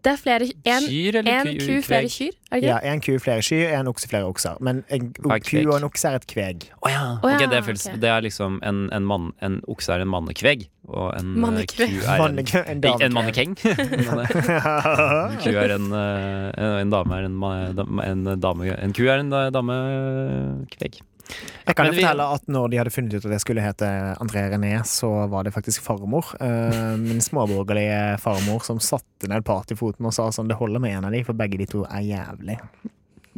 Speaker 3: Det er flere En,
Speaker 2: Kyr eller
Speaker 3: en
Speaker 2: ku-
Speaker 3: ku, flere
Speaker 2: kveg?
Speaker 3: kyr. Er det ikke?
Speaker 4: Ja, En ku, flere sky, en okse, flere okser. Men en
Speaker 2: Hva er
Speaker 4: ku
Speaker 2: kveg?
Speaker 4: og en okse er et kveg.
Speaker 2: [laughs] Å ja.
Speaker 3: Å ja,
Speaker 2: ok, det, er føles,
Speaker 3: ok.
Speaker 2: det er liksom en, en, mann, en okse er en mannekvegg, og en eh,
Speaker 3: Mannekvegg.
Speaker 2: ku er en,
Speaker 4: Manneke- En
Speaker 2: en,
Speaker 4: damekveg.
Speaker 2: mannekeng. [laughs] en ku er en, eh, en, en dame er en, ma- dam- en dame En ku er en da- damekvegg.
Speaker 4: Jeg kan
Speaker 2: Men
Speaker 4: jo
Speaker 2: vi-
Speaker 4: fortelle at når de hadde funnet ut at jeg skulle hete André René, så var det faktisk farmor.
Speaker 2: [laughs]
Speaker 4: eh, min småborgerlige farmor som satte ned partyfoten og sa sånn Det holder med en av de, for begge de to er jævlig.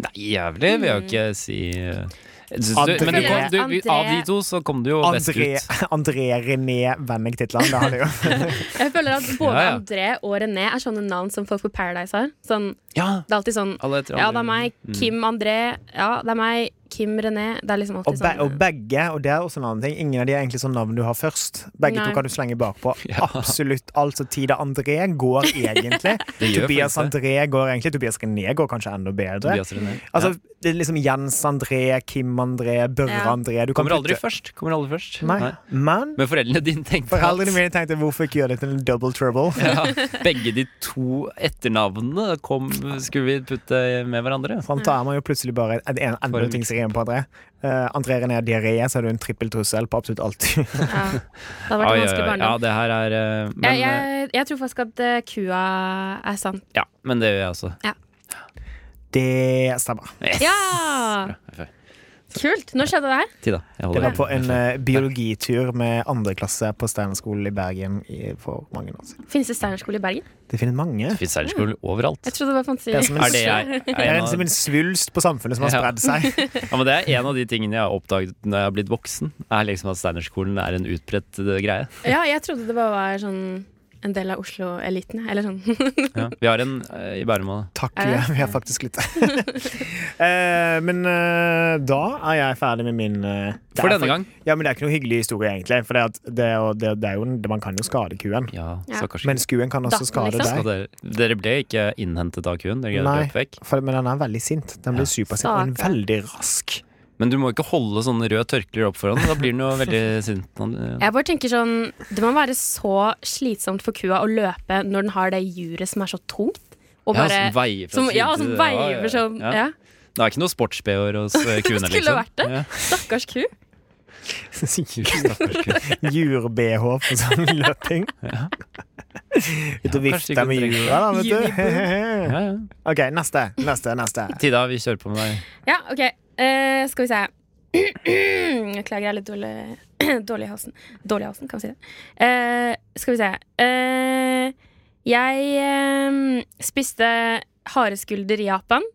Speaker 2: Nei, jævlig vil jeg jo ikke si eh, Syns du,
Speaker 4: André-
Speaker 2: men du kom, du, vi-
Speaker 3: André-
Speaker 2: av de to så kom du jo best
Speaker 4: André,
Speaker 2: ut.
Speaker 4: [laughs] André René Vennig-titlene, det
Speaker 2: [laughs]
Speaker 4: hadde jo
Speaker 3: Jeg føler at både
Speaker 2: Ja, ja.
Speaker 3: André og René er sånne navn som folk på Paradise har. Sånn,
Speaker 2: Ja,
Speaker 3: det er alltid sånn
Speaker 2: alle etter
Speaker 3: Ja,
Speaker 2: andre.
Speaker 3: det er meg, Kim André. Ja, det er meg, Kim René. Det er liksom
Speaker 4: og,
Speaker 3: alltid
Speaker 4: be,
Speaker 3: sånn.
Speaker 4: og begge, og det er også en annen ting, ingen av de er egentlig sånn navn du har først. Begge
Speaker 3: Nei.
Speaker 4: to kan du slenge bakpå.
Speaker 2: [laughs] Ja.
Speaker 4: Absolutt alt som Tida André
Speaker 2: [laughs]
Speaker 4: går egentlig.
Speaker 2: Det gjør
Speaker 4: Tobias
Speaker 2: faktisk det.
Speaker 4: André går egentlig. Tobias René går kanskje enda bedre.
Speaker 2: Tobias René.
Speaker 4: Altså,
Speaker 2: ja.
Speaker 4: det er liksom Jens André, Kim André, Børre
Speaker 3: Ja.
Speaker 4: André Du kan
Speaker 2: Kommer aldri
Speaker 4: putte-
Speaker 2: først. Kommer aldri først.
Speaker 4: Nei. Men
Speaker 2: Men foreldrene dine tenkte
Speaker 4: foreldrene mine tenkte hvorfor ikke gjøre det til en double trouble?
Speaker 2: ja, [laughs] begge de to etternavnene kom, skulle vi putte med hverandre.
Speaker 4: Sånn tar man jo plutselig bare en, en, enda
Speaker 2: Bare
Speaker 4: ting som rimer på André. Eh, André René Diaré, så har du en trippeltrussel på absolutt alt. [laughs]
Speaker 3: Ja. Det
Speaker 2: Oi, oi,
Speaker 3: hadde vært en vanskelig
Speaker 2: oi. Ja,
Speaker 3: barndom.
Speaker 2: det her er eh, men,
Speaker 3: jeg, jeg, jeg tror faktisk at eh, kua er sann.
Speaker 2: eh, ja, men det gjør jeg også.
Speaker 4: Det stemmer.
Speaker 2: Yes!
Speaker 3: Ja!
Speaker 2: Bra.
Speaker 3: Kult! Når skjedde det her?
Speaker 2: Tida, jeg
Speaker 4: Det
Speaker 2: holder
Speaker 4: var på en eh, biologitur med andre klasse på Steinerskolen i Bergen i, for mange år siden.
Speaker 3: Finnes det Steinerskole i Bergen?
Speaker 4: Det finnes mange.
Speaker 2: Det finnes særskole overalt.
Speaker 3: Jeg trodde det var
Speaker 4: Det er
Speaker 3: fantes.
Speaker 4: som en,
Speaker 2: Er eh, det
Speaker 3: [laughs]
Speaker 2: jeg? Er
Speaker 4: det
Speaker 2: jeg
Speaker 4: er
Speaker 2: en
Speaker 4: en, som
Speaker 2: av,
Speaker 4: en svulst på samfunnet som har
Speaker 2: Ja.
Speaker 4: spredd seg.
Speaker 2: ja, men det er en av de tingene jeg har oppdaget når jeg har blitt voksen. Er liksom At Steinerskolen er en utbredt eh, greie.
Speaker 3: Ja, jeg trodde det bare var sånn en del av Oslo-eliten. jeg, Eller sånn. [laughs]
Speaker 2: Ja. Vi har en eh, i Bærum òg.
Speaker 4: Takk,
Speaker 3: Er det?
Speaker 4: vi har faktisk
Speaker 3: [laughs]
Speaker 4: litt. [laughs] Eh, men eh, da er jeg ferdig med min eh, det
Speaker 2: For
Speaker 4: er
Speaker 2: denne gang.
Speaker 4: Ja, men Det er ikke noe hyggelig historie, egentlig. For det, at det, er jo- det, det er jo, en- man kan jo skade kuen.
Speaker 2: Ja,
Speaker 3: Ja.
Speaker 2: stakkars
Speaker 4: Men skuen kan også
Speaker 3: Datten,
Speaker 4: skade
Speaker 3: liksom.
Speaker 2: Og
Speaker 4: deg.
Speaker 2: Dere, dere ble ikke innhentet av kuen? Dere
Speaker 4: Nei.
Speaker 2: greide å løpe vekk.
Speaker 4: For, men den er veldig sint. Den blir supersint. Og den er veldig rask.
Speaker 2: Men du må ikke holde sånne røde tørklær opp foran. Da blir den jo veldig sint.
Speaker 3: Jeg bare tenker sånn Det må være så slitsomt for kua å løpe når den har det juret som er så tungt. Og
Speaker 2: Ja,
Speaker 3: bare,
Speaker 2: som veier fra
Speaker 3: som, ja,
Speaker 2: side
Speaker 3: som
Speaker 2: til- ja,
Speaker 3: veier
Speaker 2: ja,
Speaker 3: for sånn
Speaker 2: ja.
Speaker 3: ja.
Speaker 2: Det er ikke noe sports-BH-er hos
Speaker 3: [laughs]
Speaker 2: eh, kuene,
Speaker 3: Skulle
Speaker 2: liksom.
Speaker 3: vært det. Stakkars ku.
Speaker 4: [laughs] Jur-BH på sånn
Speaker 2: [laughs]
Speaker 4: løping. Ute
Speaker 2: Ja, kanskje
Speaker 4: og vifte med
Speaker 2: ikke
Speaker 4: jura, da,
Speaker 2: Ja.
Speaker 4: vet du.
Speaker 2: Ja, ja.
Speaker 4: [laughs] OK, neste. Neste. neste.
Speaker 2: Tida, vi kjører på med deg.
Speaker 3: Ja, OK. Eh, skal vi se. [clears throat] Beklager, jeg er litt dårlig, [clears throat] dårlig i halsen. Dårlig i halsen, kan vi si det. Eh, skal vi se. Eh, jeg eh, spiste hareskulder i Japan.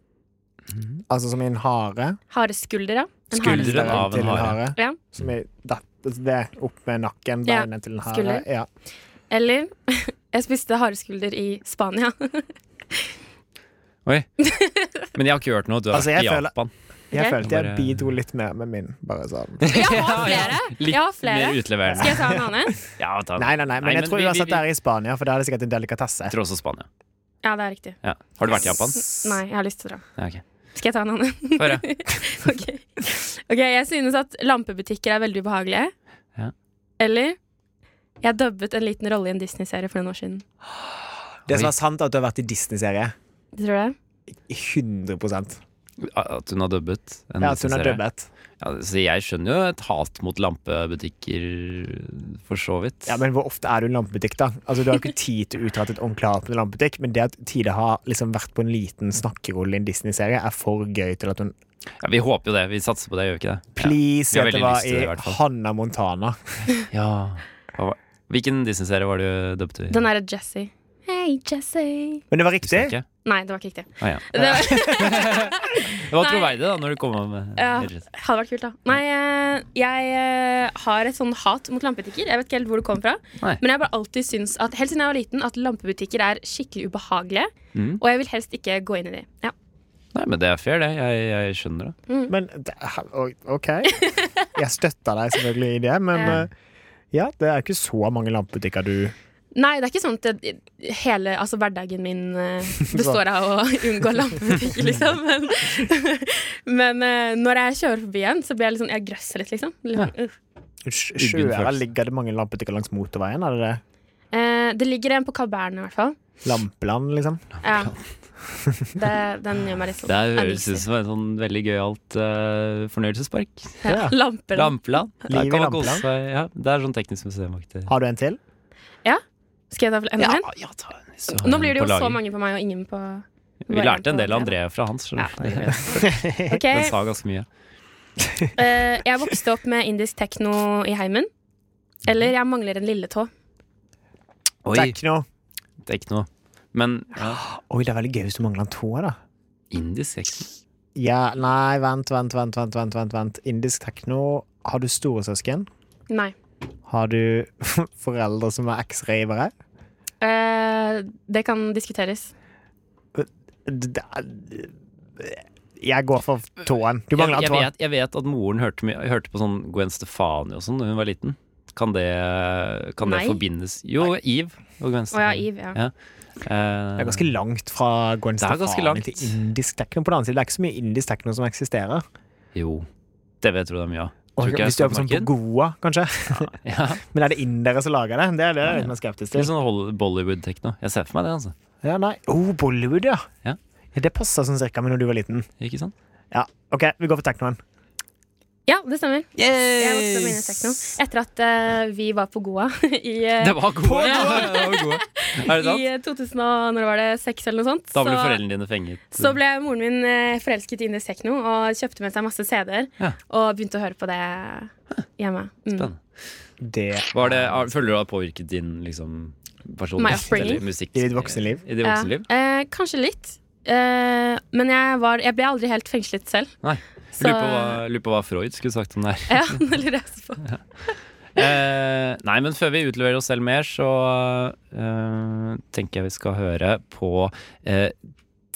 Speaker 4: Altså som i en hare.
Speaker 3: Hareskulder, ja. En
Speaker 2: Skuldre.
Speaker 3: hareskulder.
Speaker 4: Skulderen
Speaker 2: av en
Speaker 4: til
Speaker 2: hare.
Speaker 3: Ja.
Speaker 4: Som er datt, altså, det er opp med nakken,
Speaker 3: Ja,
Speaker 4: beinet til en hare.
Speaker 3: skulder.
Speaker 4: Ja.
Speaker 3: Eller [laughs] jeg spiste hareskulder i Spania.
Speaker 2: Oi. Men jeg har ikke hørt noe. Du har
Speaker 4: Altså,
Speaker 2: vært
Speaker 4: jeg
Speaker 2: i
Speaker 3: [laughs]
Speaker 4: føler-
Speaker 2: Japan.
Speaker 4: Jeg
Speaker 3: Ok.
Speaker 4: følte jeg
Speaker 2: Bare-
Speaker 4: bidro litt mer med min. Bare sånn.
Speaker 3: Jeg [laughs] har flere.
Speaker 2: Litt
Speaker 3: Jeg har flere.
Speaker 2: mer utleverende.
Speaker 3: Skal jeg ta en annen?
Speaker 2: Ja, ta den.
Speaker 4: Nei, nei, nei, men
Speaker 2: Nei,
Speaker 4: jeg
Speaker 2: men
Speaker 4: tror
Speaker 2: vi-
Speaker 4: uansett
Speaker 2: vi-
Speaker 4: det er i Spania, for da er det sikkert en delikatesse.
Speaker 2: Jeg tror også Spania.
Speaker 3: Ja, det er riktig.
Speaker 2: Ja. Har du vært i Japan?
Speaker 3: Nei, jeg har lyst til å dra.
Speaker 2: Ja, ok.
Speaker 3: Skal jeg ta en annen?
Speaker 2: Få høre.
Speaker 3: [laughs] Ok, Ok, jeg synes at lampebutikker er veldig ubehagelige.
Speaker 2: Ja.
Speaker 3: Eller jeg dubbet en liten rolle i en Disney-serie for noen år siden.
Speaker 4: Det som
Speaker 2: Oi.
Speaker 4: er sant, er at du har vært i Disney-serie.
Speaker 3: Du tror det?
Speaker 4: 100 Ja,
Speaker 2: At hun har dubbet. en
Speaker 4: at hun har
Speaker 2: serie.
Speaker 4: dubbet.
Speaker 2: Ja, så jeg skjønner jo et hat mot lampebutikker, for så vidt.
Speaker 4: Ja, men hvor ofte er du i en lampebutikk, da? Altså, Du har jo ikke tid til å uttale et ordentlig hat på en lampebutikk, men det at Tide har liksom vært på en liten snakkerolle i en Disney-serie, er for gøy til at hun
Speaker 2: Ja, vi håper jo det. Vi satser på det, gjør vi ikke det?
Speaker 4: Please,
Speaker 2: Ja, vi har
Speaker 4: vet du
Speaker 2: veldig
Speaker 4: hva,
Speaker 2: lyst til det, i
Speaker 4: i
Speaker 2: hvert fall.
Speaker 4: Hannah Montana.
Speaker 2: Ja. Hva var- Hvilken Disney-serie var det du dubbet i?
Speaker 3: Den er Jesse. Hei, Jesse.
Speaker 4: Men det var riktig.
Speaker 2: Husker jeg ikke.
Speaker 3: Nei, det var ikke riktig.
Speaker 2: Ah, ja.
Speaker 3: Det var,
Speaker 2: Det var
Speaker 3: Nei.
Speaker 2: troverdig, da, når du kom med [laughs]
Speaker 3: Ja. hadde vært kult, da. Nei, eh, jeg eh, har et sånn hat mot lampebutikker. Jeg vet ikke helt hvor det kommer fra.
Speaker 2: Nei.
Speaker 3: Men jeg har bare alltid syntes at, helt siden jeg var liten, at lampebutikker er skikkelig ubehagelige.
Speaker 2: Mm.
Speaker 3: Og jeg vil helst ikke gå inn i de. Ja.
Speaker 2: Nei, men det er fair, det. Jeg, jeg skjønner det.
Speaker 4: Men det- og- OK. Jeg støtter deg selvfølgelig i det, men
Speaker 3: Ja.
Speaker 4: eh, ja, det er ikke så mange lampebutikker du
Speaker 3: Nei, det er ikke sånn at det, hele altså, hverdagen min [laughs] eh, består av å unngå lampebutikker, [laughs] liksom. Men, men eh, når jeg kjører forbi en, så blir jeg litt sånn Jeg grøsser litt, liksom. Litt sånn, uff.
Speaker 4: Sj-
Speaker 2: Uggen
Speaker 4: Sjøøra
Speaker 2: følelse.
Speaker 4: ligger det mange lampebutikker langs motorveien? Er det det?
Speaker 3: Eh, det ligger en på Kabern, i hvert fall.
Speaker 4: Lampeland, liksom?
Speaker 3: Ja. [laughs] Det, den gjør meg litt sånn
Speaker 2: Det høres
Speaker 3: uneasy.
Speaker 2: ut som en sånn veldig gøyalt uh, fornøyelsespark.
Speaker 3: Ja.
Speaker 4: Ja.
Speaker 3: Lamper.
Speaker 2: Lampeland. Der
Speaker 4: Liv i
Speaker 2: kan man
Speaker 4: Lampeland.
Speaker 2: kose seg. Ja, det er sånn teknisk museum-aktig.
Speaker 3: Ah,
Speaker 4: Har du en til?
Speaker 3: Skal jeg ta en?
Speaker 2: Ja,
Speaker 3: Ja.
Speaker 2: ja, ta en hvis du har
Speaker 3: Nå
Speaker 2: en
Speaker 3: blir det
Speaker 2: på
Speaker 3: jo så
Speaker 2: lager.
Speaker 3: mange på meg og ingen på
Speaker 2: Vi lærte en del av
Speaker 3: André.
Speaker 2: André fra hans.
Speaker 3: Ja,
Speaker 2: [laughs] skjønner du.
Speaker 3: det gjør jeg. Ok,
Speaker 2: Den sa ganske mye.
Speaker 3: eh, Jeg vokste opp med indisk tekno i heimen. Eller jeg mangler en lilletå.
Speaker 2: Oi,
Speaker 4: Tekno.
Speaker 2: det er ikke noe. Men ja,
Speaker 4: Oi, det er veldig gøy hvis du mangler en tå, da.
Speaker 2: indisk er ikke noe.
Speaker 4: Ja, nei, vent, vent, vent, vent, vent, vent, vent. Indisk tekno. Har du storesøsken?
Speaker 3: Nei.
Speaker 4: Har du [laughs] foreldre som er eks-ravere?
Speaker 3: Eh, det kan diskuteres.
Speaker 4: D- d- Jeg går for tåen. Du mangler
Speaker 2: Jeg,
Speaker 4: en
Speaker 2: jeg,
Speaker 4: tå.
Speaker 2: vet, jeg vet at moren hørte, mye- hørte på sånn Gwen Stefani og sånn da hun var liten. Kan det, kan det
Speaker 3: Nei.
Speaker 2: forbindes Jo, Eve og Gwen
Speaker 3: Å ja,
Speaker 2: Stefani.
Speaker 3: Eve. Ja.
Speaker 2: Ja. Eh,
Speaker 4: Det er ganske langt fra Gwen
Speaker 2: Det er ganske
Speaker 4: Stefani
Speaker 2: langt.
Speaker 4: til indisk tekno. På den annen side, det er ikke så mye indisk tekno som eksisterer.
Speaker 2: Jo, det vet du det er mye av.
Speaker 4: Og
Speaker 2: Tror ikke jeg
Speaker 4: hvis du er på
Speaker 2: skal
Speaker 4: sånn
Speaker 2: på
Speaker 4: på Goa, kanskje. [laughs]
Speaker 2: Ja,
Speaker 4: Men er det indere som lager det? Det er det jeg er litt mer skeptisk
Speaker 2: Litt
Speaker 4: til.
Speaker 2: sånn Hol- Bollywood-tekno. Jeg ser for meg det, altså.
Speaker 4: Ja, nei. Oh, Bollywood, ja.
Speaker 2: Ja.
Speaker 4: Ja, Det passa sånn cirka med når du var liten.
Speaker 2: Ikke sant?
Speaker 4: Ja, OK, vi går for teknoen.
Speaker 3: ja, det stemmer. Jeg vokste opp med indisk tekno etter at eh, vi var på Goa [laughs] i, eh,
Speaker 2: Det var gode! Det var gode. Er det
Speaker 3: i
Speaker 2: sant?
Speaker 3: eh, 2000 og når var det, 6 eller noe sånt.
Speaker 2: Da ble
Speaker 3: så-
Speaker 2: foreldrene dine fenget.
Speaker 3: Så ble moren min eh, forelsket i indisk tekno og kjøpte med seg masse CD-er.
Speaker 2: Ja.
Speaker 3: Og begynte å høre på det hjemme. Mm.
Speaker 2: Spennende.
Speaker 4: Det
Speaker 2: Var det, har- føler du det har påvirket din liksom,
Speaker 3: My
Speaker 2: personlighet
Speaker 3: upbringing?
Speaker 2: eller musikk?
Speaker 4: I ditt voksne liv?
Speaker 2: I ditt voksne liv?
Speaker 3: Ja. Eh, kanskje litt. Eh, men jeg, var, jeg ble aldri helt fengslet selv.
Speaker 2: Nei. Jeg Lurer på, hva- lurer på hva Freud skulle sagt om det her.
Speaker 3: [laughs] Ja, det lurer jeg også på.
Speaker 2: Eh, nei, men før vi utleverer oss selv mer, så eh, tenker jeg vi skal høre på eh,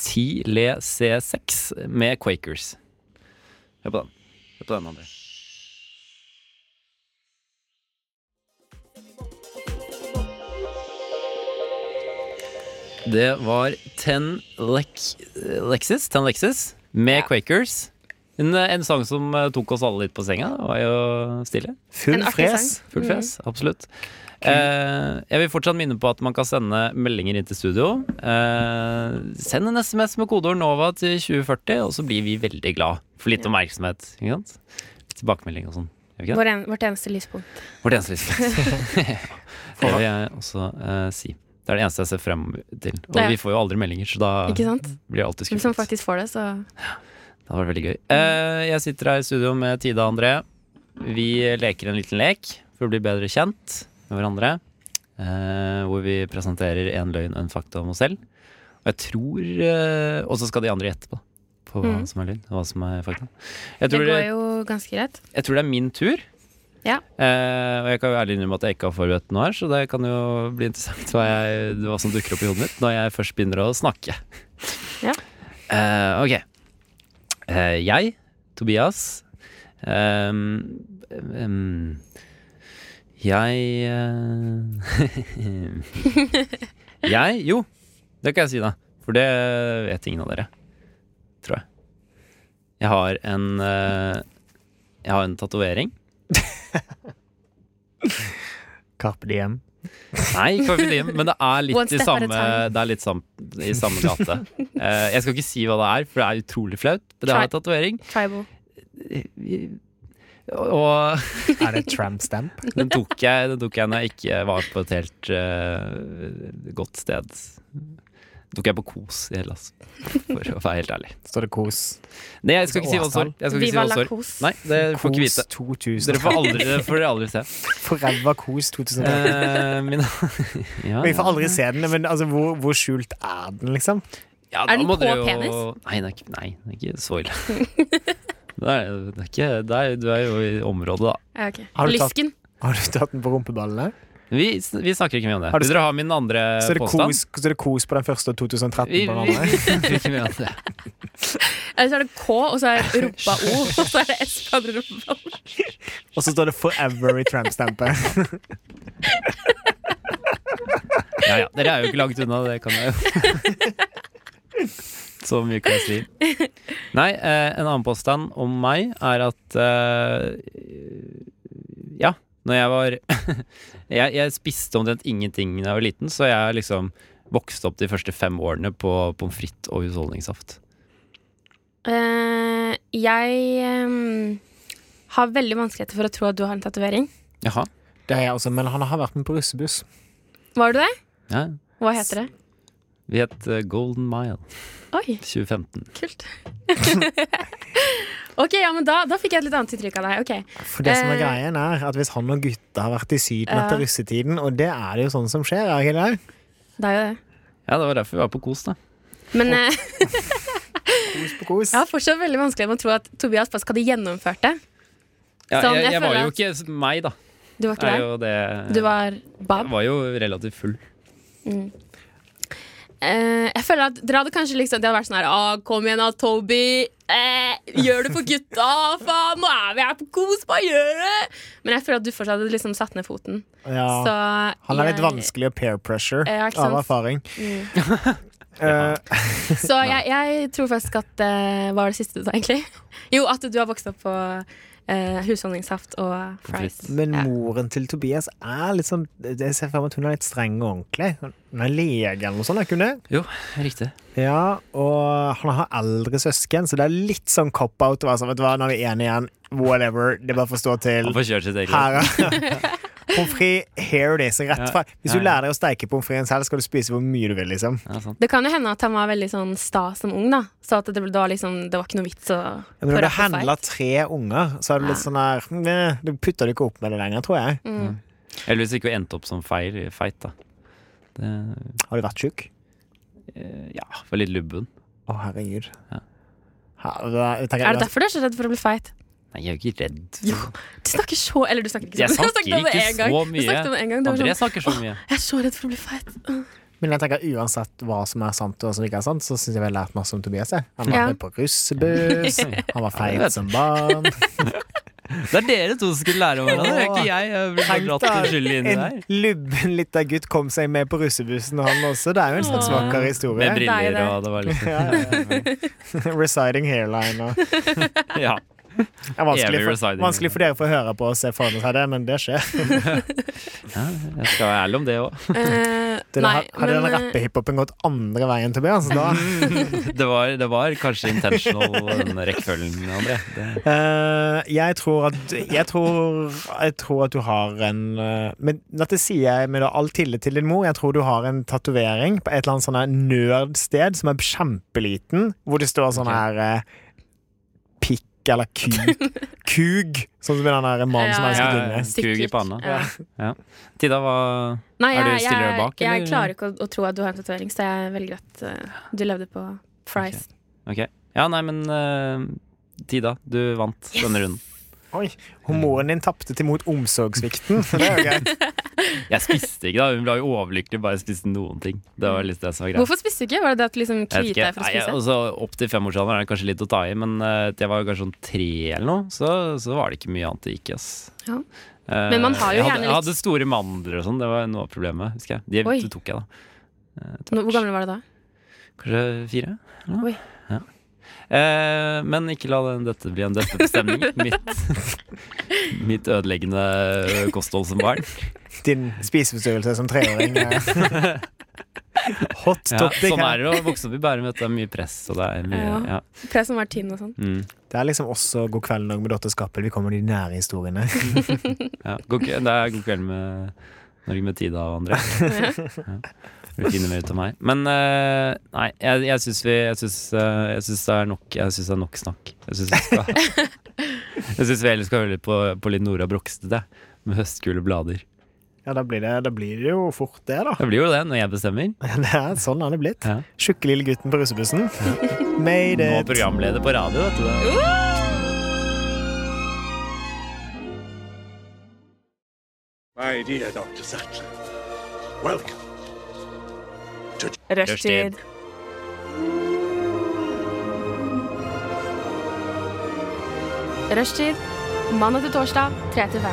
Speaker 2: Ti Le C6 med Quakers. Hør på den. Hør på den, André. eh, Det var Ten Lex Lexis, Ten Lexis med Quakers. En, en sang som eh, tok oss alle litt på senga, var jo Stille.
Speaker 4: Full
Speaker 3: En artig
Speaker 4: fres.
Speaker 3: sang.
Speaker 2: Full fjes, absolutt. Eh, jeg vil fortsatt minne på at man kan sende meldinger inn til studio. Eh, send en SMS med kodeord NOVA til 2040, og så blir vi veldig glad for litt oppmerksomhet. Ikke sant? Tilbakemelding og sånn. Gjør vi ikke det?
Speaker 3: Vår en, vårt eneste lyspunkt.
Speaker 2: Vårt eneste lyspunkt.
Speaker 3: [laughs]
Speaker 2: det vil jeg også eh, si. Det er det eneste jeg ser frem til. Og
Speaker 3: Ja.
Speaker 2: vi får jo aldri meldinger, så da
Speaker 3: Ikke sant?
Speaker 2: blir jeg alltid
Speaker 3: Hvis man
Speaker 2: skuffet.
Speaker 3: faktisk får det, så
Speaker 2: Det hadde vært veldig gøy. Eh, jeg sitter her i studio med Tida og André. Vi leker en liten lek for å bli bedre kjent med hverandre. eh, hvor vi presenterer en løgn og en fakta om oss selv. Og jeg tror eh, Og så skal de andre gjette på, på hva
Speaker 3: Mhm.
Speaker 2: som er løgn og hva som er fakta. Jeg
Speaker 3: det
Speaker 2: tror
Speaker 3: går
Speaker 2: det,
Speaker 3: jo ganske greit.
Speaker 2: jeg tror det er min tur.
Speaker 3: Ja.
Speaker 2: Eh, og jeg kan jo ærlig innrømme at jeg ikke har forberedt noe her, så det kan jo bli interessant hva, jeg, hva som dukker opp i hodet mitt når jeg først begynner å snakke.
Speaker 3: Ja.
Speaker 2: Eh, ok. Eh, jeg, Tobias ehm, ehm, Jeg eh, [laughs] Jeg Jo, det kan jeg si, da. For det vet ingen av dere, tror jeg. Jeg har en eh, Jeg har en tatovering.
Speaker 4: Carpe diem.
Speaker 2: Nei, ikke Carpe Diem, men det er
Speaker 3: [laughs] One
Speaker 2: litt, i
Speaker 3: step at a
Speaker 2: samme, det er litt sam, i samme gate. Eh, jeg skal ikke si hva det er, for det er utrolig flaut. Men det er en tatovering.
Speaker 3: Tribal.
Speaker 2: Og
Speaker 4: Er det tramp stamp?
Speaker 3: [laughs]
Speaker 2: den tok jeg, den tok jeg når jeg ikke var på et helt eh, godt sted. Den tok jeg på Kos i Hellas, for å være helt ærlig.
Speaker 4: Står det kos?
Speaker 2: Nei, jeg skal ikke si hva det står. Altså, Jeg skal ikke si
Speaker 3: Viva
Speaker 2: hva det
Speaker 3: la
Speaker 2: står.
Speaker 3: cause.
Speaker 2: Nei, det får ikke
Speaker 4: Kos
Speaker 2: vite.
Speaker 4: 2000.
Speaker 2: Dere får aldri, det får dere aldri se.
Speaker 4: [laughs] For ræva kos 2000.
Speaker 2: Eh, min, [laughs] ja,
Speaker 4: Vi får aldri se den, men altså, hvor, hvor skjult er den, liksom?
Speaker 2: Ja,
Speaker 3: Er
Speaker 2: da
Speaker 3: den
Speaker 2: må
Speaker 3: på
Speaker 2: dere jo...
Speaker 3: penis?
Speaker 2: Nei, det er ikke, nei, det er ikke så ille. [laughs] det er, det er ikke, det er, du er jo i området, da.
Speaker 3: Ja, ok.
Speaker 4: Har du tatt-
Speaker 3: Lysken.
Speaker 4: Har du tatt den på rumpeballene?
Speaker 2: Vi, sn- vi snakker ikke mye om det.
Speaker 4: Har du
Speaker 2: Vil dere ha min andre
Speaker 4: Så er det
Speaker 2: påstand?
Speaker 4: kos, så er det kos på den første og 2013
Speaker 2: Vi, vi,
Speaker 4: på den
Speaker 2: [laughs] vi,
Speaker 4: andre?
Speaker 2: snakker ikke mye om det.
Speaker 3: Eller Eh, så er det K, og så er rumpa
Speaker 2: [laughs]
Speaker 3: O, og så er det S på andre rumpa.
Speaker 4: Og så står det 'Forever' i tramp-stampet.
Speaker 2: Ja, ja. Dere er jo ikke langt unna, det kan jeg jo. [laughs] Så mye kan jeg si. Nei, eh, en annen påstand om meg er at eh, Ja, når jeg var [laughs] jeg, jeg spiste omtrent ingenting da jeg var liten, så jeg liksom vokste opp de første fem årene på pommes frites og husholdningssaft.
Speaker 3: Eh, jeg ehm, har veldig vanskeligheter for å tro at du har en tatovering.
Speaker 2: Jaha.
Speaker 4: [laughs] Det er jeg også, men han har vært med på russebuss.
Speaker 3: Var du det?
Speaker 2: Ja.
Speaker 3: Hva heter det?
Speaker 2: Vi het eh, Golden Mile
Speaker 3: Oi,
Speaker 2: 2015.
Speaker 3: kult. [laughs] ok, ja, men da, da fikk jeg et litt annet inntrykk av deg. Ok,
Speaker 4: For det som er
Speaker 3: Eh.
Speaker 4: greien er at Hvis han og gutta har vært i Syden
Speaker 3: Ja.
Speaker 4: etter russetiden, og det er det jo sånn som skjer, er det ikke det?
Speaker 3: det er jo det.
Speaker 2: Ja, det var derfor vi var på Kos, da.
Speaker 3: Men eh,
Speaker 4: Kos på kos.
Speaker 3: jeg har fortsatt veldig vanskelig med å tro at Tobias faktisk hadde gjennomført det.
Speaker 2: Ja,
Speaker 3: Sånn,
Speaker 2: jeg,
Speaker 3: jeg
Speaker 2: jeg var
Speaker 3: føler
Speaker 2: jo
Speaker 3: at-
Speaker 2: ikke meg, da.
Speaker 3: Du var ikke
Speaker 2: Er
Speaker 3: der.
Speaker 2: jo det,
Speaker 3: Du var
Speaker 2: jeg
Speaker 3: Bab.
Speaker 2: var jo relativt full.
Speaker 3: Eh, jeg føler at Dere hadde kanskje liksom Det hadde vært sånn her ah, 'Kom igjen, da, Toby. Eh, gjør det for gutta! Faen, nå er vi her på kos! Bare gjør det!' Men jeg føler at du fortsatt hadde liksom satt ned foten.
Speaker 4: Ja.
Speaker 3: Så
Speaker 4: Han er litt
Speaker 3: jeg-
Speaker 4: vanskelig å peer pressure
Speaker 3: Ja, ikke
Speaker 4: av
Speaker 3: sant? Mm.
Speaker 4: erfaring. [laughs] Eh,
Speaker 3: Så jeg, jeg tror faktisk at eh, Hva var det siste du sa, egentlig? Jo, at du har vokst opp på eh, husholdningssaft og fries.
Speaker 2: frites.
Speaker 4: men
Speaker 3: Ja.
Speaker 4: moren til Tobias er litt sånn Jeg ser for meg at hun er litt streng og ordentlig. Hun er lege eller noe sånt, er ikke hun det?
Speaker 2: Jo, riktig.
Speaker 4: Ja, og han har eldre søsken, så det er litt sånn cop-out. å være sånn, Vet du hva, nå er vi enige igjen. Whatever. Det bare får stå til.
Speaker 2: Han får kjøre sitt eget liv.
Speaker 4: Her er [laughs] Pommes frites, here it is. Rett
Speaker 2: Ja,
Speaker 4: fra. Hvis du
Speaker 2: ja, ja.
Speaker 4: lærer deg å steike pommes fritesen selv, skal du spise hvor mye du vil, liksom.
Speaker 2: Ja, sant.
Speaker 3: Det kan jo hende at han var veldig sånn sta som ung, da. Så at det, det, var, liksom, det var ikke noe vits å
Speaker 4: Men når
Speaker 3: å
Speaker 4: du
Speaker 3: rappe
Speaker 4: handler
Speaker 3: fight.
Speaker 4: tre unger, så er du litt sånn der "Meh, Du putter det ikke opp med det lenger, tror jeg.
Speaker 3: Mm.
Speaker 2: Eller hvis det ikke endte opp som feil feit, da. Det,
Speaker 4: Har du vært tjukk?
Speaker 2: eh, ja, var litt lubben.
Speaker 4: Å, herregud.
Speaker 2: Ja.
Speaker 4: Her, da- jeg tenker,
Speaker 3: Er det derfor du er så redd for å bli feit?
Speaker 2: Nei, jeg er jo ikke redd.
Speaker 3: Du snakker så Eller du snakker ikke
Speaker 2: Jeg
Speaker 3: så Du
Speaker 2: snakker
Speaker 3: snakket om det
Speaker 2: ikke
Speaker 3: en gang.
Speaker 2: så
Speaker 3: Du
Speaker 2: mye.
Speaker 3: snakket om det en gang. Du var
Speaker 2: André
Speaker 3: sånn,
Speaker 2: snakker så mye.
Speaker 3: jeg er så redd for å bli
Speaker 2: [laughs]
Speaker 3: feit.
Speaker 4: Men jeg tenker uansett hva som er sant og som ikke er sant, så syns jeg vi har lært masse om Tobias. Jeg. Han var
Speaker 3: Ja. [laughs]
Speaker 4: med på russebuss, han var
Speaker 2: Ja, det
Speaker 4: feit
Speaker 2: vet
Speaker 4: som barn.
Speaker 2: Det er dere to som skulle lære om hverandre, det er ikke jeg. Jeg blir bare dratt til skyldig inn i det
Speaker 4: En
Speaker 2: her.
Speaker 4: lubben liten gutt kom seg med på russebussen, han også. Det er jo en slags
Speaker 3: Åh.
Speaker 4: vakker
Speaker 2: Med
Speaker 4: historie.
Speaker 3: Deilig,
Speaker 2: briller
Speaker 3: det.
Speaker 2: og det var liksom
Speaker 4: Ja, ja,
Speaker 3: [laughs]
Speaker 4: ja. Residing hairline og det
Speaker 2: Ja.
Speaker 4: er vanskelig
Speaker 2: Evig
Speaker 4: for,
Speaker 2: residing.
Speaker 4: vanskelig for dere for å høre på og se for seg det, men det skjer.
Speaker 2: Jeg skal være ærlig om det òg.
Speaker 3: Eh,
Speaker 4: Det
Speaker 3: nei,
Speaker 4: har- hadde den
Speaker 3: men, eh,
Speaker 4: rappehiphopen gått andre veien, Tobias, da
Speaker 2: Det, var- det var kanskje intentional, den rekkefølgen, André. Det,
Speaker 4: Eh, jeg, tror at, jeg, tror, jeg tror at du har en eh, Men dette sier jeg med da all tillit til din mor. Jeg tror du har en tatovering på et eller annet sånn her nerdsted som er kjempeliten, hvor det står sånn
Speaker 2: Ok.
Speaker 4: her eh, pikk eller kuk.
Speaker 2: [laughs]
Speaker 4: kug, sånn som i den her mannen som
Speaker 3: Ja,
Speaker 4: elsker
Speaker 2: ja, ja.
Speaker 4: dine.
Speaker 3: sikkert.
Speaker 2: Kug i panna.
Speaker 3: Ja.
Speaker 2: Tida var
Speaker 3: Nei,
Speaker 2: Er du-
Speaker 3: jeg,
Speaker 2: stiller du
Speaker 3: jeg,
Speaker 2: bak,
Speaker 3: jeg
Speaker 2: eller?
Speaker 3: klarer ikke å, å tro at du har en tatovering, så jeg velger at eh, du levde på Fries.
Speaker 2: Ok. Ja, nei, men eh, Tida, du vant denne runden.
Speaker 4: Oi, Humoren din tapte til mot
Speaker 2: [laughs]
Speaker 4: omsorgssvikten. Det er jo greit.
Speaker 2: Jeg spiste ikke, da. Hun ble jo overlykkelig, bare spiste noen ting. Det var litt det som var greit.
Speaker 3: Hvorfor spiste du ikke? Var det det at du liksom
Speaker 2: Jeg vet
Speaker 3: kvita
Speaker 2: ikke.
Speaker 3: deg for å
Speaker 2: Nei, jeg-
Speaker 3: spise?
Speaker 2: altså, opp til femårsalderen er det kanskje litt å ta i, men eh, det var jo kanskje sånn tre eller noe, så, så var det ikke mye annet det gikk i. ass.
Speaker 3: Ja.
Speaker 2: Eh,
Speaker 3: Men man har jo
Speaker 2: jeg hadde,
Speaker 3: gjerne
Speaker 2: Jeg
Speaker 3: litt-
Speaker 2: hadde store mandler og sånn, det var noe av problemet, husker jeg. De
Speaker 3: Oi.
Speaker 2: tok jeg, da.
Speaker 3: Nå- Hvor gammel var du da?
Speaker 2: Kanskje fire? eller noe?
Speaker 3: Oi.
Speaker 2: Ja. Eh, men ikke la den, dette bli en
Speaker 3: [laughs]
Speaker 2: dødsbestemning. mitt, mitt [laughs] ødeleggende kosthold som
Speaker 3: [laughs]
Speaker 2: barn.
Speaker 4: Din spiseforstyrrelse som treåring. eh.
Speaker 2: [laughs]
Speaker 4: Hot
Speaker 2: Ja,
Speaker 4: topic.
Speaker 2: sånn
Speaker 4: her.
Speaker 2: er det å vokse opp i Bærum. vet du. Det er mye press. Og det er mye,
Speaker 3: Ja.
Speaker 2: ja.
Speaker 3: Press om Martin og sånn.
Speaker 2: Mm,
Speaker 4: Det er liksom også God kveld, Norge med Dotter Skappel. Vi kommer til de nære historiene. [laughs]
Speaker 2: ja. God, kveld- det er god kveld med Norge med Tida og andre. Ja. Blir finner mer ut av meg. Men eh, nei, jeg, jeg syns vi Jeg syns eh, jeg syns det er nok Jeg synes det er nok snakk. Jeg syns vi skal Jeg synes vi heller skal høre litt på, på litt Nora Brogstad, jeg. Med høstkule blader.
Speaker 4: Ja, da blir, det, da blir det jo fort det, da. [laughs]
Speaker 2: Det blir jo det når jeg bestemmer.
Speaker 4: Det er sånn han er blitt.
Speaker 2: Ja.
Speaker 4: Tjukke lille gutten på russebussen.
Speaker 2: Nå
Speaker 4: Made
Speaker 2: er
Speaker 4: it.
Speaker 2: programleder på radio, vet du. det.
Speaker 1: My dear Dr. Sattler, welcome.
Speaker 2: Rushtid.
Speaker 6: Rushtid.
Speaker 3: Rushtid. Mandag til torsdag, 3 til 5.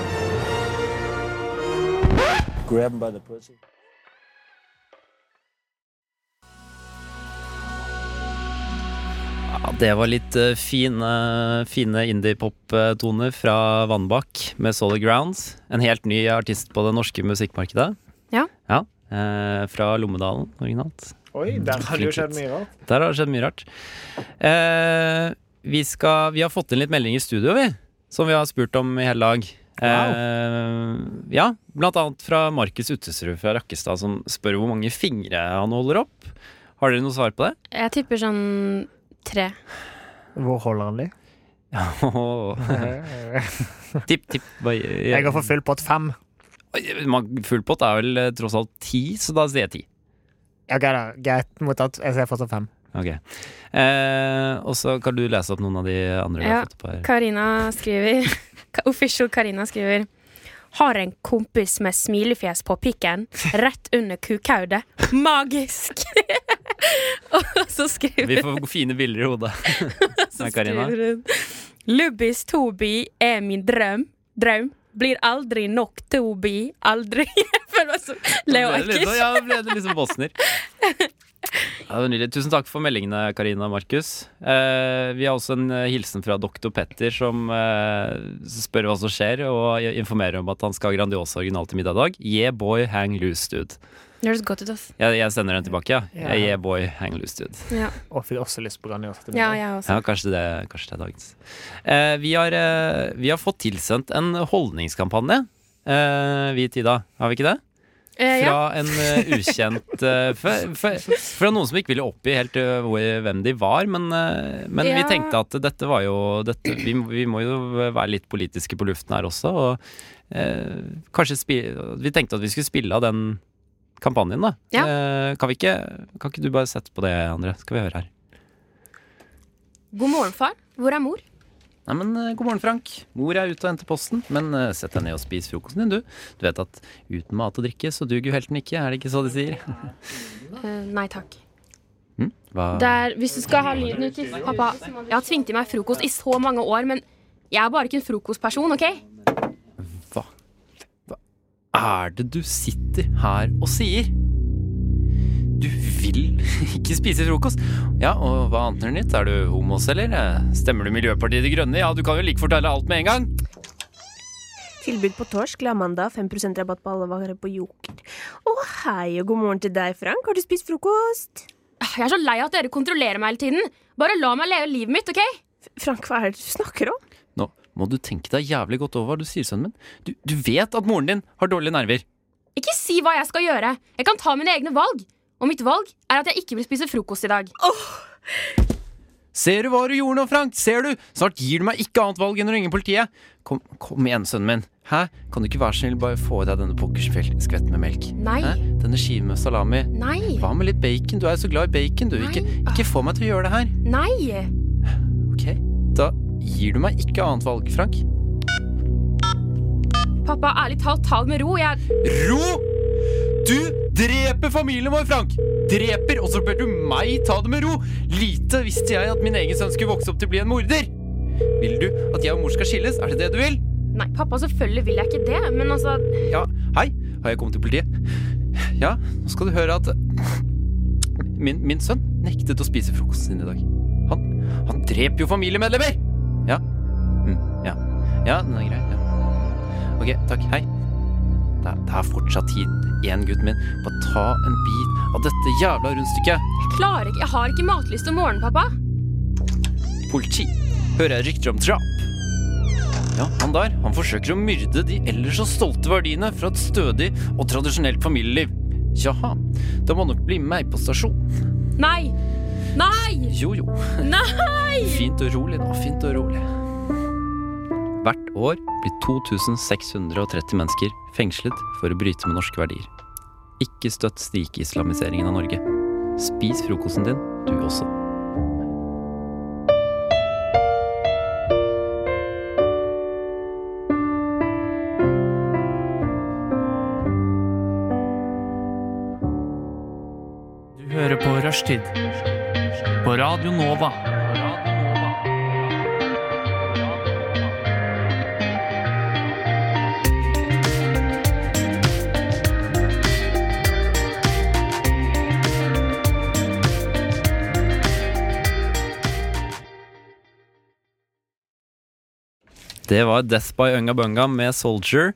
Speaker 2: Ja, det var litt eh, fine, fine indie-pop-toner fra Vannbakk med Solid Grounds. En helt ny artist på det norske musikkmarkedet.
Speaker 3: Ja.
Speaker 2: eh, fra Lommedalen originalt.
Speaker 4: Oi, der har det jo skjedd mye rart.
Speaker 2: Der har det skjedd mye rart. Eh, vi, skal, vi har fått inn litt meldinger i studio, vi. Som vi har spurt om i hele dag. Eh, ja, blant annet fra Markus Uttesrud fra Rakkestad, som spør hvor mange fingre han holder opp. Har dere noe svar på det?
Speaker 3: Jeg tipper sånn tre.
Speaker 4: Hvor
Speaker 2: [laughs]
Speaker 4: holder han de?
Speaker 2: Tipp, tipp. Bare,
Speaker 4: Jeg har for full pott fem.
Speaker 2: Oi, man- Full pott er vel eh, tross alt ti, så da sier jeg ti.
Speaker 4: Ja, greit, da. greit mottatt. Jeg ser fortsatt fem.
Speaker 2: Ok. Eh, og så kan du lese opp noen av de andre vi
Speaker 3: Ja.
Speaker 2: har fått på her.
Speaker 3: Karina skriver [laughs] Ka- Official Karina skriver Har en kompis med smilefjes på pikken Rett under kukhaudet Magisk [laughs] Og så skriver,
Speaker 2: Vi
Speaker 3: [laughs]
Speaker 2: får fine bilder i hodet.
Speaker 3: så
Speaker 2: Nei, Karina.
Speaker 3: skriver hun Lubbis Tobi er min drøm Drøm blir aldri nok Tobi Aldri [laughs] Jeg føler meg som
Speaker 2: Da
Speaker 3: Leo
Speaker 2: ble det liksom-
Speaker 3: Eckes
Speaker 2: Ja, da ble det liksom
Speaker 3: [laughs]
Speaker 2: bosner. Ja, det var nydelig. Tusen takk for meldingene, Karina og Markus. Eh, vi har også en eh, hilsen fra doktor Petter, som eh, spør hva som skjer, og informerer om at han skal ha Grandiosa original til middag i dag. Yeah, boy, hang loose, dude.
Speaker 3: Det høres godt ut ass
Speaker 2: Jeg, jeg sender den tilbake, ja.
Speaker 4: Ja.
Speaker 2: Yeah, boy, hang loose, dude.
Speaker 3: Ja,
Speaker 4: Og fikk også lyst på Grandiosa. til
Speaker 3: ja
Speaker 4: middag.
Speaker 3: jeg også
Speaker 2: Ja, kanskje det, kanskje det er dagens. Eh, vi, har, eh, vi har fått tilsendt en holdningskampanje. Eh, vi, Tida, har vi ikke det?
Speaker 3: Eh, ja.
Speaker 2: Fra en eh, ukjent eh, f- f- Fra noen som ikke ville oppgi helt eh, hvor- hvem de var, men, eh, men vi
Speaker 3: Ja.
Speaker 2: tenkte at dette var jo dette, vi, vi må jo være litt politiske på luften her også, og eh, kanskje spi, Vi tenkte at vi skulle spille av den kampanjen, da.
Speaker 3: Ja.
Speaker 2: Eh, kan, vi ikke, kan ikke du bare sette på det, André? Skal vi høre her.
Speaker 3: God morgen far, hvor er mor?
Speaker 2: Nei, men eh, God morgen, Frank. Mor er ute og henter posten. Men eh, sett deg ned og spis frokosten din, du. Du vet at uten mat og drikke, så duger jo helten ikke. Er det ikke så de sier?
Speaker 3: Eh, nei takk
Speaker 2: Hm? Hva?
Speaker 3: Det er- hvis du skal ha lyden ut i Pappa, jeg har tvingt i meg frokost i så mange år, men Jeg er bare ikke en frokostperson, OK?
Speaker 2: Hva? Hva er det du sitter her og sier? Du vil [laughs] ikke spise frokost. Ja, og hva annet er nytt? Er du homos, eller? Eh, Stemmer du Miljøpartiet De Grønne? Ja, du kan jo like fortelle alt med en gang.
Speaker 6: Tilbud på torsk la mandag, 5 rabatt på alle varer på Joker. Å hei og god morgen til deg, Frank. Har du spist frokost?
Speaker 3: Jeg er så lei av at dere kontrollerer meg hele tiden. Bare la meg leve livet mitt, OK?
Speaker 6: Frank, hva er det du snakker om?
Speaker 2: Nå må du tenke deg jævlig godt over hva du sier, sønnen min. Du, du vet at moren din har dårlige nerver.
Speaker 3: Ikke si hva jeg skal gjøre. Jeg kan ta mine egne valg. Og mitt valg er at jeg ikke vil spise frokost i dag.
Speaker 2: Ser du hva du gjorde nå, Frank? Ser du? Snart gir du meg ikke annet valg enn å ringe politiet. Kom, kom igjen, sønnen min. Hæ? Kan du ikke være så snill bare få i deg denne pokerskvetten med melk?
Speaker 3: Nei.
Speaker 2: Hæ? Denne skiven med salami.
Speaker 3: Nei.
Speaker 2: Hva med litt bacon? Du er jo så glad i bacon, du. Ikke,
Speaker 3: Nei.
Speaker 2: ikke få meg til å gjøre det her.
Speaker 3: Nei.
Speaker 2: Ok, da gir du meg ikke annet valg, Frank.
Speaker 3: Pappa, ærlig talt, ta det med ro. Jeg
Speaker 2: Ro! Du dreper familien vår, Frank! Dreper, og så ber du meg ta det med ro! Lite visste jeg at min egen sønn skulle vokse opp til å bli en morder! Vil du at jeg og mor skal skilles? Er det det du vil?
Speaker 3: Nei, pappa, selvfølgelig vil jeg ikke det, men altså
Speaker 2: Ja, hei, har jeg kommet til politiet? Ja, nå skal du høre at min, min sønn nektet å spise frokosten sin i dag. Han, han dreper jo familiemedlemmer! Ja. Mm, ja. ja, den er grei. Ja. Ok, takk. Hei. Det er, det er fortsatt tid igjen, gutten min. Bare ta en bit av dette jævla rundstykket.
Speaker 3: Jeg klarer ikke. Jeg har ikke matlyst om morgenen, pappa.
Speaker 2: Politi. Hører jeg rykter om drap. Ja, han der, han forsøker å myrde de ellers så stolte verdiene fra et stødig og tradisjonelt familieliv. Jaha, det må nok bli meg på stasjon.
Speaker 3: Nei. Nei!
Speaker 2: Jo jo,
Speaker 3: Nei!
Speaker 2: fint og rolig nå, fint og rolig. Hvert år blir 2630 mennesker fengslet for å bryte med norske verdier. Ikke støtt snikislamiseringen av Norge. Spis frokosten din, du også.
Speaker 7: Du hører på Rushtid på Radio Nova.
Speaker 2: Det var Death by Unga Bunga med Soldier.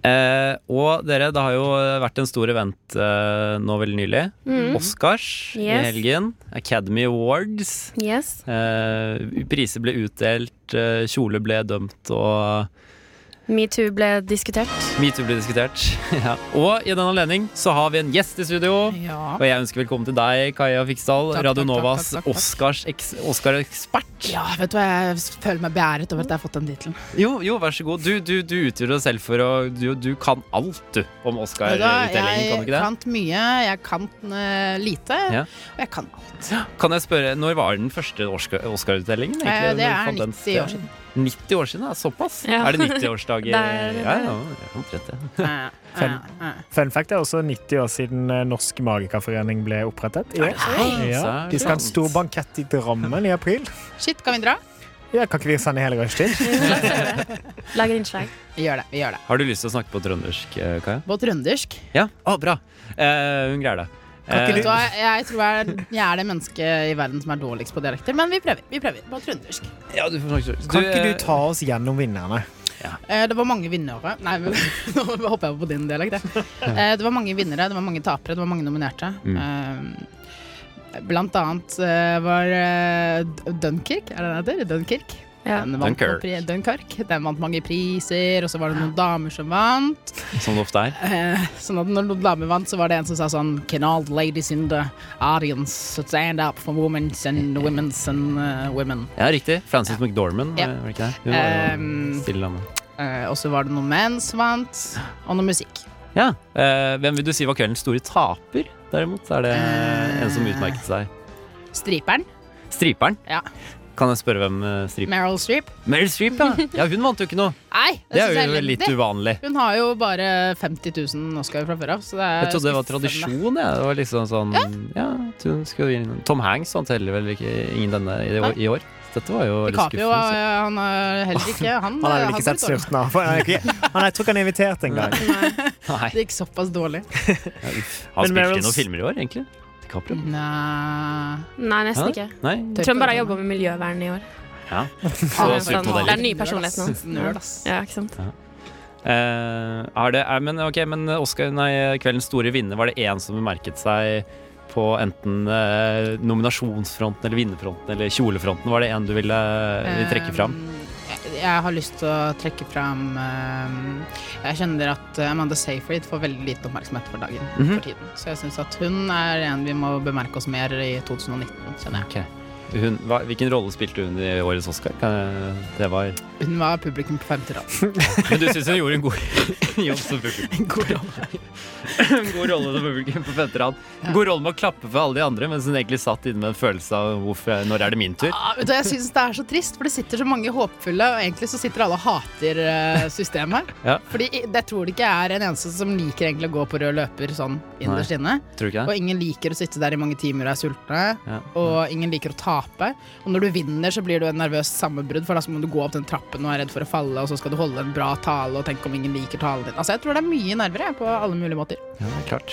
Speaker 2: Eh, og dere, det har jo vært en stor event eh, nå veldig nylig.
Speaker 8: Mm.
Speaker 2: Oscars i
Speaker 3: Yes.
Speaker 2: helgen. Academy Awards.
Speaker 3: Yes.
Speaker 2: Eh, priser ble utdelt, eh, kjole ble dømt, og
Speaker 3: Metoo ble diskutert.
Speaker 2: metoo ble diskutert. [laughs] ja. Og i den anledning så har vi en gjest i studio.
Speaker 8: Ja.
Speaker 2: Og jeg ønsker velkommen til deg, Kaja Fiksdal,
Speaker 8: Takk,
Speaker 2: Radio
Speaker 8: takk, takk,
Speaker 2: Novas
Speaker 8: takk, takk, takk.
Speaker 2: Oscars eks- Oscar-ekspert.
Speaker 8: ja, vet du hva, jeg føler meg beæret over at jeg har fått den tittelen.
Speaker 2: Jo, jo, vær så god. Du, du, du utgjør deg selv for å du, du kan alt, du, om
Speaker 8: Vet du hva,
Speaker 2: Oscar-utdelingen. Kan du
Speaker 8: Jeg
Speaker 2: ikke det?
Speaker 8: kan mye, jeg kan eh, lite,
Speaker 2: Ja.
Speaker 8: og jeg kan alt.
Speaker 2: Kan jeg spørre, når var den første Oscar- Oscar-utdelingen? egentlig?
Speaker 8: Eh, det
Speaker 2: Når du
Speaker 8: er
Speaker 2: fant den
Speaker 8: 90
Speaker 2: sted?
Speaker 8: år
Speaker 2: [laughs]
Speaker 8: siden.
Speaker 2: 90 år siden, ja, såpass?
Speaker 3: Ja.
Speaker 2: Er det 90-årsdag? i-
Speaker 3: Det er det.
Speaker 2: Ja, ja, ja, omtrent det.
Speaker 8: Eh,
Speaker 4: Fem.
Speaker 8: eh, eh.
Speaker 4: Fun fact er også 90 år siden eh, Norsk Magikerforening ble opprettet. I år. Ja,
Speaker 2: sant?
Speaker 4: de skal ha en stor bankett i Drammen i april.
Speaker 8: Shit, kan vi dra?
Speaker 4: Ja, kan ikke vi sende hele rushtid?
Speaker 3: Lager innslag.
Speaker 8: Vi gjør det. vi gjør det
Speaker 2: Har du lyst til å snakke på trøndersk, eh, Kaja?
Speaker 8: På trøndersk.
Speaker 2: Ja, å, bra. Eh, hun greier det.
Speaker 4: Kan
Speaker 2: Eh,
Speaker 4: ikke
Speaker 8: Vet du hva, jeg tror jeg er, jeg er det mennesket i verden som er dårligst på dialekter, men vi prøver. vi prøver På trøndersk.
Speaker 2: ja, du får snakke
Speaker 4: Kan ikke
Speaker 2: eh,
Speaker 4: du ta oss gjennom vinnerne?
Speaker 8: Eh, Det var mange vinnere Nei, men, [laughs] nå hopper jeg på din dialekt. jeg. Eh, Det var mange vinnere, det var mange tapere, det var mange nominerte. Eh, Blant annet eh, var eh, D- Dunkirk, er det det heter? Dunkirk.
Speaker 3: Ja.
Speaker 8: Den vant,
Speaker 2: Dunkirk.
Speaker 8: på pri- Dunkirk. Den vant mange priser, og så var det noen damer som vant.
Speaker 2: Som det ofte er.
Speaker 8: Eh, Sånn at når noen damer vant, så var det en som sa sånn Can all the ladies in the audience stand up for women's and women's and eh, women?
Speaker 2: Ja, riktig. Frances McDormand,
Speaker 8: Ja.
Speaker 2: eh, var det ikke det? Hun var jo
Speaker 8: Um,
Speaker 2: stille dame.
Speaker 8: Eh, Og så var det noen menn som vant, og noe musikk.
Speaker 2: Ja. eh, hvem vil du si var kveldens store taper, derimot? Er det
Speaker 8: Eh.
Speaker 2: en som utmerket seg?
Speaker 8: Striperen.
Speaker 2: Striperen?
Speaker 8: Ja.
Speaker 2: Kan jeg spørre hvem eh, striperen
Speaker 8: Meryl Streep.
Speaker 2: Meryl Streep,
Speaker 8: [laughs]
Speaker 2: ja. ja. Hun vant jo ikke noe.
Speaker 8: Nei,
Speaker 2: Det
Speaker 8: synes
Speaker 2: er
Speaker 8: jeg
Speaker 2: jo litt
Speaker 8: elendig.
Speaker 2: uvanlig.
Speaker 8: Hun har jo bare 50 000 Oscar fra før av. Så det er
Speaker 2: Jeg trodde det var
Speaker 8: skuffende.
Speaker 2: tradisjon. Ja. Det var liksom sånn ja. at hun skulle vinne. Tom Hanks vant heller vel ikke ingen denne i, det år, i år. Dette var jo litt
Speaker 8: DiCaprio
Speaker 2: skuffende. altså.
Speaker 8: eh, han er heller ikke Han,
Speaker 4: Han har
Speaker 8: eh,
Speaker 4: vel ikke sett
Speaker 8: blitt dårlig.
Speaker 4: snurten av. for Han, er ikke- han- jeg tror ikke han er invitert [laughs] engang.
Speaker 2: Nei,
Speaker 8: Det gikk såpass dårlig.
Speaker 2: ja, uff. Har han
Speaker 4: Men
Speaker 2: spilt i
Speaker 4: Meryl's-
Speaker 2: noen filmer i år, egentlig? DiCaprio?
Speaker 8: Nei
Speaker 3: Nei, nesten
Speaker 2: Hæ?
Speaker 3: ikke.
Speaker 2: Nei?
Speaker 3: Jeg tror han bare har jobba med miljøvern i år.
Speaker 2: Ja.
Speaker 3: Han er
Speaker 2: sykt
Speaker 3: sånn-
Speaker 2: modell.
Speaker 3: Det er den nye personligheten hans.
Speaker 8: Nerd, ass.
Speaker 3: Ja, ikke sant?
Speaker 2: Eh, har det, eh, men ok, men Oscar, nei, kveldens store vinner, var det én som bemerket seg på enten eh, nominasjonsfronten eller vinnerfronten eller kjolefronten? Var det en du ville, ville trekke fram?
Speaker 8: Eh, Jeg har lyst til å trekke fram eh, Jeg kjenner at Amanda Seyfried får veldig lite oppmerksomhet for dagen
Speaker 2: Mhm.
Speaker 8: for tiden. Så jeg syns at hun er en vi må bemerke oss mer i 2019, kjenner jeg.
Speaker 2: Ok. Hun, hva, hvilken rolle spilte hun i årets Oscar? Kan jeg- Det [laughs] var
Speaker 8: Hun var publikum på femte
Speaker 2: [laughs]
Speaker 8: rad.
Speaker 2: Men du syns hun gjorde en god [laughs] jobb som publikum? En god rolle. [laughs] en god rolle som publikum på femte rad. En God rolle med å klappe for alle de andre, mens hun egentlig satt inne med en følelse av hvorfor, når er det min tur?
Speaker 8: Ah, vet du, jeg syns det er så trist, for det sitter så mange håpfulle, og egentlig så sitter alle og hater eh, systemet.
Speaker 2: [laughs] Ja.
Speaker 8: Fordi jeg tror det ikke er en eneste som liker egentlig å gå på rød løper sånn innerst inne.
Speaker 2: Tror du ikke
Speaker 8: Og
Speaker 2: det?
Speaker 8: ingen liker å sitte der i mange timer og er sultne.
Speaker 2: Ja.
Speaker 8: Og ingen liker å tape. Og når du vinner, så blir du en nervøs sammenbrudd, for da så må du gå opp den trappen og er redd for å falle, og så skal du holde en bra tale og tenke om ingen liker talen din. Altså, jeg tror det er mye nerver jeg, på alle mulige måter.
Speaker 2: Ja, det er klart.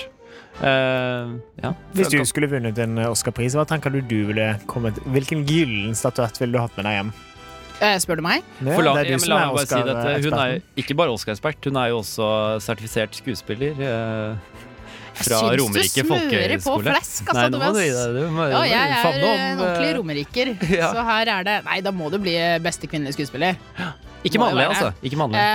Speaker 2: Eh, ja.
Speaker 4: Hvis du skulle vunnet en eh, Oscar-pris, hva tenker du du ville kommet Hvilken gyllen statuett ville du hatt med deg hjem?
Speaker 8: Eh, spør du meg?
Speaker 4: Ja,
Speaker 2: For la,
Speaker 4: det er du
Speaker 2: ja, men
Speaker 4: som
Speaker 2: la
Speaker 4: er
Speaker 2: meg bare si dette. Hun er
Speaker 4: Oscar-eksperten.
Speaker 2: jo ikke bare Oscar-ekspert, hun er jo også sertifisert skuespiller. eh, fra
Speaker 8: Syns du
Speaker 2: Romerike
Speaker 8: smører på
Speaker 2: folkehøgskole.
Speaker 8: flask, altså,
Speaker 2: Nei, nå må du gi
Speaker 8: Tobias.
Speaker 2: deg. Du må-
Speaker 8: Ja, jeg
Speaker 2: faen
Speaker 8: er
Speaker 2: om,
Speaker 8: eh, en ordentlig romerriker,
Speaker 2: [laughs] ja.
Speaker 8: så her er det Nei, da må du bli eh, beste kvinnelige skuespiller.
Speaker 2: eh, Ikke
Speaker 8: må jo
Speaker 2: mannlig,
Speaker 8: være.
Speaker 2: altså. Ikke mannlig. [laughs]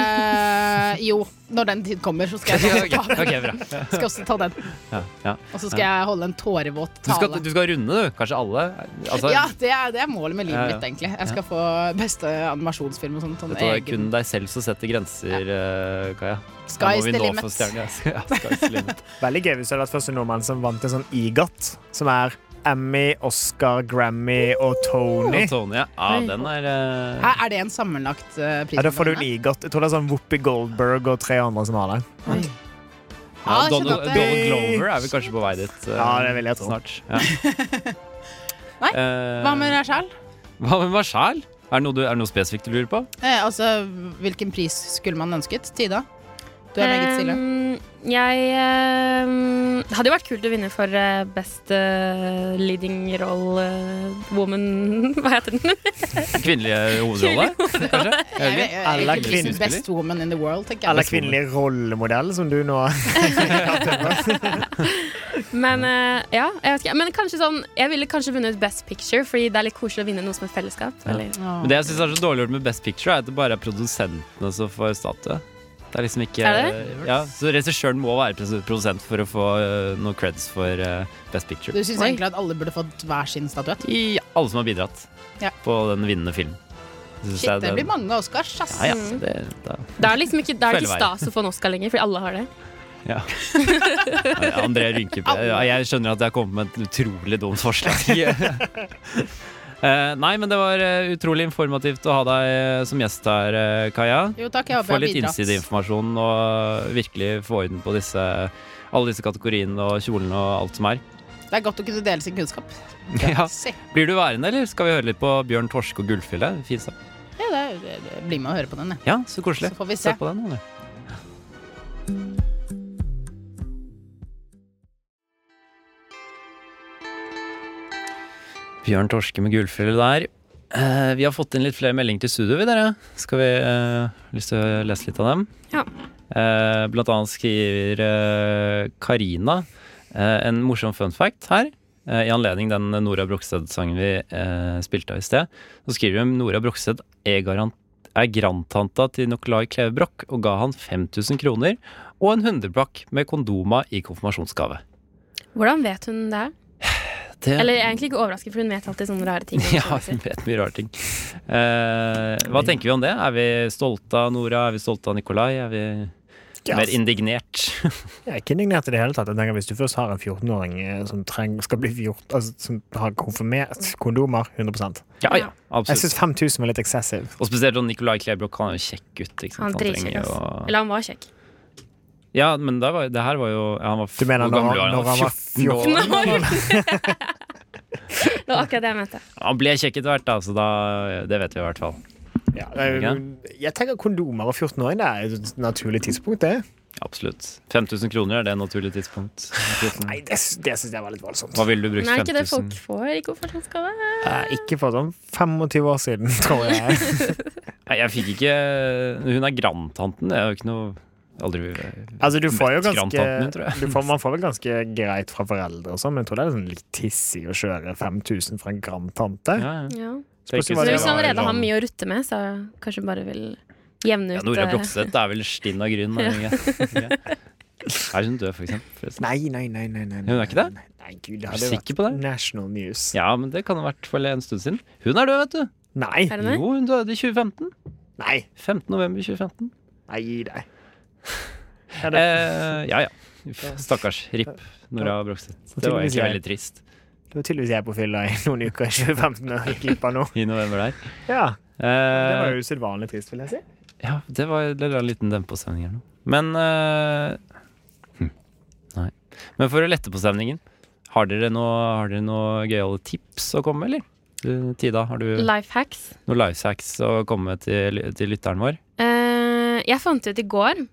Speaker 8: Eh, jo, når den tid kommer, så skal jeg ta den.
Speaker 2: Ok, bra.
Speaker 8: Skal også ta den.
Speaker 2: Ja, ja.
Speaker 8: Og så skal jeg holde en tårevåt
Speaker 2: Du, skal,
Speaker 8: tale.
Speaker 2: du skal runde, du. Kanskje alle. Altså,
Speaker 8: ja, det er, det er målet med livet
Speaker 2: Ja, ja.
Speaker 8: mitt, egentlig. Jeg skal få beste animasjonsfilm og sånt. Sånn
Speaker 2: Vet du, hva, det er
Speaker 8: egen
Speaker 2: kun deg selv som setter grenser, eh, Kaja. Da må
Speaker 8: Sky's
Speaker 2: vi
Speaker 8: the
Speaker 2: nå få
Speaker 8: limit.
Speaker 2: stjerne- Ja, sky's the limit.
Speaker 4: Veldig gøy hvis du hadde vært første nordmann som vant en sånn EGOT, som er Emmy, Oscar, Grammy og Tony.
Speaker 2: Og Tony, ja. ja, den er eh,
Speaker 8: Hæ, Er det en sammenlagt eh, pris?
Speaker 4: Ja, da får du en EGOT. Jeg tror det er sånn Whoopi Goldberg og tre andre som har det.
Speaker 2: ja,
Speaker 8: Ja, jeg
Speaker 2: Donald,
Speaker 8: skjønner at det-
Speaker 2: Donald Glover er vel kanskje på vei dit eh,
Speaker 4: Ja, det vil jeg tro.
Speaker 2: snart. Ja.
Speaker 8: [laughs] Nei,
Speaker 2: Eh,
Speaker 8: Hva med deg sjæl?
Speaker 2: Hva med meg sjæl? Er det noe, du- er det noe spesifikt du lurer på?
Speaker 8: Eh, altså, hvilken pris skulle man ønsket? Tida? Du er meget stille.
Speaker 3: Ehm, jeg ehm, Det hadde jo vært kult å vinne for eh, best eh, leading role eh, woman [laughs] Hva heter den?
Speaker 2: Kvinnelige hovedrolle?
Speaker 8: [laughs]
Speaker 2: Kanskje? Er det ikke?
Speaker 4: Eller
Speaker 8: Eller
Speaker 4: kvinne-
Speaker 8: Best woman in the world, tenker jeg.
Speaker 4: Eller kvinnelig rollemodell, som du nå
Speaker 3: Men eh, ja, jeg vet ikke. Men kanskje sånn Jeg ville kanskje vunnet Best Picture, fordi det er litt koselig å vinne noe som et fellesskap.
Speaker 2: Ja.
Speaker 3: Eller?
Speaker 8: Åh.
Speaker 2: Men det jeg syns er så dårlig gjort med Best Picture, er at det bare er produsentene som får statue. Det er liksom ikke
Speaker 3: Er
Speaker 2: Ja, Så regissøren må være pres- produsent for å få eh, noe creds for eh, Best Picture.
Speaker 8: Du syns
Speaker 3: Oi.
Speaker 8: egentlig at alle burde fått hver sin statuett?
Speaker 2: I alle som har bidratt
Speaker 8: Ja.
Speaker 2: på den vinnende filmen. Synes
Speaker 8: Shit,
Speaker 2: jeg
Speaker 8: det blir mange Oscars, ass.
Speaker 2: Ja, ja, det, da,
Speaker 3: Det er liksom ikke, det er ikke
Speaker 2: Følgeveien.
Speaker 3: stas å få en Oscar lenger, fordi alle har det.
Speaker 2: ja. André rynker på ja, Jeg skjønner at jeg har kommet med et utrolig dumt forslag. Eh, nei, men det var eh, utrolig informativt å ha deg eh, som gjest her, eh, Kaja.
Speaker 8: Jo takk, jeg
Speaker 2: Få
Speaker 8: håper
Speaker 2: litt
Speaker 8: jeg har bidratt.
Speaker 2: innsideinformasjon og virkelig få orden på disse, alle disse kategoriene og kjolene og alt som er.
Speaker 8: Det er godt å kunne dele sin kunnskap.
Speaker 2: Ja.
Speaker 8: Se.
Speaker 2: Blir du værende, eller skal vi høre litt på Bjørn Torske og Gullfille? Fint sagt.
Speaker 8: Ja, det, er- det, det, bli med og høre på den, jeg.
Speaker 2: Ja, så koselig.
Speaker 8: Så får vi
Speaker 2: Se
Speaker 8: se.
Speaker 2: på den, eller? Bjørn Torske med gullfelle der. Eh, vi har fått inn litt flere meldinger til studio, vi dere. Skal vi eh, lyst til å lese litt av dem?
Speaker 3: Ja.
Speaker 2: Eh, blant annet skriver eh, Karina eh, en morsom fun fact her. eh, I anledning den Nora Brogstad-sangen vi eh, spilte av i sted. Så skriver hun Nora Brogstad er garant er grandtanta til Nicolai Klevebrok og ga han 5000 kroner og en hundrepakk med kondoma i konfirmasjonsgave.
Speaker 3: Hvordan vet hun det?
Speaker 2: Det, [laughs]
Speaker 3: Eller jeg er egentlig ikke overrasket, for hun vet alltid sånne rare ting. om
Speaker 2: ja,
Speaker 3: kjendiser.
Speaker 2: hun vet mye rare ting. Eh, hva tenker vi om det? Er vi stolte av Nora? Er vi stolte av Nicolai? Er vi mer
Speaker 4: Jeg
Speaker 2: indignert? [laughs]
Speaker 4: er ikke indignert i det hele tatt. Jeg tenker Hvis du først har en 14-åring eh, som, treng- skal bli 14, altså, som har konfirmert kondomer 100
Speaker 2: ja, ja,
Speaker 4: Jeg
Speaker 2: absolutt.
Speaker 4: syns 5000 var litt excessive.
Speaker 2: Og spesielt om Nicolai Klevebrok, han er jo kjekk gutt. Ikke sant?
Speaker 3: Han dritkjekk,
Speaker 2: trenger
Speaker 3: ass.
Speaker 2: jo-
Speaker 3: Eller han var kjekk.
Speaker 2: Ja, men det, var, det her var jo ja, han var, f-
Speaker 4: Du mener
Speaker 2: hvor
Speaker 4: når,
Speaker 2: gammel
Speaker 4: han- når han var 14?
Speaker 2: år?
Speaker 3: Når [laughs] Det var akkurat det jeg mente.
Speaker 2: Han ble kjekk etter hvert, da, så da, det vet vi i hvert fall.
Speaker 4: Ja, det er jo- jeg tenker kondomer og 14-åring det er et naturlig tidspunkt, det.
Speaker 2: Absolutt. 5000 kroner er det naturlig tidspunkt.
Speaker 4: Nei, det, sy- det syns jeg var litt voldsomt.
Speaker 2: Hva ville du brukt
Speaker 3: Men er ikke det folk
Speaker 2: 5000?
Speaker 3: får i konfirmasjonsgave?
Speaker 4: Eh, ikke for sånn 25 år siden, [laughs] tror jeg.
Speaker 2: Nei, jeg fikk ikke Hun er grandtanten. Det er jo ikke noe Aldri
Speaker 4: Altså, du får jo
Speaker 2: Møtt grandtanten din, tror
Speaker 4: ganske
Speaker 2: jeg.
Speaker 4: du får, Man får vel ganske greit fra foreldre og sånn, men jeg tror det er sånn litt tissig å kjøre 5000 fra en grandtante.
Speaker 2: ja, ja.
Speaker 3: Ja.
Speaker 4: Spørs
Speaker 2: Tenker
Speaker 4: jo hva
Speaker 3: Men
Speaker 4: det
Speaker 3: hvis han
Speaker 4: var.
Speaker 3: allerede har mye å rutte med, så kanskje bare vil jevne ut
Speaker 2: ja, Nora
Speaker 3: eh,
Speaker 2: Brogstøt er vel stinn av gryn. Er hun ikke? Er hun død, for eksempel? forresten?
Speaker 4: Nei, nei, nei. nei, nei,
Speaker 2: Hun er ikke det?
Speaker 4: Nei, nei gud, det
Speaker 2: Er
Speaker 4: hadde
Speaker 2: du
Speaker 4: vært
Speaker 2: sikker på det?
Speaker 4: national news.
Speaker 2: Ja, men det kan ha vært for en stund siden. Hun er død, vet du!
Speaker 4: Nei,
Speaker 3: Er det noe?
Speaker 2: Jo, hun døde i 2015.
Speaker 4: nei,
Speaker 2: 15. november 2015.
Speaker 4: nei, gi
Speaker 2: [laughs]
Speaker 4: deg. Ja, det-
Speaker 2: Eh, ja, ja. Uff, stakkars. Rip Nora Brogstøt. Det var
Speaker 4: tydeligvis
Speaker 2: egentlig
Speaker 4: jeg.
Speaker 2: veldig trist
Speaker 4: Det var tydeligvis jeg på fylla i noen uker i 2015 og gikk glipp av noe.
Speaker 2: i november der.
Speaker 4: Ja, det var
Speaker 2: Eh,
Speaker 4: jo usedvanlig trist, vil jeg
Speaker 2: [laughs]
Speaker 4: si.
Speaker 2: ja, det var det la en liten dempe på stemningen her nå. Men eh, hm, Nei. Men for å lette på stemningen, har dere noe, har dere noe gøyale tips å komme med, eller? Du, Tida, har du
Speaker 3: life hacks.
Speaker 2: noen life hacks å komme med til, til lytteren vår?
Speaker 3: Eh, jeg fant ut i går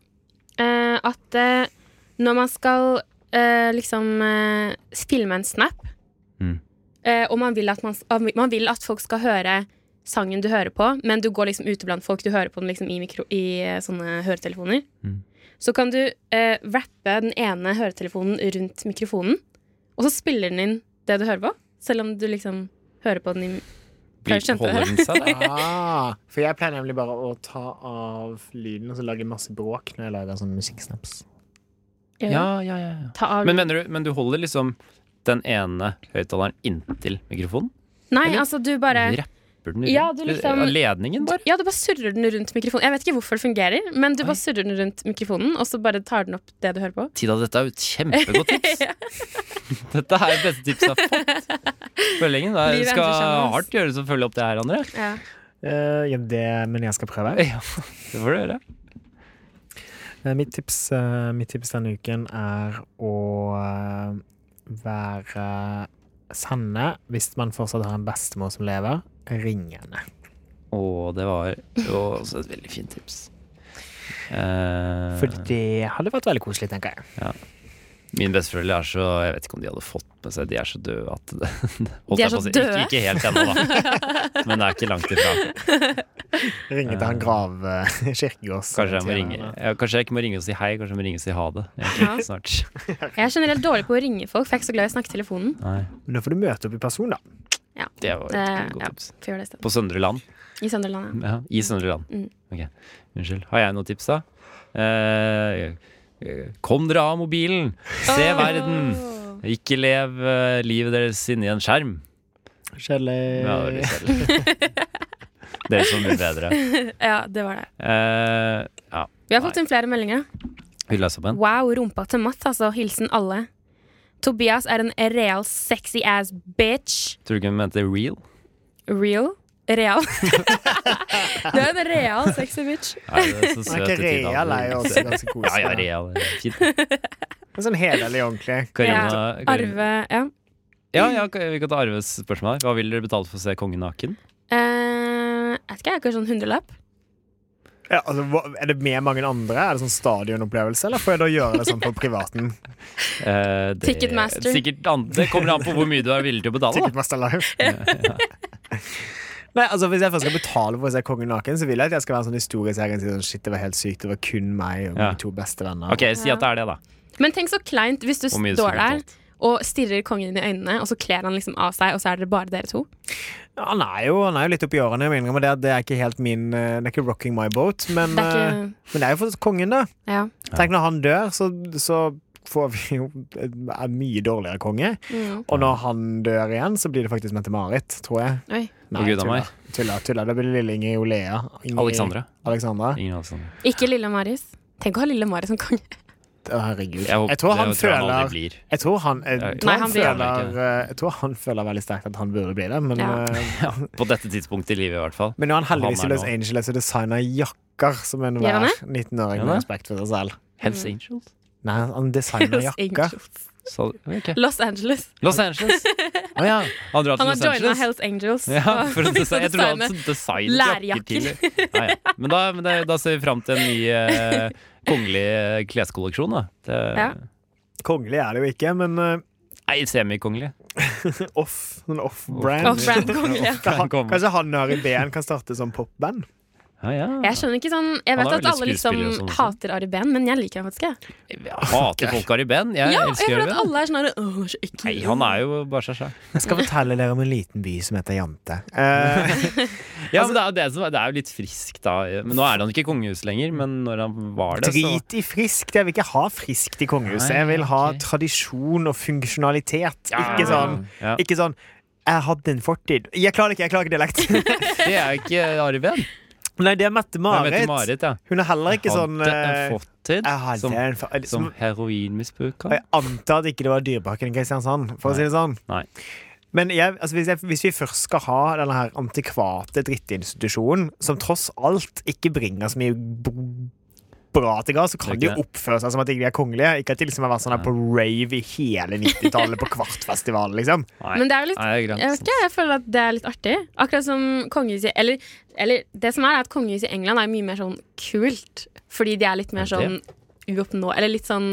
Speaker 3: eh, at eh, når man skal eh, liksom eh, filme en snap,
Speaker 2: Mm.
Speaker 3: eh, og man vil, at man, man vil at folk skal høre sangen du hører på, men du går liksom ute blant folk, du hører på den liksom i, mikro, i eh, sånne høretelefoner,
Speaker 2: Mm.
Speaker 3: så kan du eh, rappe den ene høretelefonen rundt mikrofonen, og så spiller den inn det du hører på, selv om du liksom hører på den i Jeg skjønte
Speaker 2: Holder den seg,
Speaker 3: [laughs]
Speaker 2: da?
Speaker 4: Ah, for jeg pleier nemlig bare å ta av lyden og så lage masse bråk når jeg lager sånn musikksnaps.
Speaker 2: Ja, ja, ja. ja.
Speaker 3: eh, Ta av
Speaker 2: Men mener du, men du holder liksom den ene høyttaleren inntil mikrofonen?
Speaker 3: Nei,
Speaker 2: eller-
Speaker 3: altså du bare
Speaker 2: Rapper den
Speaker 3: Ja,
Speaker 2: rundt?
Speaker 3: du liksom-
Speaker 2: Av Ledningen, bare?
Speaker 3: Ja, du bare surrer den rundt mikrofonen. Jeg vet ikke hvorfor det fungerer, men du bare surrer den rundt mikrofonen, og så bare tar den opp det du hører på.
Speaker 2: Tida, dette er jo et [laughs] kjempegodt tips. [laughs] dette er det beste tipset jeg har fått. For lenge. da. Jeg
Speaker 3: Livet
Speaker 2: skal
Speaker 3: endrer seg nå, ass.
Speaker 2: hardt gjøre som følger opp det her, André.
Speaker 3: Ja.
Speaker 4: Eh, ja, det, men jeg skal prøve.
Speaker 2: Ja, det får du gjøre.
Speaker 4: Eh, Mitt tips, eh, mitt tips denne uken er å eh, være sanne hvis man fortsatt har en bestemor som lever. Ring henne.
Speaker 2: Å, det var jo også et veldig fint tips. Eh,
Speaker 4: For det hadde vært veldig koselig, tenker jeg.
Speaker 2: Min besteforeldre er så Jeg vet ikke om de hadde fått med seg De er så døde at [laughs] det, holdt
Speaker 3: De er
Speaker 2: jeg på å
Speaker 3: så
Speaker 2: si.
Speaker 3: døde?
Speaker 2: Ikke, ikke helt [laughs] ennå, da. Men det er ikke langt ifra.
Speaker 4: Ringe til han grav eh, [laughs] kirkegårds.
Speaker 2: Kanskje jeg, må ringe. Ja, kanskje jeg ikke må ringe og si hei, kanskje jeg må ringe og si ha det.
Speaker 3: Ja.
Speaker 2: Egentlig, snart.
Speaker 3: Jeg er generelt dårlig på å ringe folk, for jeg er ikke så glad i å snakke i telefonen.
Speaker 2: Nei,
Speaker 4: Men da får du møte opp i person, da.
Speaker 2: det var
Speaker 3: Det-
Speaker 2: et godt
Speaker 3: ja.
Speaker 2: tips.
Speaker 3: Får gjøre det i stedet.
Speaker 2: På Søndre Land.
Speaker 3: I Sønderland,
Speaker 2: Ja,
Speaker 3: ja.
Speaker 2: I Søndre Land.
Speaker 3: Mm.
Speaker 2: Ok, unnskyld. Har jeg noen tips, da? Eh, eh, kom dere av mobilen! Se
Speaker 3: Ah.
Speaker 2: verden!
Speaker 3: Åh.
Speaker 2: Ikke lev eh, livet deres inni en skjerm. Ja, det
Speaker 4: Kjedelig.
Speaker 2: blir kjedelig. Dere som vil bedre.
Speaker 3: Ja, det var det.
Speaker 2: Eh, ja.
Speaker 3: Vi har fått inn flere meldinger.
Speaker 2: Vil du lese opp en?
Speaker 3: Wow, rumpa til Mats, altså. Hilsen alle. Tobias er en real sexy ass bitch.
Speaker 2: Tror du ikke hun mente real?
Speaker 3: Real? Real. [laughs] du er en real sexy bitch.
Speaker 2: Nei, det er så
Speaker 4: Men
Speaker 2: søt
Speaker 4: ikke
Speaker 2: i tiden.
Speaker 4: real er jo også ganske
Speaker 2: Ja,
Speaker 4: koselig.
Speaker 2: ja, real. det er Fint.
Speaker 4: Men Sånn hederlig og ordentlig.
Speaker 2: Karina, Karina.
Speaker 3: Arve, ja.
Speaker 2: Ja, ja, vi kan ta Arves spørsmål her. Hva vil dere betale for å se kongen naken?
Speaker 3: Eh, jeg vet ikke, jeg har kanskje en hundrelapp.
Speaker 4: Ja, altså, hva- er det med mange andre? Er det sånn stadionopplevelse, eller får jeg da gjøre det sånn på
Speaker 2: [laughs]
Speaker 4: privaten?
Speaker 2: Eh, det,
Speaker 3: Ticketmaster.
Speaker 2: Sikkert an, det kommer an på hvor mye du er villig til å betale. Da.
Speaker 4: Ticketmaster Live.
Speaker 2: [laughs]
Speaker 4: Nei, altså Hvis jeg først skal betale for å se kongen naken, Så vil jeg at jeg skal være en sånn historieserie sånn, Shit, det var helt sykt, det var kun meg og
Speaker 2: Ja.
Speaker 4: mine to beste venner.
Speaker 2: Ok, si at det er det, da.
Speaker 3: Men tenk så kleint hvis du
Speaker 2: Hvor mye du
Speaker 3: står
Speaker 2: skulle
Speaker 3: der og stirrer kongen inn i øynene, og så kler han liksom av seg, og så er det bare dere to.
Speaker 4: Ja, han, er jo, han er jo litt oppi årene, jeg må innrømme det. at Det er ikke helt min eh, Det er ikke rocking my boat,
Speaker 3: Det
Speaker 4: men eh, det
Speaker 3: er
Speaker 4: er,
Speaker 3: ikke
Speaker 4: men det er jo for kongen, da.
Speaker 3: Ja.
Speaker 4: Tenk når han dør, så, så får vi jo en mye dårligere konge.
Speaker 3: Mm.
Speaker 4: Og når han dør igjen, så blir det faktisk Mette-Marit, tror jeg.
Speaker 3: Oi.
Speaker 2: Å, Gud, av meg.
Speaker 4: tuller. tuller, tuller. Det blir lille Inger Olea. Inger-
Speaker 2: Alexandra.
Speaker 4: Alexandra.
Speaker 2: Ingen Alexandra.
Speaker 3: Ikke lille Maris. Tenk å ha lille Maris som konge.
Speaker 4: Å, Herregud.
Speaker 2: Jeg, håper,
Speaker 4: jeg tror han
Speaker 2: det tror jeg han
Speaker 4: føler
Speaker 2: aldri blir.
Speaker 4: Jeg tror han, jeg,
Speaker 2: Nei,
Speaker 4: tror han,
Speaker 3: han blir
Speaker 4: føler,
Speaker 2: aldri
Speaker 4: eh, jeg tror han føler veldig sterkt at han burde bli det, men,
Speaker 3: Ja.
Speaker 4: eh,
Speaker 2: Ja, på dette tidspunktet i livet, i hvert fall.
Speaker 4: men nå er han heldigvis
Speaker 2: Han
Speaker 4: i
Speaker 2: er
Speaker 4: Los
Speaker 2: nå.
Speaker 4: Angeles og designer jakker som
Speaker 3: Gjør
Speaker 4: enhver
Speaker 3: han
Speaker 4: 19-åring
Speaker 2: Gjør han
Speaker 4: med
Speaker 2: det?
Speaker 4: respekt for seg selv.
Speaker 2: Hells
Speaker 3: Mm.
Speaker 2: Angels.
Speaker 4: Nei, han
Speaker 3: [laughs]
Speaker 4: designer
Speaker 3: Los
Speaker 4: jakker.
Speaker 3: Angeles.
Speaker 2: Så, ok.
Speaker 3: Los Angeles.
Speaker 2: Los Angeles. Å ja. Han drar til
Speaker 3: Han har
Speaker 2: Los
Speaker 3: joina
Speaker 2: Angeles.
Speaker 3: Hells Angels. [laughs]
Speaker 2: Ja,
Speaker 3: og-
Speaker 2: for å desi- jeg trodde han
Speaker 3: designe-
Speaker 2: hadde designet jakker
Speaker 3: lærjakker.
Speaker 2: tidlig. Ja, ja. Men, da, men det, da ser vi fram til en ny eh, kongelig eh, kleskolleksjon. Da. Det,
Speaker 3: Ja.
Speaker 4: Kongelig er det jo ikke, men eh,
Speaker 2: Nei, semikongelig.
Speaker 4: off, sånn off-brand.
Speaker 3: Off-brand. kongelig, ja.
Speaker 2: Kan komme.
Speaker 4: Kanskje han og Ari Behn kan starte som popband?
Speaker 2: Ja, ja.
Speaker 3: Jeg skjønner ikke sånn Jeg
Speaker 2: Han
Speaker 3: vet
Speaker 2: er
Speaker 3: at
Speaker 2: veldig
Speaker 3: alle
Speaker 2: skuespiller og
Speaker 3: liksom
Speaker 2: sånn også.
Speaker 3: hater Ari Behn, men jeg liker ham faktisk. jeg.
Speaker 2: Hater folk Ari Behn? Jeg
Speaker 3: Ja, jeg
Speaker 2: elsker
Speaker 3: føler
Speaker 2: Ari
Speaker 3: at
Speaker 2: Behn.
Speaker 3: alle er sånn her, Åh, han er så ekkel.
Speaker 2: Nei, han er jo bare seg sjæl.
Speaker 4: Jeg skal fortelle dere om en liten by som heter Jante. Eh,
Speaker 2: Ja, men
Speaker 4: Altså,
Speaker 2: det er jo det som er, det er jo litt friskt, da. Men nå er han ikke i kongehuset lenger, men når han var det, så
Speaker 4: Drit i friskt. Jeg vil ikke ha friskt i kongehuset.
Speaker 2: Nei,
Speaker 4: Jeg vil ha
Speaker 2: ok.
Speaker 4: tradisjon og funksjonalitet. Ikke
Speaker 2: ja,
Speaker 4: sånn,
Speaker 2: ja.
Speaker 4: ikke sånn jeg hadde en fortid. Jeg klarer ikke jeg klarer ikke dialekt. [laughs]
Speaker 2: Det er jo ikke Ari Behn.
Speaker 4: Nei, det er Mette-Marit.
Speaker 2: Marit ja.
Speaker 4: Hun er heller ikke
Speaker 2: Hadde
Speaker 4: sånn
Speaker 2: en
Speaker 4: eh,
Speaker 2: fortid
Speaker 4: jeg hadde
Speaker 2: som,
Speaker 4: en fa-
Speaker 2: som
Speaker 4: som-
Speaker 2: heroinmisbruker.
Speaker 4: Jeg antar at ikke det var Dyrebakken i Kristiansand, for å si det sånn.
Speaker 2: Nei.
Speaker 4: Men jeg, altså hvis, jeg, hvis vi først skal ha denne her antikvate drittinstitusjonen, som tross alt ikke bringer så mye b- bra til gang, så kan
Speaker 2: Det
Speaker 4: de
Speaker 2: er
Speaker 4: jo
Speaker 2: ikke
Speaker 4: oppføre seg som at de ikke er kongelige. Ikke at de liksom har vært sånn her på rave i hele 90-tallet, på kvartfestivalen, liksom.
Speaker 2: Nei.
Speaker 3: Men det er jo litt
Speaker 2: Nei, det er greit.
Speaker 3: jeg vet ikke, jeg føler at det er litt artig. Akkurat som kongehuset Eller, eller det som er, er at kongehuset i England er mye mer sånn kult. Fordi de er litt mer
Speaker 2: Er
Speaker 3: sånn
Speaker 2: det?
Speaker 3: uoppnå... Eller litt sånn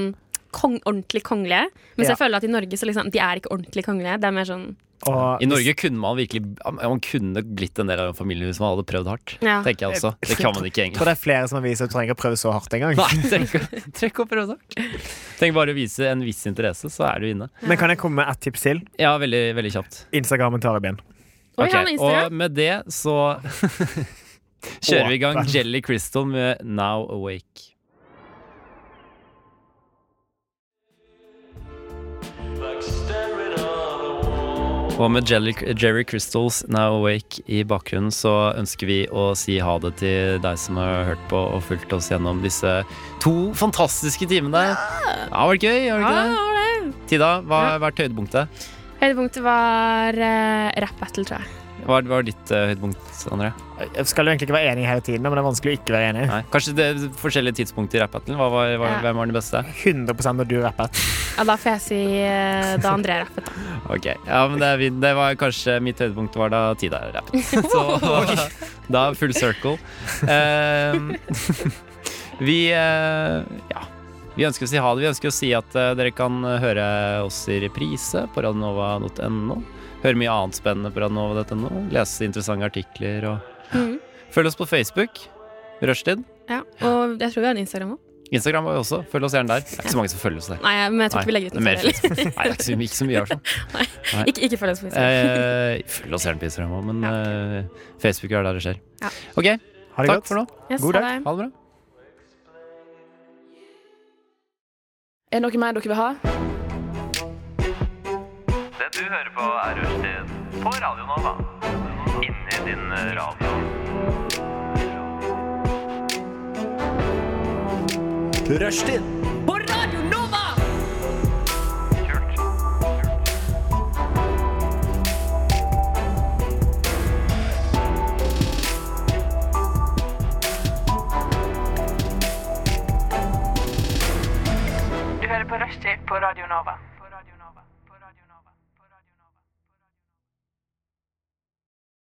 Speaker 3: kong, ordentlig kongelige. Mens
Speaker 4: Ja.
Speaker 3: jeg føler at i Norge så liksom De er ikke ordentlig kongelige. Det er mer sånn
Speaker 4: Og
Speaker 2: I Norge kunne man virkelig Man kunne blitt en del av en familie hvis man hadde prøvd hardt.
Speaker 3: Ja.
Speaker 2: Tenker jeg også. Det kan man ikke i
Speaker 4: jeg tror
Speaker 2: England.
Speaker 4: det er flere som har vist at du trenger å prøve så hardt en gang.
Speaker 2: Nei, tenk, å- tenk å prøve så hardt. Tenk bare å vise en viss interesse, så er du inne.
Speaker 4: Men kan jeg komme med ett tips til?
Speaker 2: Ja, veldig, veldig kjapt.
Speaker 4: Instagrammen til Aribien.
Speaker 3: Oi,
Speaker 2: Ok,
Speaker 3: han har Instagram.
Speaker 2: Og med det så [laughs] kjører vi i gang Jelly Crystal med Now Awake. Og med Jelly, Jerry Crystals Now Awake i bakgrunnen så ønsker vi å si ha det til deg som har hørt på og fulgt oss gjennom disse to fantastiske timene. Ja, var det gøy? Var det ikke
Speaker 3: Ja, det
Speaker 2: det?
Speaker 3: var det.
Speaker 2: Tida, hva har vært høydepunktet?
Speaker 3: Høydepunktet var eh, rap battle, tror jeg.
Speaker 2: Hva var- hva var ditt eh, høydepunkt, André?
Speaker 4: Jeg skal jo egentlig ikke være enig hele tiden, men det er vanskelig å ikke være enig.
Speaker 2: Nei. Kanskje det er forskjellige tidspunkter i rap-battlen. Hva var, hva,
Speaker 3: Ja.
Speaker 2: Hvem var den beste?
Speaker 4: 100 når du rappet.
Speaker 3: Ja, da får jeg si eh, da André rappet. da.
Speaker 2: Ok, ja, men det, er vi- det var kanskje mitt høydepunkt var da Tida rappet. Så da full circle. Ehm, [laughs] vi eh, ja. Vi ønsker å si ha det. Vi ønsker å si at eh, dere kan høre oss i reprise på radionova.no. Høre mye annet spennende på radionova.no. Lese interessante artikler og
Speaker 3: Mhm.
Speaker 2: Følg oss på Facebook. Rushtid.
Speaker 3: [laughs] Ja, og jeg tror vi har en Instagram òg.
Speaker 2: Instagram var vi også. Følg oss gjerne der. Det er ikke så mange som følger oss der.
Speaker 3: Nei, men jeg tror ikke vi legger ut
Speaker 2: Nei,
Speaker 3: noe
Speaker 2: mer
Speaker 3: selv.
Speaker 2: Facebook. Nei, det er ikke så, ikke så mye av sånn. Nei.
Speaker 3: [laughs] Ikke, ikke følg oss på Instagram.
Speaker 2: Eh, følg oss gjerne på Instagram også, men eh, Facebook er der det skjer.
Speaker 3: Ja.
Speaker 2: Ok,
Speaker 4: Ha det
Speaker 2: takk
Speaker 4: godt.
Speaker 2: for nå.
Speaker 3: Yes,
Speaker 4: god
Speaker 3: ha
Speaker 4: dag.
Speaker 3: det.
Speaker 2: Ha det bra.
Speaker 9: Er det noe mer dere vil ha?
Speaker 10: Det du hører på er Rushtid på Radio Nova. Inni din eh, radio.
Speaker 5: Rushtid